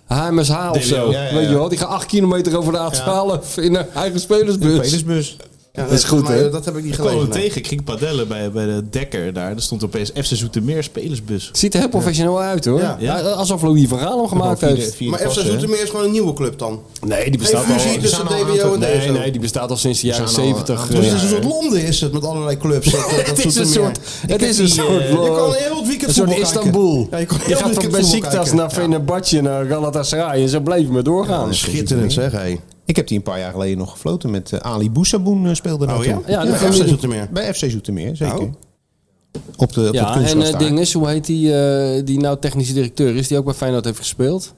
HMSH of zo. Ja, ja, ja. Weet je wel, die gaan 8 kilometer over de A12 in een eigen spelersbus. Spelersbus. Ja, Dat is goed, maar, hè? Dat heb ik niet Ik kwam gelezen. hem nee. tegen, ik ging padellen bij, bij de dekker daar. Er stond opeens FC Zoetermeer spelersbus. Ziet er heel professioneel uit hoor. Ja. Ja. Alsof Louis van Gaal hem gemaakt heeft. Maar FC Zoetermeer is gewoon een nieuwe club dan. Nee, die bestaat Geen al. fusie tussen zijn al DWO en aantal- Nee, DSO. nee, die bestaat al sinds de jaren eh, zijn al- 70. Dus het Ja. is een soort Londen is het met allerlei clubs. Dat, dat, Het is een Zoetermeer. soort. Het is een soort. Je kan eh, heel het weekend Een soort voetbal kijken. Istanbul. Ja, je kan je heel gaat het van weekend voetbal Besiktas kijken. naar Fenerbahce, naar Galatasaray en zo bleven we doorgaan. Ja, Schitterend zeg, hé. Ik heb die een paar jaar geleden nog gefloten met eh, Ali Boussaboen eh, speelde daar Oh ja? toen. Ja, dat Ja, kan FC niet. Zoetermeer. Bij FC Zoetermeer, Nou. zeker. Oh. Op de, op het en kunstgras eh, daar. ding is, hoe heet die, eh, die nou technische directeur is, die ook bij Feyenoord heeft gespeeld.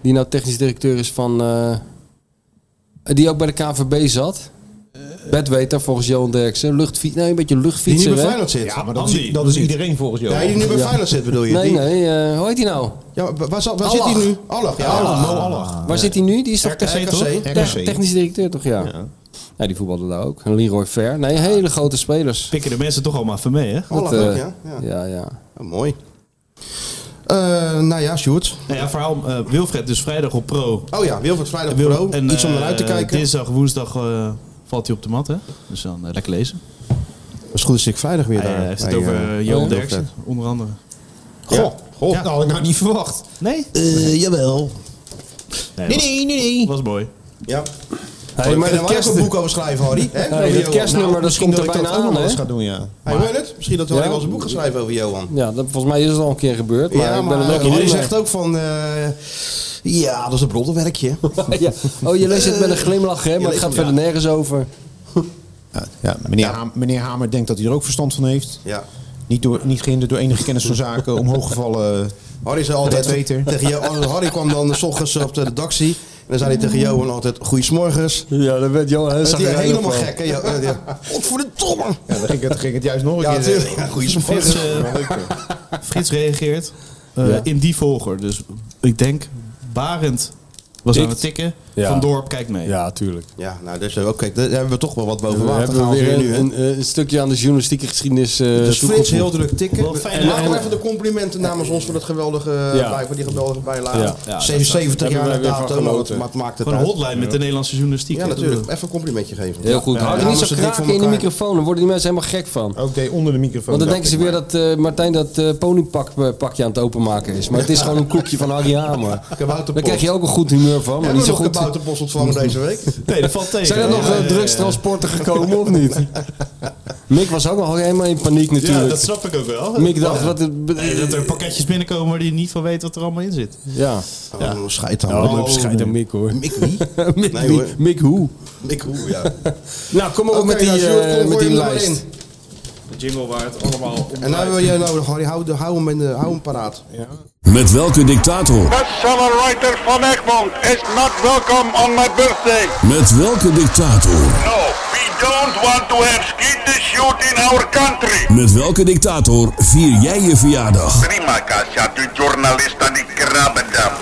Die nou technisch directeur is van, eh, die ook bij de KNVB zat. Bedweter volgens Johan Derksen. Luchtfiets, nee, een beetje Die nu luchtfietser. bij hè? Feyenoord zit. Ja, Ja, maar dat is, Andy. dat is iedereen volgens jou. die nu bij Feyenoord zit bedoel je? Nee, Die- nee, eh, hoe heet die nou? Ja, maar waar zat- waar zit hij Allah. nu? Allah. Ja, Oh, Allah. Mo Allah. Eh, Waar zit hij nu? Die is toch RKC, toch? toch? Te- RKC. Technisch directeur toch, ja. ja. die voetbalde daar ook. En Leroy Ver. Nee, hele grote spelers. Pikken de mensen toch allemaal van mee, hè? Allah, Dat, eh, ook, ja. ja. Ja, ja. Oh, mooi. Eh, nou ja, Sjoerd. Nou ja, verhaal eh, Wilfred dus vrijdag op pro. Oh ja, Wilfred Vrijdag Wil- Pro. Iets om eh, naar uit te kijken. Dinsdag, woensdag eh, valt hij op de mat, hè? Dus dan eh, lekker lezen. Als het goed is, ik vrijdag weer Hij eh, daar. heeft het bij, over eh, eh, Johan Wilfred. Derksen, onder andere. Goh, goh, Ja. dat had ik nou niet verwacht. Nee? Eh, jawel. Nee, Nee, was, nee, nee, nee. was mooi. Ja. Hey, maar maar dat daar kerst... kerst, een boek over schrijven, Harry. Hè? Nou, hey, dat kerstnummer, dat Misschien komt dat er ik bijna dat ook nog aan, wel eens hè? ga doen, ja. Hey, hoor je het? Misschien dat we Ja. wel eens een boek gaan schrijven over Johan. Ja, dat, volgens mij is het al een keer gebeurd. Maar ja, ik ben maar er nog eh, niet Harry mee. zegt ook van... eh, ja, dat is een broddelwerkje. ja. Oh, je leest het Eh, met een glimlach, hè? Maar het gaat verder nergens over. Ja, ja, meneer, Hamer, meneer Hamer denkt dat hij er ook verstand van heeft. ja. Niet, door, niet gehinderd door enige kennis van zaken, omhooggevallen. Harry zei altijd Red Waiter. tegen jou, oh, Harry kwam dan s ochtends op de redactie. En dan zei hij tegen Johan altijd, goeiesmorgens. Ja, dat werd Johan Dat is heel helemaal gek, hè? Johan? Ja. Godverdomme! Ja, dan ging het, ging het juist nog een Ja, keer. natuurlijk. Ja, Frits, goeiesmorgens. eh, Frits reageert eh, in die volger. Dus ik denk, Barend was aan het tikken. Ja. Van Dorp kijkt mee. Ja, tuurlijk. Ja, nou, dus, eh, ook kijk, daar hebben we toch wel wat boven We water hebben gehaald weer hier een, hè? een, eh, een stukje aan de journalistieke geschiedenis. eh Dus Frits toegevoegd. heel druk tikken. Wel fijn, en maak hè? wel even de complimenten namens ons voor, dat geweldige, Ja. bij- voor die geweldige bijlage. Ja, ja, 77 jaar na Hebben wij weer van dato, maar genoten. het maakt het Gewoon een uit. hotline met de Nederlandse journalistiek. Ja, hè? natuurlijk. Even een complimentje geven. Heel goed. Hou er Ja, niet anders zo is het dik kraken voor in de elkaar. Oh, microfoon. Daar worden die mensen helemaal gek van. Ook deed onder de microfoon. Want dan denken dacht ze ik weer maar. dat eh, Martijn dat eh, ponypakje aan het openmaken is. Maar het is gewoon een koekje van Harry Hamer. Kabouterpost. Daar krijg je ook een goed humeur van, maar Hebben niet we zo nog een goed. kabouterbos ontvangen deze week? Nee, dat valt tegen. Zijn er Ja, nog ja, eh, ja, drugstransporten gekomen of niet? Mick was ook al helemaal in paniek Ja, natuurlijk. dat snap ik ook wel. Mick dacht, wat het... Nee, dat er pakketjes binnenkomen waar die niet van weet wat er allemaal in zit. Ja. Oh, Schijt dan. Oh, Oh, schijt aan Mick hoor. Mick wie? Mick, Nee, wie? hoor. Mick hoe? Mick hoe, ja. Nou, kom maar op Oké, met die, nou, Sjoerd, eh, kom met voor die je nummer lijst. één. De jingle waard, allemaal op. En nou wil jij nou, Harry, hou, hou, hem, in de, hou hem paraat. Met welke dictator? Writer van Egmond is not welcome on my birthday. Met welke dictator? No, we don't want to have skin the shoot in our country. Met welke dictator vier jij je verjaardag? Prima casa, de journalista di Krabendam.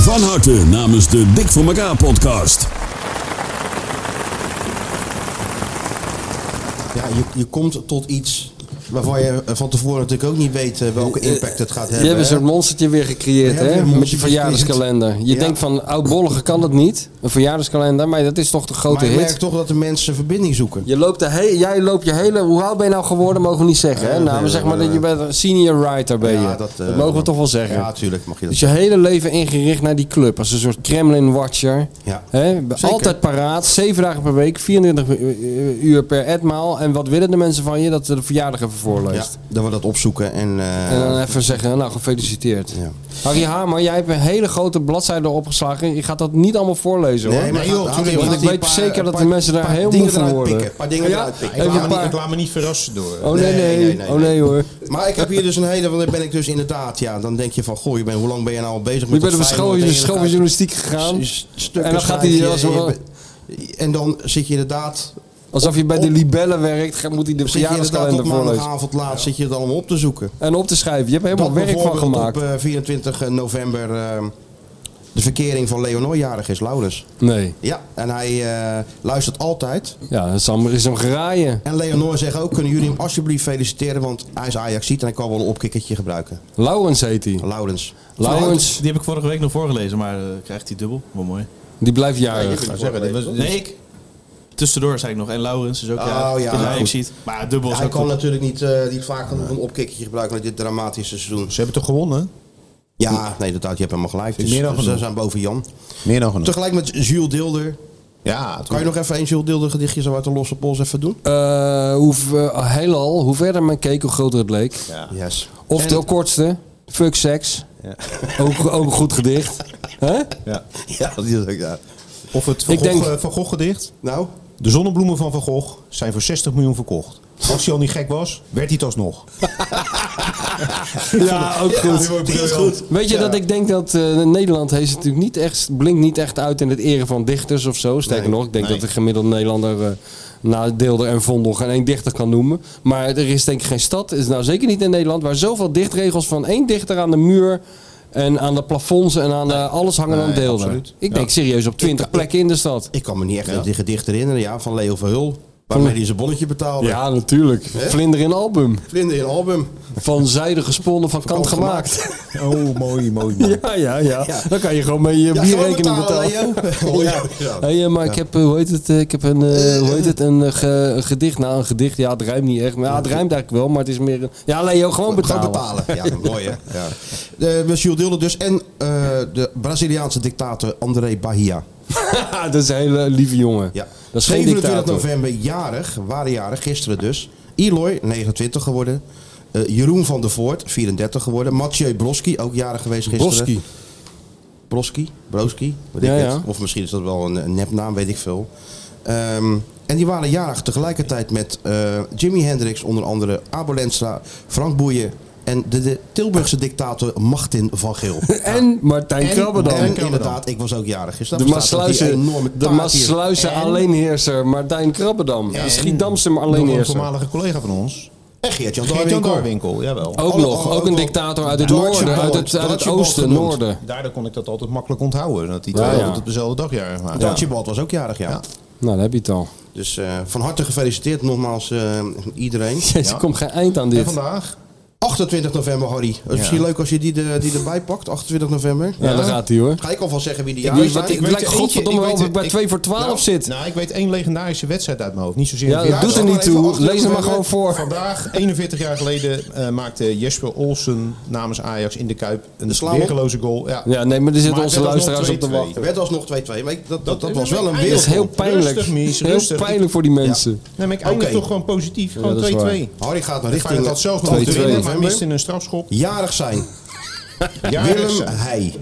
Van harte namens de Dik voor elkaar podcast. Ja, je, je komt tot iets waarvan je eh, van tevoren natuurlijk ook niet weet eh, welke impact het gaat Je hebben. hebt een hè? soort monstertje weer gecreëerd, Ja, weer een hè? Met je monstertje verjaardagskalender. Je Ja. denkt van, oudbollige kan dat niet. Een verjaardagskalender, maar dat is toch de grote Maar ik merk hit. toch dat de mensen verbinding zoeken. Je loopt de he- jij loopt je hele... Hoe oud ben je nou geworden, mogen we niet zeggen, hè? Eh, Nou, we eh, zeg maar eh, dat je bent een senior writer ben je. Ja, dat, dat, eh, mogen we toch wel zeggen. Ja, tuurlijk mag je dat Dus je hele leven ingericht naar die club. Als een soort Kremlin-watcher. Ja. Hè? Altijd paraat. Zeven dagen per week. 24 uur per etmaal. En wat willen de mensen van je? Dat ze de verjaardag even Ja, voorleest. dat we dat opzoeken en... eh, En dan even zeggen, nou gefeliciteerd. Ja. Harry Hamer, jij hebt een hele grote bladzijde opgeslagen. Je gaat dat niet allemaal voorlezen hoor. Nee, maar joh, tuurlijk, want gaat ik die weet paar- zeker dat paar- die mensen daar paar heel dingen moe van eruit worden. pikken, paar dingen ja? eruit pikken. Ik Even laat, me een niet, paar... ik laat me niet verrassen door. Oh nee, nee, Nee, nee, nee. oh nee hoor. Maar ik heb hier dus een hele, want dan ben ik dus inderdaad, ja, dan denk je van, goh, je bent, hoe lang ben je nou al bezig Je met bent op een dat school, Feyenoord? je En dan school ga van je journalistiek gegaan. s- s- stukken En dan gaat hij schrijven als en je wel- bent- En dan zit je inderdaad, Alsof je bij de libellen werkt, ga- moet hij de zit je inderdaad verjaardagskalender tot voorlezen. maandagavond laat, zit je het allemaal op te zoeken. En op te schrijven. Je hebt er helemaal Dat werk van bijvoorbeeld gemaakt. op eh, 24 november ehm, de verkering van Leonor jarig is, Laurens. Nee. Ja, en hij eh, luistert altijd. Ja, Sam is hem geraaien. En Leonor zegt ook, kunnen jullie hem alsjeblieft feliciteren, want hij is Ajaxiet en hij kan wel een opkikkertje gebruiken. Laurens heet hij. Laurens. Laurens, Die heb ik vorige week nog voorgelezen, maar eh, krijgt hij dubbel. Wel mooi. die blijft jarig. Ik wou zeggen, dat was- Nee, ik. Tussendoor zei ik nog. En Laurens is ook. Oh, ja, ja, nou, ik goed. zie het. Maar dubbel is Hij ook kan goed. natuurlijk niet, eh, niet vaak genoeg een opkikkertje gebruiken met dit dramatische seizoen. Ze hebben toch gewonnen? Ja, nee, dat je hebt helemaal gelijk. Dus, meer dan dus ze genoeg. zijn boven Jan. Meer dan genoeg. Tegelijk met Jules Dilder. ja, Kan je nog even een Jules Dilder gedichtje zo uit de losse pols even doen? Eh, hoe, v- eh, heelal, hoe verder men keek, hoe groter het leek. Yes. Of de kortste, fuck seks. Ook, ook een goed gedicht. Hè? ja. Ja, dat is ook, ja. Of het Van Ik Gogh, denk- eh, Van Gogh gedicht. Nou, De zonnebloemen van Van Gogh zijn voor 60 miljoen verkocht. Als hij al niet gek was, werd hij het alsnog. Ja, ook goed. die is goed. Weet je dat ik denk dat eh, Nederland heeft natuurlijk niet echt, blinkt niet echt uit in het eren van dichters of zo. Sterker nog, ik denk dat de gemiddelde Nederlander eh na Deelder en Vondel geen één dichter kan noemen. Maar er is denk ik geen stad, is nou zeker niet in Nederland, waar zoveel dichtregels van één dichter aan de muur en aan de plafonds en aan eh, alles hangen aan Deelder. absoluut. Ik denk serieus op twintig plekken in de stad. Ik kan me niet echt dat die gedicht herinneren, ja, van Leo Verhul. Waarmee hij zijn bonnetje betaalde. Ja, natuurlijk. Vlinder in album. Vlinder in album. Van zijde gesponnen, van kant gemaakt. gemaakt. Oh, mooi, mooi, Ja, ja, ja, Dan kan je gewoon mee je Ja, bierrekening gewoon betalen. Leo. Oh, ja. Ja. Hey, eh, maar ik heb, eh, hoe heet het, eh, ik heb een, eh, hoe heet het, een, eh, ge- een gedicht. Nou, een gedicht, ja, het rijmt niet echt. Maar, ja, het rijmt eigenlijk wel, maar het is meer een... Ja, Leo, gewoon betalen. Gewoon betalen. Ja, mooi hè. Ja. De, met Jules Dilder dus. En eh, de Braziliaanse dictator André Bahia. Haha, dat is een hele lieve jongen. Ja. Dat is geen 27 dictator. november, jarig, waren jarig, gisteren dus. Eloy, 29 geworden. Eh, Jeroen van der Voort, 34 geworden. Mathieu Broski, ook jarig geweest gisteren. Broski. Broski, Broski, weet ik Ja, ja. het. Of misschien is dat wel een, een nepnaam, weet ik veel. Ehm, en die waren jarig tegelijkertijd met eh, Jimi Hendrix, onder andere Abo Lenstra, Frank Boeien en de, de Tilburgse dictator Martin van Geel. En Martijn Krabbedam. En inderdaad, ik was ook jarig. Dus dat De verstaat ook die Maasluizen, enorme de taart hier. Maasluizen En- alleenheerser Martijn Krabbedam. De Schiedamse maar Door een alleenheerser. voormalige collega van ons. En Eh, Geert-Jan Geert-Jan Darwinkel. Darwinkel, jawel. Ook Alle- nog, alle- ook ook een wel- dictator uit het Deutsche noorden, uit het, Bond, uit het Deutsche Bond oosten, genoemd. noorden. Daardoor kon ik dat altijd makkelijk onthouden. Dat die Ja, twee ja. altijd op dezelfde dag jaren waren. Ja. Archibald was ook jarig, ja. Ja. Nou, daar heb je het al. Dus eh, van harte gefeliciteerd nogmaals eh, iedereen. Jezus, er komt geen eind aan En dit. vandaag? 28 november, Harry. Het is misschien leuk als je die, de, die erbij pakt, 28 november. Ja, daar gaat hij hoor. Ga ik alvast zeggen wie die Ik jarig weet zijn. wat ik weet lijkt er eentje- godverdomme ik wel weet of ik er- bij ik- 2 voor 12 Nou, zit. Nou, ik weet één legendarische wedstrijd uit mijn hoofd. Niet zozeer... Ja, een dat doet er niet even toe. achter Lees hem maar elkaar. gewoon voor. Vandaag, 41 jaar geleden, eh, maakte Jesper Olsen namens Ajax in de Kuip een slaan op. weergeloze goal. Ja, Ja, nee, maar er zitten Maar onze het werd luisteraars op alsnog te 2-2. wachten. Het werd alsnog 2-2, maar ik- dat, dat, dat Dat- was wel een Rustig, Dat is wereld. heel Rustig, pijnlijk. Mies, Heel rustig. pijnlijk voor die mensen. Nee, maar ik eindig Oké. toch gewoon positief. Gewoon 2-2. dat is waar. Harry gaat naar Richting richting dat zelf nog 2-2. te winnen, maar November. mist in een strafschop. jarig zijn. Ja, dus, eh, Willem Heij.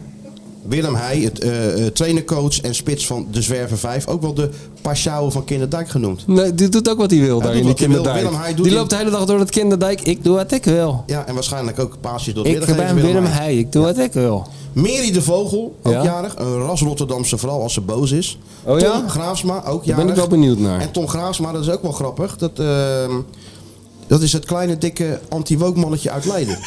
Willem Heij, het, eh, eh, trainercoach en spits van de Zwerver 5. Ook wel de Pashao van Kinderdijk genoemd. Nee, die doet ook wat hij wil daar doet in die wat hij wil. kinderdijk. Willem, hij doet Die die- loopt de hele dag door het kinderdijk. Ik doe wat ik wil. Ja, en waarschijnlijk ook paasjes door de Ik middengever, ben Willem Heij. Heij. Ik doe wat ik wil. Meri de Vogel, ook Ja. jarig. Een ras Rotterdamse vrouw als ze boos is. Oh Tom ja? Graafsma, ook Daar jarig. ben ik wel benieuwd naar. En Tom Graafsma, dat is ook wel grappig. Dat, ehm, dat is het kleine, dikke anti-woke mannetje uit Leiden.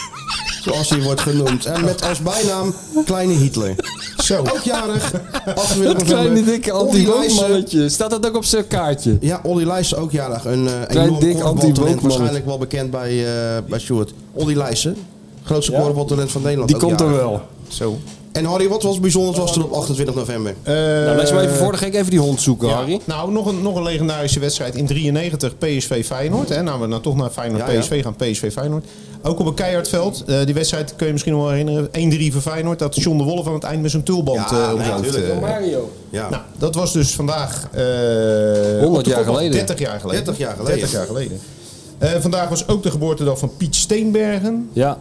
Zoals hij wordt genoemd. En met als bijnaam Kleine Hitler. Zo. Ook jarig. 28 Dat november. kleine dikke Olly Lijssen. anti-woke-mannetje. Staat dat ook op zijn kaartje? Ja, Olly Lijssen ook jarig. Een eh, Klein, enorm dik korfbaltalent. anti-woke Waarschijnlijk wel bekend bij, eh, bij Sjoerd. Olly Lijssen. Grootste korfbaltalent van Nederland. Die ook komt er jarig. wel. Zo. En Harry, wat was bijzonders was er op 28 november? Eh, Nou, laat je maar even voor de gek even die hond zoeken, Ja. Harry. Nou, nog een, nog een legendarische wedstrijd in 93, PSV Feyenoord. Hè. Nou, we nou toch naar Feyenoord Ja, ja. PSV gaan, PSV Feyenoord. Ook op een keihardveld. Eh die wedstrijd kun je misschien nog wel herinneren. 1-3 voor Feyenoord. Dat John de Wolf aan het eind met zijn tulband Ja, eh, nee, omhoudt, tuurlijk. eh. Mario. Ja. Nou, dat was dus vandaag... eh, op de jaar klok al geleden. 30 jaar geleden. 30 jaar geleden. 30 jaar geleden. Eh, vandaag was ook de geboortedag van Piet Steenbergen. Ja,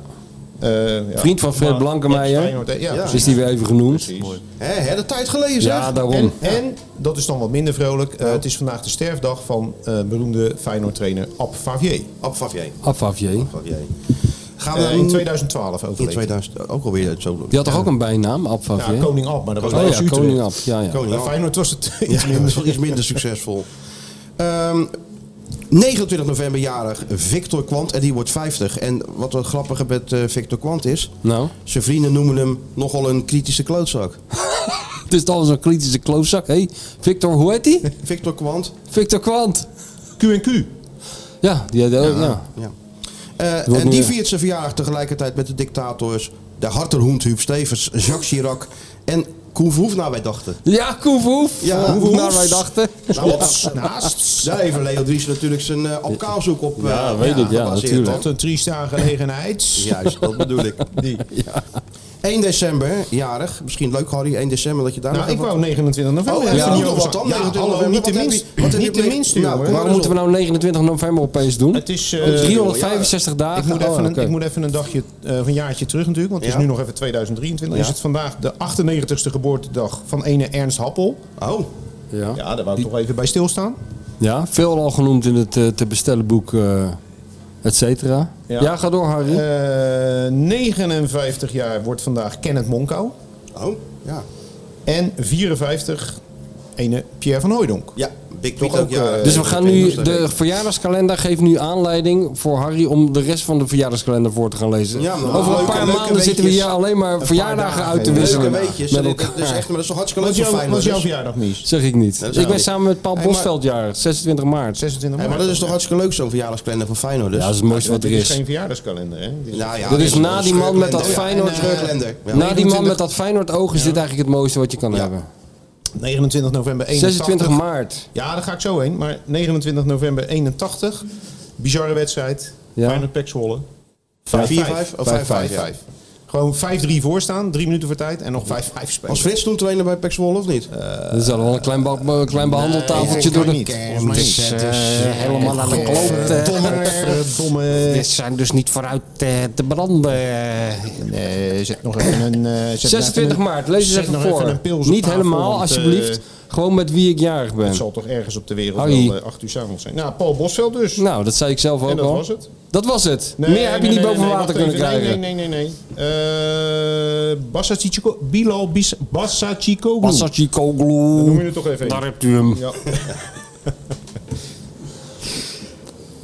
Eh, ja. Vriend van Fred Maar- Blankemeijer. Ja, Feyenoord, eh, ja, dus is die weer even genoemd. precies. Hè, hè, de tijd geleden zeg. Nou. Ja, daarom. En, en, dat is dan wat minder vrolijk, eh, het is vandaag de sterfdag van eh, beroemde Feyenoord-trainer Ab Favier. Ab Favier. Afafje. Favier. Gaan we Eh, in 2012 in overleden. 2000 ook alweer eh, zo. Die had toch ook een bijnaam, Afafje? Ja, koning Ab, maar dat was Oh wel ja, koning Ab. Ja, ja. Koning Bij Ab. Feyenoord was het iets iets minder, minder. wel iets minder succesvol. Ehm, 29 november jarig Victor Kwant en die wordt 50. En wat het grappige met eh, Victor Kwant is, Nou, zijn vrienden noemen hem nogal een kritische klootzak. het is al zo'n kritische klootzak. Hé, Victor, hoe heet die? Victor Kwant, Victor Kwant. Q&Q. Ja, die had ook, ja. ja. Eh, Wordt en die nu- viert zijn verjaardag tegelijkertijd met de dictators, de harterhoend Huub Stevens, Jacques Chirac en Koen Verhoeven, wij dachten. Ja, Koen Verhoef. Nou, Ja, Hoe- Koen Naar Verhoef. wij dachten. Nou, Schots, naast. Daar heeft Leo Dries natuurlijk zijn eh alkaalzoek op. eh, Ja, weet ik, ja, gebaseerd, natuurlijk. toch? Wat een trieste aangelegenheid. Juist, dat bedoel ik. Die. 1 december, jarig. Misschien leuk, Harry, 1 december dat je daar nog Nou, ik even wou 29 november. Oh, ja, Even ja, niet wat overslaan. dan? Ja, 29 hallo, november, niet de wat heb minst- je- wat heb Niet je de mee- minste, Nou, jongen. kom Waarom moeten we nou 29 november opeens doen? Het is... eh, Oh, 365 ik dagen. moet, even Oh, een, oké. ik moet even een dagje, eh, van een jaartje terug natuurlijk, want het Ja. is nu nog even 2023. Ja. Is het vandaag de 98ste geboortedag van ene Ernst Happel. Oh, Ja. Ja, daar wou ik toch even bij stilstaan. ja, veel al genoemd in het eh, te bestellen boek, eh et cetera. Ja. Ja. ga door Ah, Harry. Eh, 59 jaar wordt vandaag Kenneth Monko. oh, ja. En 54 ene Pierre van Hooijdonk. Ja, Big Toch Piet ook, ook, ja. eh, dus we gaan nu, de Ja, verjaardagskalender geeft nu aanleiding voor Harry om de rest van de verjaardagskalender voor te gaan lezen. Ja, maar Over een leuke- paar leuke maanden zitten we weetjes. hier alleen maar verjaardagen dagen, uit te ja. wisselen. Leuke weetjes. Met Dit- dit is elkaar. echt, maar dat is toch hartstikke Wat leuk jou- voor wat is Feyenoord. jouw dus. verjaardag, Mies? Zeg ik niet. dat zou Ik ben ik. samen met Paul Hey, maar- Bosveld jarig, 26 maart. 26 Hé, maart. maar dat is toch hartstikke leuk zo'n verjaardagsplannen van Feyenoord dus. Ja, dat is het mooiste wat Dit er is is. geen verjaardagskalender, hè? Dit is- Nou ja, Dat dit is na een die man met dat scheurkalender. Feyenoord... Ja, en, eh, scheurkalender. Ja. Na die man met dat Feyenoord oog is dit eigenlijk het mooiste wat je kan Ja. hebben. 29 november 81. 26 maart. Ja, daar ga ik zo heen. Maar 29 november 81. Bizarre wedstrijd. Ja. Feyenoord Pek Zwolle. 4-5 of 5-5, ja. 5-5. Gewoon 5-3 voorstaan, 3 minuten voor tijd en nog 5-5 spelen. Was Frits toen trainer bij Pek Zwolle of niet? Dat is al wel een klein, ba- een klein behandeltafeltje Volgens door mij de... eh, niet. Volgens mij niet. helemaal aan de kloot. Verdomme. zijn dus niet vooruit eh, te branden. Nee, zet eh, nog even een... eh, zet nog 26 even een- maart, lees eens zet even nog voor. een pils op niet tafel, helemaal, want, alsjeblieft. eh, Gewoon met wie ik jarig het ben. zal toch ergens op de wereld Harry. wel eh, 8 uur s'avonds zijn. Nou, Paul Bosveld dus. Nou, dat zei ik zelf ook en dat al. was het. Dat was het. Nee, Meer heb je nee, niet nee, boven nee, water wacht kunnen even. krijgen. Nee, nee, nee, nee. Eh Bassa Chico, Bilal Bis, Bassa Chico. Passachi Koglu. Noem je het toch even. Daar hebt u hem. Ja.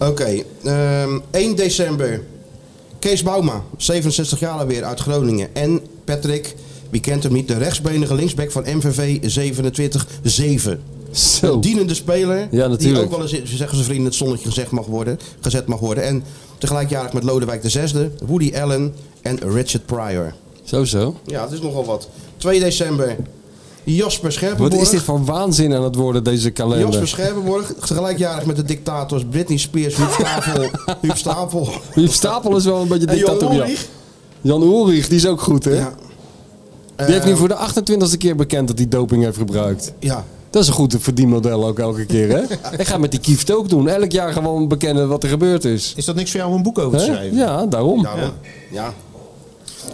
Oké, ehm, 1 december. Kees Bouma, 67 jaar alweer, uit Groningen. En Patrick, wie kent hem niet, de rechtsbenige linksback van MVV 27-7. Zo. Een dienende speler, Ja, die natuurlijk. ook wel eens, zeggen zijn vrienden, het zonnetje gezegd mag worden, gezet mag worden. En tegelijkertijd met Lodewijk VI, Woody Allen en Richard Pryor. Zo, zo. Ja, het is nogal wat. 2 december, Jasper Scherpenborg. Wat is dit voor waanzin aan het worden, deze Jasper kalender? Scherpenborg, tegelijkjarig met de dictators Britney Spears, Huub Stapel, Huub Stapel Huub Stapel is wel een beetje en Jan dictatoriaal. Ulrich. Jan Ulrich, die is ook goed, hè? Ja, eh, Die heeft nu voor de 28e keer bekend dat hij doping heeft gebruikt. ja. Dat is een goed verdienmodel ook elke keer, hè? Ik ga met die kieft ook doen. Elk jaar gewoon bekennen wat er gebeurd is. Is dat niks voor jou om een boek over te Hè? schrijven? Ja, daarom. daarom. Ja.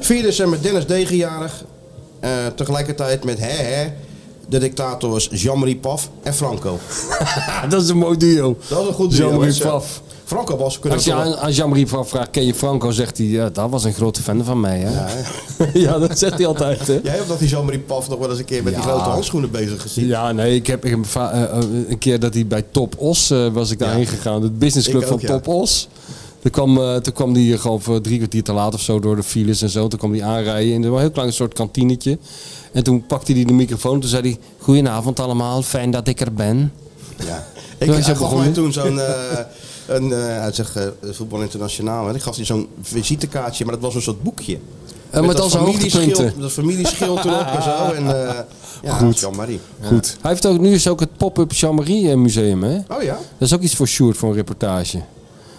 4 december, Dennis Degenjarig. Eh, tegelijkertijd met hè hè. de dictators Jean-Marie Paf en Franco. dat is een mooi duo. Dat is een goed duo. Jean-Marie Dus, eh, Paf. Franco was kunnen Als je we toch aan, aan Jean-Marie Paf vraagt, ken je Franco? Zegt hij, ja, dat was een grote fan van mij. Hè? Ja, dat zegt hij altijd. Hè? Jij hebt dat die Jean-Marie Paf nog wel eens een keer met die Ja. grote handschoenen bezig gezien. Ja, nee, ik heb, ik heb va- eh, eh, een keer dat hij bij Top Os eh, was ik daarheen gegaan. Het businessclub Ik van ook, ja. Top Os. Toen kwam, eh, toen kwam die gewoon voor drie kwartier te laat of zo door de files en zo. Toen kwam die aanrijden in een heel klein soort kantinetje. En toen pakte hij de microfoon. Toen zei hij, goedenavond allemaal, fijn dat ik er ben. Ja. Toen Ik is hij hij gaf mij begonnen. toen zo'n... eh, een, eh, hij zegt eh, voetbal internationaal. hè. Ik gaf hij zo'n visitekaartje, maar dat was een soort boekje. Eh, met al dat zijn familieschild- hoogtepunten. Dat familieschild erop en zo. En, eh, ja, Goed. Jean-Marie. Ja. Goed. Hij heeft ook, nu is ook het pop-up Jean-Marie eh, museum, hè? Oh ja? Dat is ook iets voor Sjoerd, voor een reportage.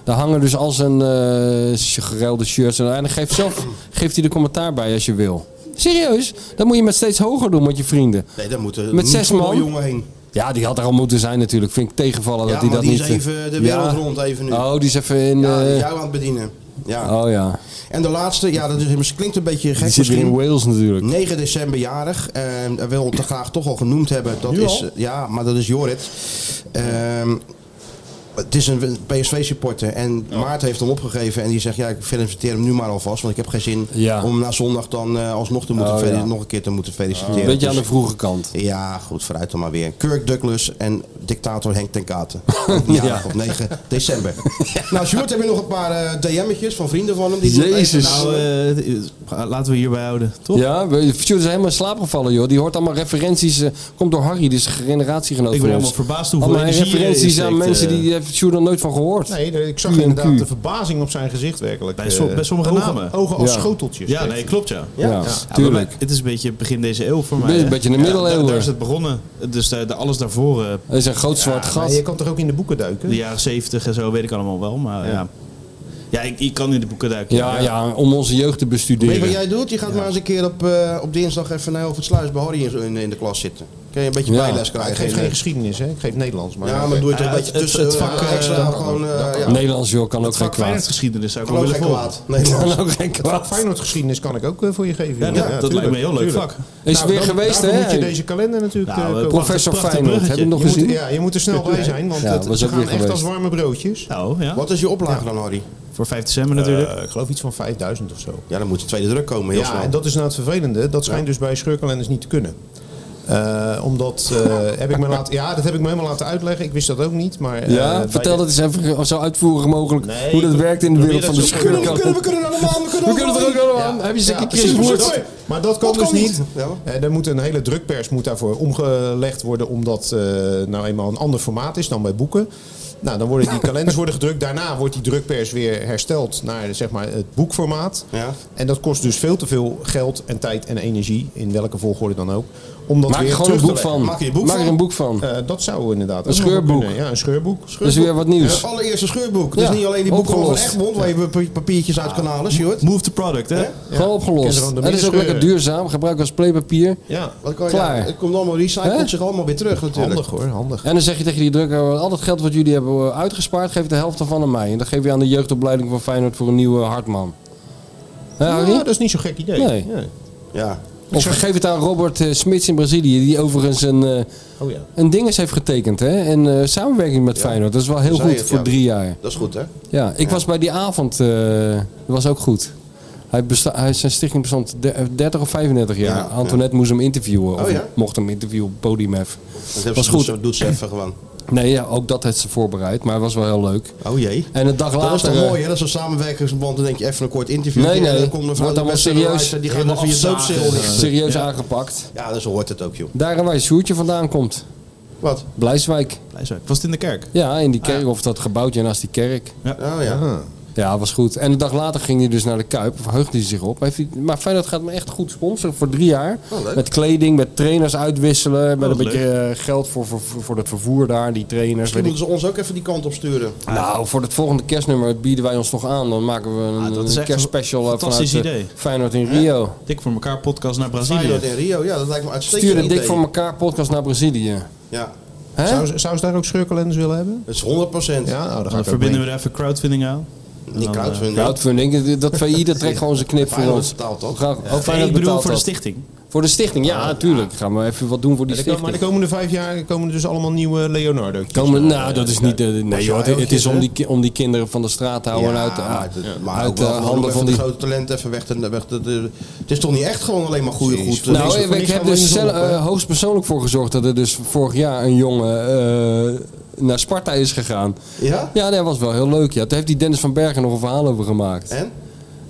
Daar hangen dus al zijn eh, gerelde shirts. En hij geeft, zelf, geeft hij de commentaar bij als je wil. Serieus? Dat moet je met steeds hoger doen met je vrienden. Nee, daar moeten Met zes man? jongen heen. Ja, die had er al moeten zijn natuurlijk. Vind ik tegenvallen Ja, dat hij maar dat die niet... is even de wereld Ja. rond even nu. Oh, die is even in... Ja, die eh, is jou aan het bedienen. Ja. Oh ja. En de laatste, ja, dat is, klinkt een beetje Die gek zit weer in misschien. Wales natuurlijk. 9 december jarig. En we willen het graag toch al genoemd hebben. Dat Nu is, eh, al? ja, maar dat is Jorrit. Ehm, het is een PSV-supporter. En Maarten heeft hem opgegeven. En die zegt, ja, ik feliciteer hem nu maar alvast. Want ik heb geen zin Ja. om na zondag dan eh, alsnog te moeten Oh, fel- ja. nog een keer te moeten feliciteren. Een beetje aan Dus- de vroege kant. ja, goed, vooruit dan maar weer. Kirk Douglas en dictator Henk ten Katen. Ja, Ja. op 9 december. Nou, Sjoerd, heb je nog een paar eh, DM'tjes van vrienden van hem? Die die Jezus. even- Nou, nou, eh, eh, laten we hierbij houden, toch? Ja, we- Sjoerd is helemaal in slaap gevallen, joh. Die hoort allemaal referenties. eh, komt door Harry, dus generatiegenoot Ik ben van helemaal ons. verbaasd hoeveel allemaal energie erin referenties aan steekt, mensen eh. die heeft Sjoerd nog nooit van gehoord. Nee, de- ik zag Q en inderdaad Q. de verbazing op zijn gezicht werkelijk. Bij som- Eh, bij sommige ogen, namen. Ogen als Ja. schoteltjes. Ja, nee, klopt ja. Ja, Ja, tuurlijk. maar Het is een beetje begin deze eeuw voor Een mij. beetje- hè? beetje in de Ja, middeleeuwen. daar- Daar is het begonnen. Dus de, de- alles daarvoor, eh, Dat is een groot zwart Maar gat. je kan toch ook in de boeken duiken? de jaren zeventig en zo, weet ik allemaal wel. Maar ja, ja. ik, ik kan in de boeken duiken. Ja, ja, om onze jeugd te Weet je bestuderen. wat jij doet? Je gaat maar eens een keer op, eh, op dinsdag even naar het Sluis bij Harry in, in, in de klas zitten. Kun je een beetje Ja. bijles Ja, ik krijgen. geef in, geen eh, geschiedenis, hè? ik geef Nederlands. Maar eh, ja, maar doe het Ja, een beetje het- het- tussen. het vak, eh, eh, extra gewoon, eh, ja. Nederlands joh, kan ook geen Vak kwaad. geschiedenis zou ik Kan wel ook willen geen volgen. kwaad. Nee, Kan ook geen Vak kwaad. Feyenoord geschiedenis kan ik ook eh, voor je geven. Ja, joh. dat- dat lijkt me een heel leuk tuurlijk. vak. Is Nou, weer dan- geweest, daarvoor hè? moet je deze kalender natuurlijk... Nou, eh, eh, kopen. Professor Prachtig Feyenoord, heb bruggetje. je nog je eens moet, doen? ja, je moet er snel bij zijn, want Ja, het, was ze ook gaan weer echt als geweest. warme broodjes. Nou, ja. Wat is je oplage dan, Harry? Voor 5 december natuurlijk. Eh, ik geloof iets van 5000 of zo. Ja, dan moet de tweede druk komen, heel Ja, snel. en dat is nou het vervelende. Dat schijnt dus bij scheurkalenders niet te kunnen. Eh, omdat eh, heb ik me laten, ja, dat heb ik me helemaal laten uitleggen. Ik wist dat ook niet. Maar, eh, Ja, bij vertel de- dat eens even eh, zo uitvoerig mogelijk Nee, hoe dat ik werkt in de probeer wereld van de dat zo- schurken. kunnen allemaal, we We kunnen het er ook allemaal aan. Heb je eens een Ja, keer Chris precies, Woerts? dat kan. Maar dat kan Dat dus kan niet. niet. Ja. Eh, er moet een hele drukpers moet daarvoor omgelegd worden, omdat eh, nou eenmaal een ander formaat is dan bij boeken. Nou, dan worden die kalenders worden gedrukt. Daarna wordt die drukpers weer hersteld naar zeg maar, het boekformaat. Ja. En dat kost dus veel te veel geld en tijd en energie, in welke volgorde dan ook. Om dat Maak er weer gewoon terug een te boek leggen. van. Maak je een boek Maak er van. een boek van. Eh, dat zou inderdaad. Een ook nog wel scheurboek. kunnen. Ja, een scheurboek. Dat is weer wat nieuws. Het allereerste scheurboek. Dus Ja, niet alleen die boeken van opgelost. Egmond, waar je pa- papiertjes uit kan halen, Sjoerd. Move the product, hè? Gewoon Kunnen ze opgelost. gewoon En door dat is ook midden lekker duurzaam. Gebruik als playpapier. Ja, Wat kan je- Klaar. ja, het komt allemaal recycled Hè? zich allemaal weer terug natuurlijk. handig hoor, handig. En dan zeg je tegen die drukker, al dat geld wat jullie hebben eh, uitgespaard, geef de helft ervan aan mij. En dat geef je aan de jeugdopleiding van Feyenoord voor een nieuwe hartman. Hè, Ja, Harry? dat is niet zo'n gek idee. nou, Nee. Ja. Of geef het aan Robert eh, Smits in Brazilië, die overigens een, eh, Oh ja. een dinges heeft getekend. Hè? En eh, samenwerking met Feyenoord, dat is wel heel zei goed het, voor ja. drie jaar. Dat is goed, hè? Ja, ik was bij die avond, eh, dat was ook goed. Hij besta- hij, zijn stichting bestond de- eh, 30 of 35 jaar. Ja, Antoinette moest hem interviewen. Oh, of ja? mocht hem interviewen op Podium F. Dat hebben Was ze, dus goed. goed. Doet, doet ze even gewoon. Nee, ja, ook dat had ze voorbereid, maar het was wel heel leuk. Oh jee. En een dag Dat is later... toch eh, mooi, hè? Dat is een samenwerkingsverband. Dan denk je even een kort interview. Nee, nee. En dan komt er Wordt van allemaal de serieus. Die gaan dan je doopzeel liggen. serieus aangepakt. eh, Ja, dus hoort het ook, joh. Daar waar Sjoertje vandaan komt. Wat? Ah, Blijswijk. Blij zijn. Was het in de kerk? Ja, in die kerk, of dat gebouwtje naast die kerk. Oh ja. Ja, was goed. En een dag later ging hij dus naar de Kuip, verheugde hij zich op. Heeft hij- maar Feyenoord gaat me echt goed sponsoren voor drie jaar. Oh, leuk. met kleding, met trainers uitwisselen, met wat een beetje eh, geld voor, voor, voor het vervoer daar, die trainers. Misschien Weet ik. moeten ze ons ook even die kant op sturen. Nou, voor het volgende kerstnummer bieden wij ons toch aan. Dan maken we een, Ah, dat is een echt kerstspecial een eh, vanuit fantastisch eh, idee. Feyenoord in Rio. Dik voor elkaar podcast naar Brazilië. Feyenoord in Rio. Ja, dat lijkt me uitstekend. Stuur een dik idee. voor elkaar podcast naar Brazilië. Ja, Hè? Zou, ze- zou ze daar ook scheurkalenders willen hebben? dat is 100 procent. Ja, nou, dan ga Dan ik verbinden verbinden we er even crowdfunding aan. Oh, nou, Die crowdfunding. Crowdfunding, dat VI dat trekt gewoon zijn knip voor Feyenoord ons. betaalt dat. Graag- Oh, Nee, Feyenoord ik bedoel betaalt voor de dat. stichting. Voor de stichting, ja, natuurlijk. Gaan we even wat doen voor die Maar de- stichting. maar de komende vijf jaar komen er dus allemaal nieuwe Leonardo. Komen, nou, dat is niet. eh, nee, joh, het, het is om die, ki- om die kinderen van de straat te houden. Ja, en uit maar uit, het- maar ook uit de wel gewoon handen even van de die. grote talent even weg. te- weg te- te- het is toch niet echt gewoon alleen maar goede goed. eh, Nou, ik, ik heb dus zelf, eh, hoogstpersoonlijk voor gezorgd dat er dus vorig jaar een jongen eh, naar Sparta is gegaan. Ja? Ja, dat was wel heel leuk. Ja. Daar heeft die Dennis van Bergen nog een verhaal over gemaakt. En?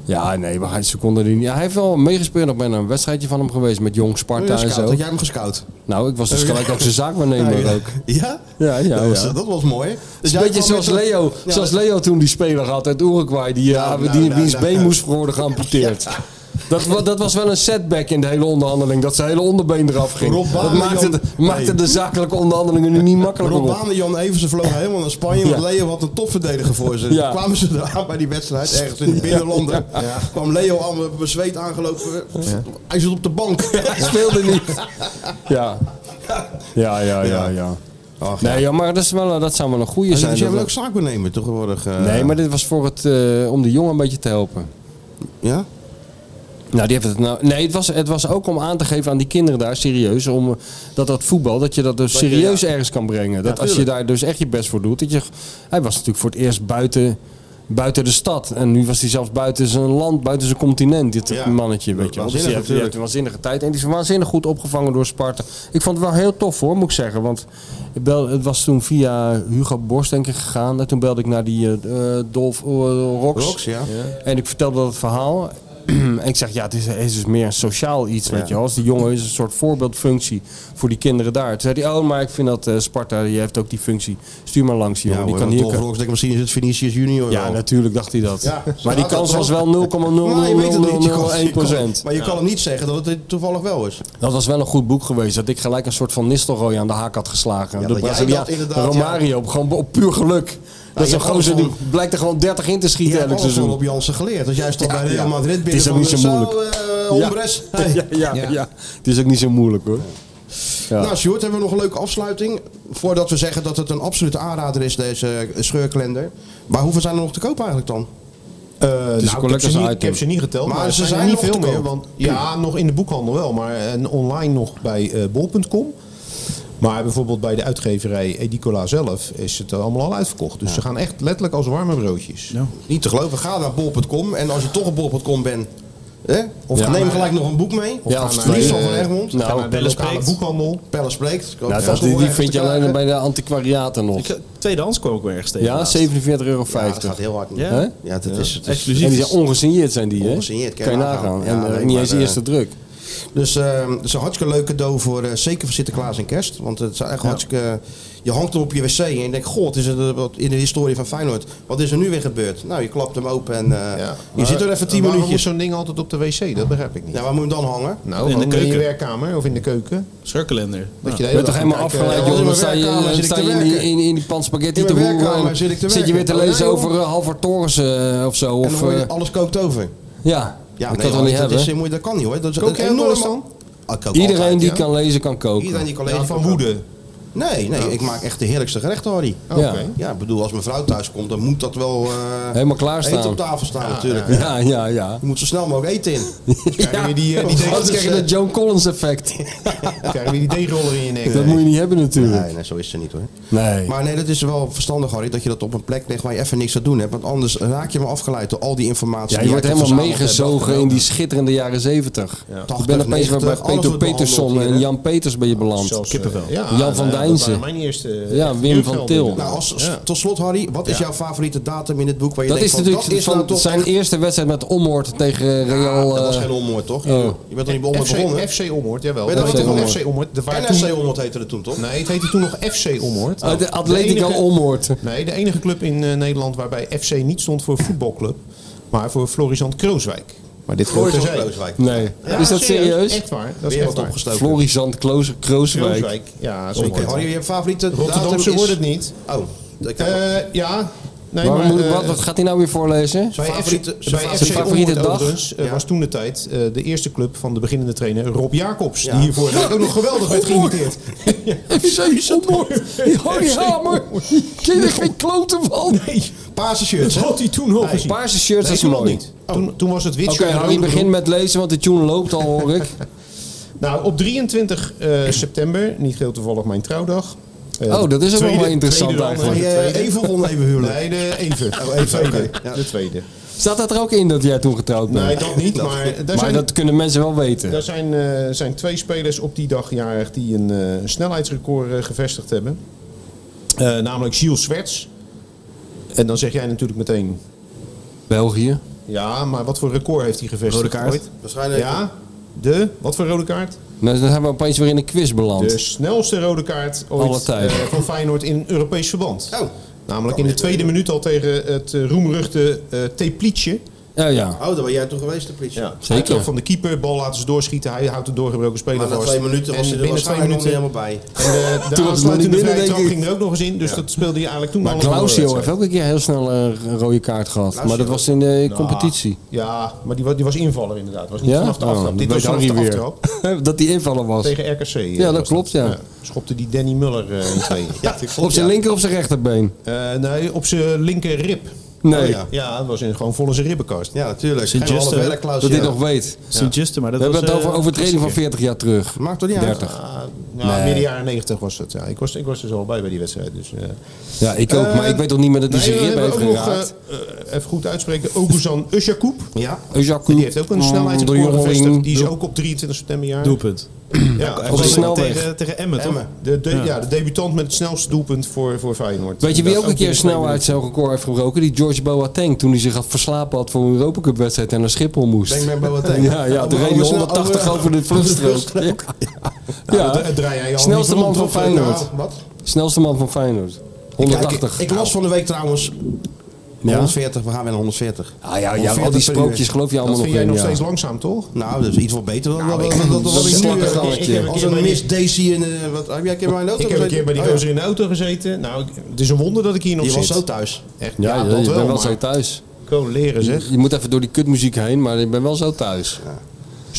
Ja, nee, maar hij, ze konden die niet. Hij heeft wel meegespeeld. Ik ben naar een wedstrijdje van hem geweest met Oh, Jong Sparta en zo. Had jij hem gescout? Nou, ik was dus gelijk ook zijn zaakwaarnemer Oh, Ja, ja. ook. Ja? Ja, ja, dat, was, ja. dat was mooi. Dus Het is jij een beetje kwam zoals met zo'n- Leo, Ja, zoals Leo toen die speler had uit Uruguay, die, eh, nou, die, nou, wiens nou. been moest worden geamputeerd. Dat, wa- dat was wel een setback in de hele onderhandeling, dat zijn hele onderbeen eraf ging. Rob dat Baan, maakte de, Jan. maakte de zakelijke onderhandelingen nu niet makkelijker Rob Baan op. en Jan Eversen vlogen helemaal naar Spanje. Want Ja. Leo had een topverdediger voor ze. Ja. Toen kwamen ze eraan bij die wedstrijd, ergens in de binnenlanden. Kwam Leo allemaal bezweet aangelopen. Hij zit op de bank. Hij speelde niet. Ja, ja, ja, ja. ja. nee, ja, maar dat, is wel, dat zou wel een goede Dus zijn. jij dat wil ook we- zaakbenemer tegenwoordig. eh, nee, maar dit was voor het, eh, om de jongen een beetje te helpen. Ja? Nou, die heeft het nou. Nee, het was, het was ook om aan te geven aan die kinderen daar, serieus, om eh, dat dat voetbal, dat je dat dus je, serieus ja. ergens kan brengen. Dat Ja, als je tuurlijk. daar dus echt je best voor doet. Dat je, hij was natuurlijk voor het eerst buiten, buiten de stad. En nu was hij zelfs buiten zijn land, buiten zijn continent, dit Ja. mannetje. Weet je wel. Dus Waanzinnig die heeft, die heeft natuurlijk. een waanzinnige tijd. En die is waanzinnig goed opgevangen door Sparta. Ik vond het wel heel tof hoor, moet ik zeggen. Want ik bel, het was toen via Hugo Borst denk ik gegaan. En toen belde ik naar die eh, eh, Dolf eh, Rox. Rox, ja. En ik vertelde dat verhaal. en ik zeg, ja, het is, het is dus meer een sociaal iets, weet je wel. Als die jongen is een soort voorbeeldfunctie voor die kinderen daar. Toen zei hij, oh, maar ik vind dat eh, Sparta, die heeft ook die functie. Stuur maar langs, die Ja, jongen. hoor, die kan want hier... Dolf Rox, denk ik, misschien is het Vinicius Junior Ja, wel. natuurlijk dacht hij dat. Ja, maar die dat kans wel. was wel 0,0001%. Maar je weet het niet, je kan- je kan- Maar je kan hem niet zeggen dat het toevallig wel is. Dat was wel een goed boek geweest. Dat ik gelijk een soort van Nistelrooy aan de haak had geslagen. Ja, de dat jij Braziliaan dat inderdaad, Romario, gewoon op puur geluk. dat is je een hebt alles gozer die van- blijkt er gewoon 30 in te Je schieten hebt elk alles seizoen. wel op Jansen geleerd. Als jij stond Ja, bij Real ja. Madrid Het binnen is ook van, niet zo eh, moeilijk. Zo, eh, Hombres. Ja. Hey. Ja, ja, Ja. ja. het is ook niet zo moeilijk hoor. Ja. Nou, Sjoerd, hebben we nog een leuke afsluiting. Voordat we zeggen dat het een absolute aanrader is, deze scheurkalender. Maar hoeveel zijn er nog te koop eigenlijk dan? nou, ik, heb collectors ze niet, item. ik heb ze niet geteld, maar, Maar er ze zijn, er zijn niet nog veel te meer. koop. Want, ja, nog in de boekhandel wel, maar eh, en online nog bij eh, bol.com. Maar bijvoorbeeld bij de uitgeverij Edicola zelf is het allemaal al uitverkocht. Dus ze gaan echt letterlijk als warme broodjes. Niet te geloven, ga naar bol.com. En als je toch op bol.com bent, hè? of Ja, neem maar- gelijk nog een boek mee. Ja, Of of het twee. liefst al van Eh, Egmond. nou, Ga naar de Pelle lokale spreekt. boekhandel. Pelle spreekt. Nou, dat, Vast nog die, wel die ergens vind te je alleen krijgen. bij de antiquariaten nog. Ik, tweedehands kwam ik weer ergens tegen. Ja, laatst. 47,50 euro. Ja, dat gaat heel hard. Ja. Hè? Ja, dat is het. is- Exclusief. En die zijn ongesigneerd zijn die, hè? Ongesigneerd, kan je nagaan. Ja, en eh, nee, niet maar eens de de- eerste druk. Dus eh, het is een hartstikke leuk cadeau voor, eh, zeker voor Sinterklaas en kerst. Want het is echt hartstikke... Je hangt hem op je wc en je denkt, god, is het eh, wat in de historie van Feyenoord. Wat is er nu weer gebeurd? Nou, je klapt hem open en eh, je Maar zit er even tien waarom minuutjes. moet zo'n ding altijd op de wc? Dat begrijp ik niet. Ja, waar moet je hem dan hangen? Nou, In de in de keuken. werkkamer of in de keuken. Scheurkalender. Dat Nou. je de Je hele bent toch dag helemaal gaat kijken. afgeleid, ja, joh. in Dan mijn sta je, werkkamer dan zit ik sta te je in, die, werken. in, in die pan spaghetti In te mijn roeren. werkkamer en zit ik te je weer te werken. lezen Oh, nee, over eh, Halvard Torres eh, of zo. En dan Of, hoor je, eh, alles kookt over. ja, Ja, nee, dat kan toch hoor, niet dat, hebben? is- moet je- dat kan niet hoor. Dat is Kook een jij ook wel eens enorme- Ah, ik kook Iedereen altijd, die ja. kan lezen, kan koken. Iedereen die kan lezen. Ja, van woede. Nee, nee, ik maak echt de heerlijkste gerechten, Harry. Ja. Oh, Oké. Ja, ik bedoel, als mijn vrouw thuis komt, dan moet dat wel eh, Helemaal klaarstaan. eten op tafel staan natuurlijk. Ja, ja, ja. Je moet zo snel mogelijk eten in. Krijg je die, eh, die, Anders deeg- krijg je dat Joan Collins effect. krijg je die deegroller in je nek. Dat moet je niet hebben natuurlijk. Nee, nee, zo is ze niet hoor. Nee. Maar nee, dat is wel verstandig, Harry, dat je dat op een plek legt waar je even niks aan doen hebt. Want anders raak je me afgeleid door al die informatie. Ja, je die wordt jij helemaal verzameld hebt meegezogen in afgelopen. die schitterende jaren zeventig. Ik 80, ben opeens weer 90, bij alles Peter wordt behandeld Peterson hier, en hè? Jan Peters ben je beland. Kippenvel. Jan van Dijnsen. eh, Dat waren mijn eerste. eh, Ja, Wim van Til. jeugdhelden. Nou, als, tot slot, Harry, wat is jouw favoriete datum in dit boek? Waar je Dat is denkt natuurlijk van, dat is van nou toch zijn echt- eerste wedstrijd met onmoord tegen Ah, Real. dat was eh, geen onmoord, toch? Je oh. bent toch niet bij onmoord begonnen? FC, FC Ommoord, jawel. Ben je Dat dat heette niet gewoon begonnen? FC Ommoord. Er waren En toen- FC Ommoord heette het toen, toch? Nee, het heette toen nog FC Ommoord. Oh, de De Atletico enige- Ommoord. Nee, de enige club in eh, Nederland waarbij FC niet stond voor voetbalclub, maar voor Florisant Krooswijk. Maar dit Floris van terzijde. Klooswijk. Nee. Ja, is dat serieus? Echt waar. Dat is Weer echt wat waar. opgestoken. Florisant Kloos- Krooswijk. Krooswijk. Ja, Oké, zeker. Oh, Harry, je favoriete datum Rotterdamse is- wordt het niet. Oh, dat kan wel. Eh, ja. Nee, Waarom moet ik- eh, wat, wat gaat hij nou weer voorlezen? Bij favoriete- FC, zijn bij favoriete dus? FC favoriete Ommoord dag? overigens, eh, Ja. was toen de tijd eh, de eerste club van de beginnende trainer Rob Jacobs. Ja. Oh, Die hiervoor ook nog geweldig werd geïmiteerd. FC Ommoord. Harry Hamer. Ken er geen kloten van. Paarse shirts, hè? Dat had hij toen nog gezien. Paarse shirts Nee, is toen nog mooi. Oh. niet. Toen, toen was het wit Oké, shirt en Harry rode begint broek. met lezen, want de tune loopt al hoor ik. Nou, op 23 eh, september, niet heel toevallig mijn trouwdag. Eh, Oh, dat is ook tweede- wel interessant tweede dan, eigenlijk. eh, de tweede. Even of oneven huwelijk? Nee, de even. Oh, even, de tweede. oké. Ja. De tweede. Staat dat er ook in dat jij toen getrouwd bent? Nee, dat niet, maar... daar maar zijn- dat kunnen mensen wel weten. Er zijn, eh, zijn twee spelers op die dag jarig die een eh, snelheidsrecord eh, gevestigd hebben. Eh, namelijk Gilles Swerts. En dan zeg jij natuurlijk meteen... België. Ja, maar wat voor record heeft hij gevestigd? Rode kaart. ooit? Waarschijnlijk. Ja, de... Wat voor rode kaart? Nou, dan hebben we opeens weer in een quiz beland. De snelste rode kaart ooit Alle tijden. eh, van Feyenoord in een Europees verband. Oh. Namelijk in de tweede minuut al tegen het eh, roemruchte eh Teplietje. Ja, ja. Oh, daar ben jij toen geweest, de politie. Zeker. Uitloop van de keeper, bal laten ze doorschieten. Hij houdt een doorgebroken speler Maar na vast. twee minuten was En hij er binnen twee waarschijnlijk nog minuten niet helemaal bij. En eh, de Toen was het nog aansluitende niet binnen, vrije denk trap ik. ging er ook nog eens in. Dus dat speelde hij eigenlijk toen Maar al een Clausio heeft wedstrijd. ook een keer heel snel eh, een rode kaart gehad. Maar dat was in de competitie. Nou, Ja, maar die was, die was invaller inderdaad. Was niet Ja? vanaf de Oh, aftrap. dat Dit was weet vanaf Harry de weer. aftrap. dat die invallen was. Tegen RKC. eh, Ja, dat was klopt, ja. Schopte die Danny Muller eh, in twee. ja, Op zijn linker of zijn rechterbeen? Eh, nee, op zijn linker rib. Nee, Ja, ja dat was in, gewoon vol in zijn ribbenkast. Ja, natuurlijk. Sint Geen Justen, halve werk, Klaus. dat dit Ja. nog weet. Sint-Justen, maar dat We hebben was... het over eh, overtreding van 40 jaar terug. Maakt toch niet uit. 30. Ah, ja, midden jaren 90 was dat. Ja. Ik, was, ik was er zo bij bij die wedstrijd. Dus, eh. Ja, ik ook. maar ik weet nog niet meer dat hij Ehm, Nee, zijn we rib hebben heeft ook nog, geraakt. eh, eh, even goed uitspreken, Oguzan Ushakoub. Ja. Jacques, Die heeft ook Oh, een snelheidsrecord gevestigd. Die is ook op 23 september jaar. Doelpunt. Ja, Hij was was snelweg. Tegen, tegen Emmen, toch? De, de- ja. Ja. de debutant met het snelste doelpunt voor, voor Feyenoord. Weet je wie Dat ook een keer een in de tweede snelheidsrecord heeft gebroken? Die George Boateng toen hij zich had verslapen had voor een Europa Cup wedstrijd en naar Schiphol moest. Denk maar bij wat denk. Ja, ja, toen reed hij 180 over de vluchtstrook. Ja. minuut. Dat- dat draai jij al Snelste niet man rond, of, eh, van Feyenoord. nou, wat? Snelste man van Feyenoord. Ik, 180. ik las van de week trouwens. Ja? 140, we gaan weer naar 140. Ah ja, ja, 140 al die per uur. sprookjes geloof je allemaal Dat nog vind jij in. nog ja. steeds langzaam, toch? Nou, dat is iets wel beter dan Nou, wat ik- wat- wat- dat wat is ik een nu... slappergalletje. eh, ik- ik- Als een Miss Daisy en... eh, wat- Heb jij een keer bij een auto Ik heb een keer bij die oh gezeten? gozer in de auto gezeten. Nou, ik- het is een wonder dat ik hier nog Oh, ja. Je zit. was zo thuis. Echt, ja, Ja, ja, dat wel, je bent wel maar zo thuis. gewoon leren zeg. Je moet even door die kutmuziek heen, maar ik ben wel zo thuis.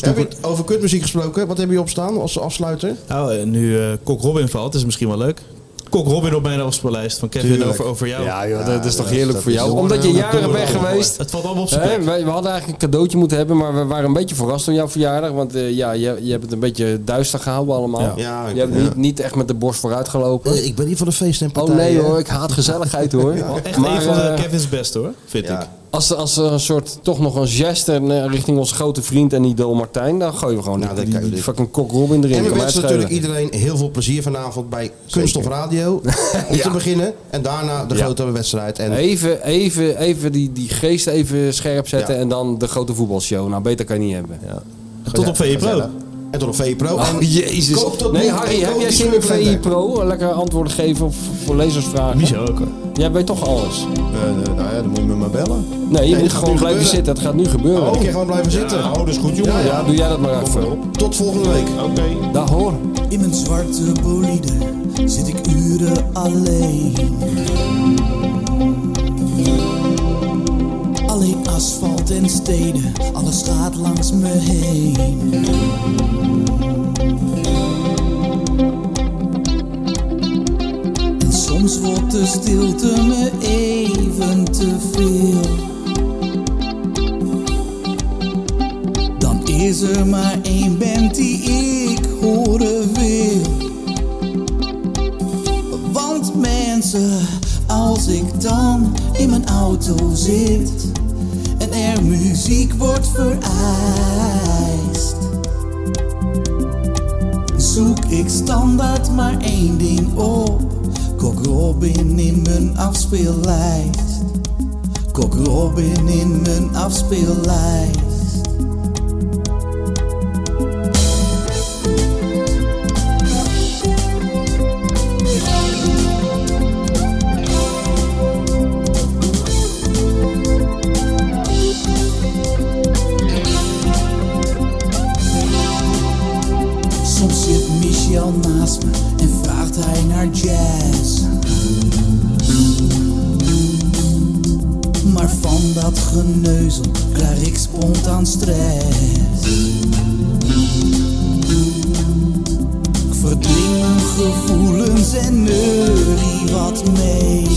Heb je over kutmuziek gesproken? Wat heb je opstaan als afsluiter? Nou, eh, nu eh Kok Robin valt, is misschien wel leuk. Kok Robin op mijn afspeellijst van Kevin Tuurlijk. over, over jou. Ja, joh, dat is toch dat- heerlijk dat voor is jou. een- Omdat je dat jaren doen we weg wel. geweest. Het valt allemaal op zijn Hè, plek. wij, we hadden eigenlijk een cadeautje moeten hebben, maar we waren een beetje verrast door jouw verjaardag. Want eh, ja, je, je hebt het een beetje duister gehouden allemaal. Ja. Ja, je hebt ja. niet, niet echt met de borst vooruit gelopen. Eh, Ik ben niet van de feesten en oh partijen. nee hè? hoor, ik haat gezelligheid hoor. Echt maar een van de eh, Kevin's best hoor, vind Ja. ik. als, er- als er een soort, toch nog een geste eh, richting onze grote vriend en idool Martijn, dan gooien we gewoon Nou, die, dat kan die- je doen. die fucking kok Robin erin. En we Kan mij het wensen natuurlijk schelen. iedereen heel veel plezier vanavond bij Kunststof Radio. Om te beginnen. En daarna de Ja. grote wedstrijd. En Even, even, even die, die geest even scherp zetten Ja. en dan de grote voetbalshow. Nou, beter kan je niet hebben. Tot op VE Pro. En tot op VE Pro. Oh, en jezus. Koop dat nee, niet Harry, en heb koop jij die zin in snoeiplanten. VI Pro? Lekker antwoorden geven op voor lezersvragen. Michel ook hoor. Jij weet toch alles? Eh, eh, nou ja, dan moet je me maar bellen. Nee, je dat moet gaat gewoon nu blijven gebeuren. zitten. Het gaat nu gebeuren. ik kan gewoon blijven zitten. Oh, dat is goed jongen. Ja, ja. Ja, doe jij dat maar even. Tot volgende week. Oké. Daar hoor. In mijn zwarte bolide zit ik uren alleen. Alleen asfalt en steden, alles gaat langs me heen. En soms wordt de stilte me even te veel. Dan is er maar één band die ik horen wil. Want mensen, als ik dan in mijn auto zit en er muziek wordt vereist, zoek ik standaard maar één ding op. Kok Robin in mijn afspeellijst. Kok Robin in mijn afspeellijst. Soms zit Michel naast me en vraagt hij naar jazz. Maar van dat geneuzel krijg ik spontaan stress. Ik verdring mijn gevoelens en neurie wat mee.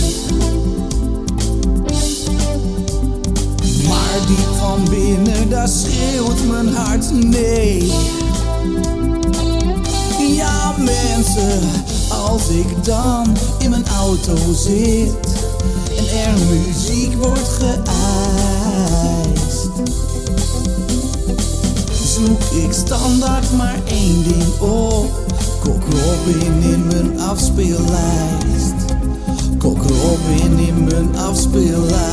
Maar diep van binnen, daar schreeuwt mijn hart nee. hart maar één ding op. Kok Robin in mijn afspeellijst. Kok Robin in mijn afspeellijst.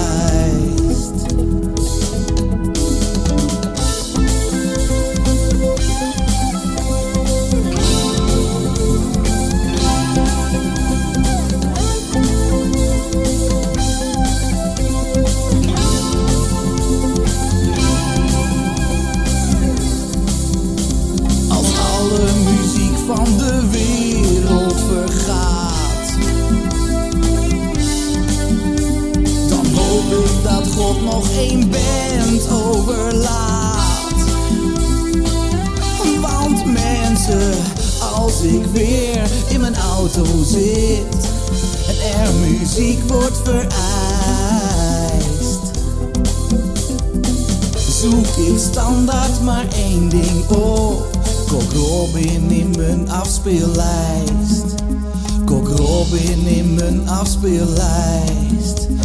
Als alle muziek van de wereld vergaat, dan hoop ik dat God nog één band overlaat. Want mensen, als ik weer in mijn auto zit en er muziek wordt vereist zoek ik standaard maar één ding op. Kok Robin in mijn afspeellijst. Kok Robin in mijn afspeellijst.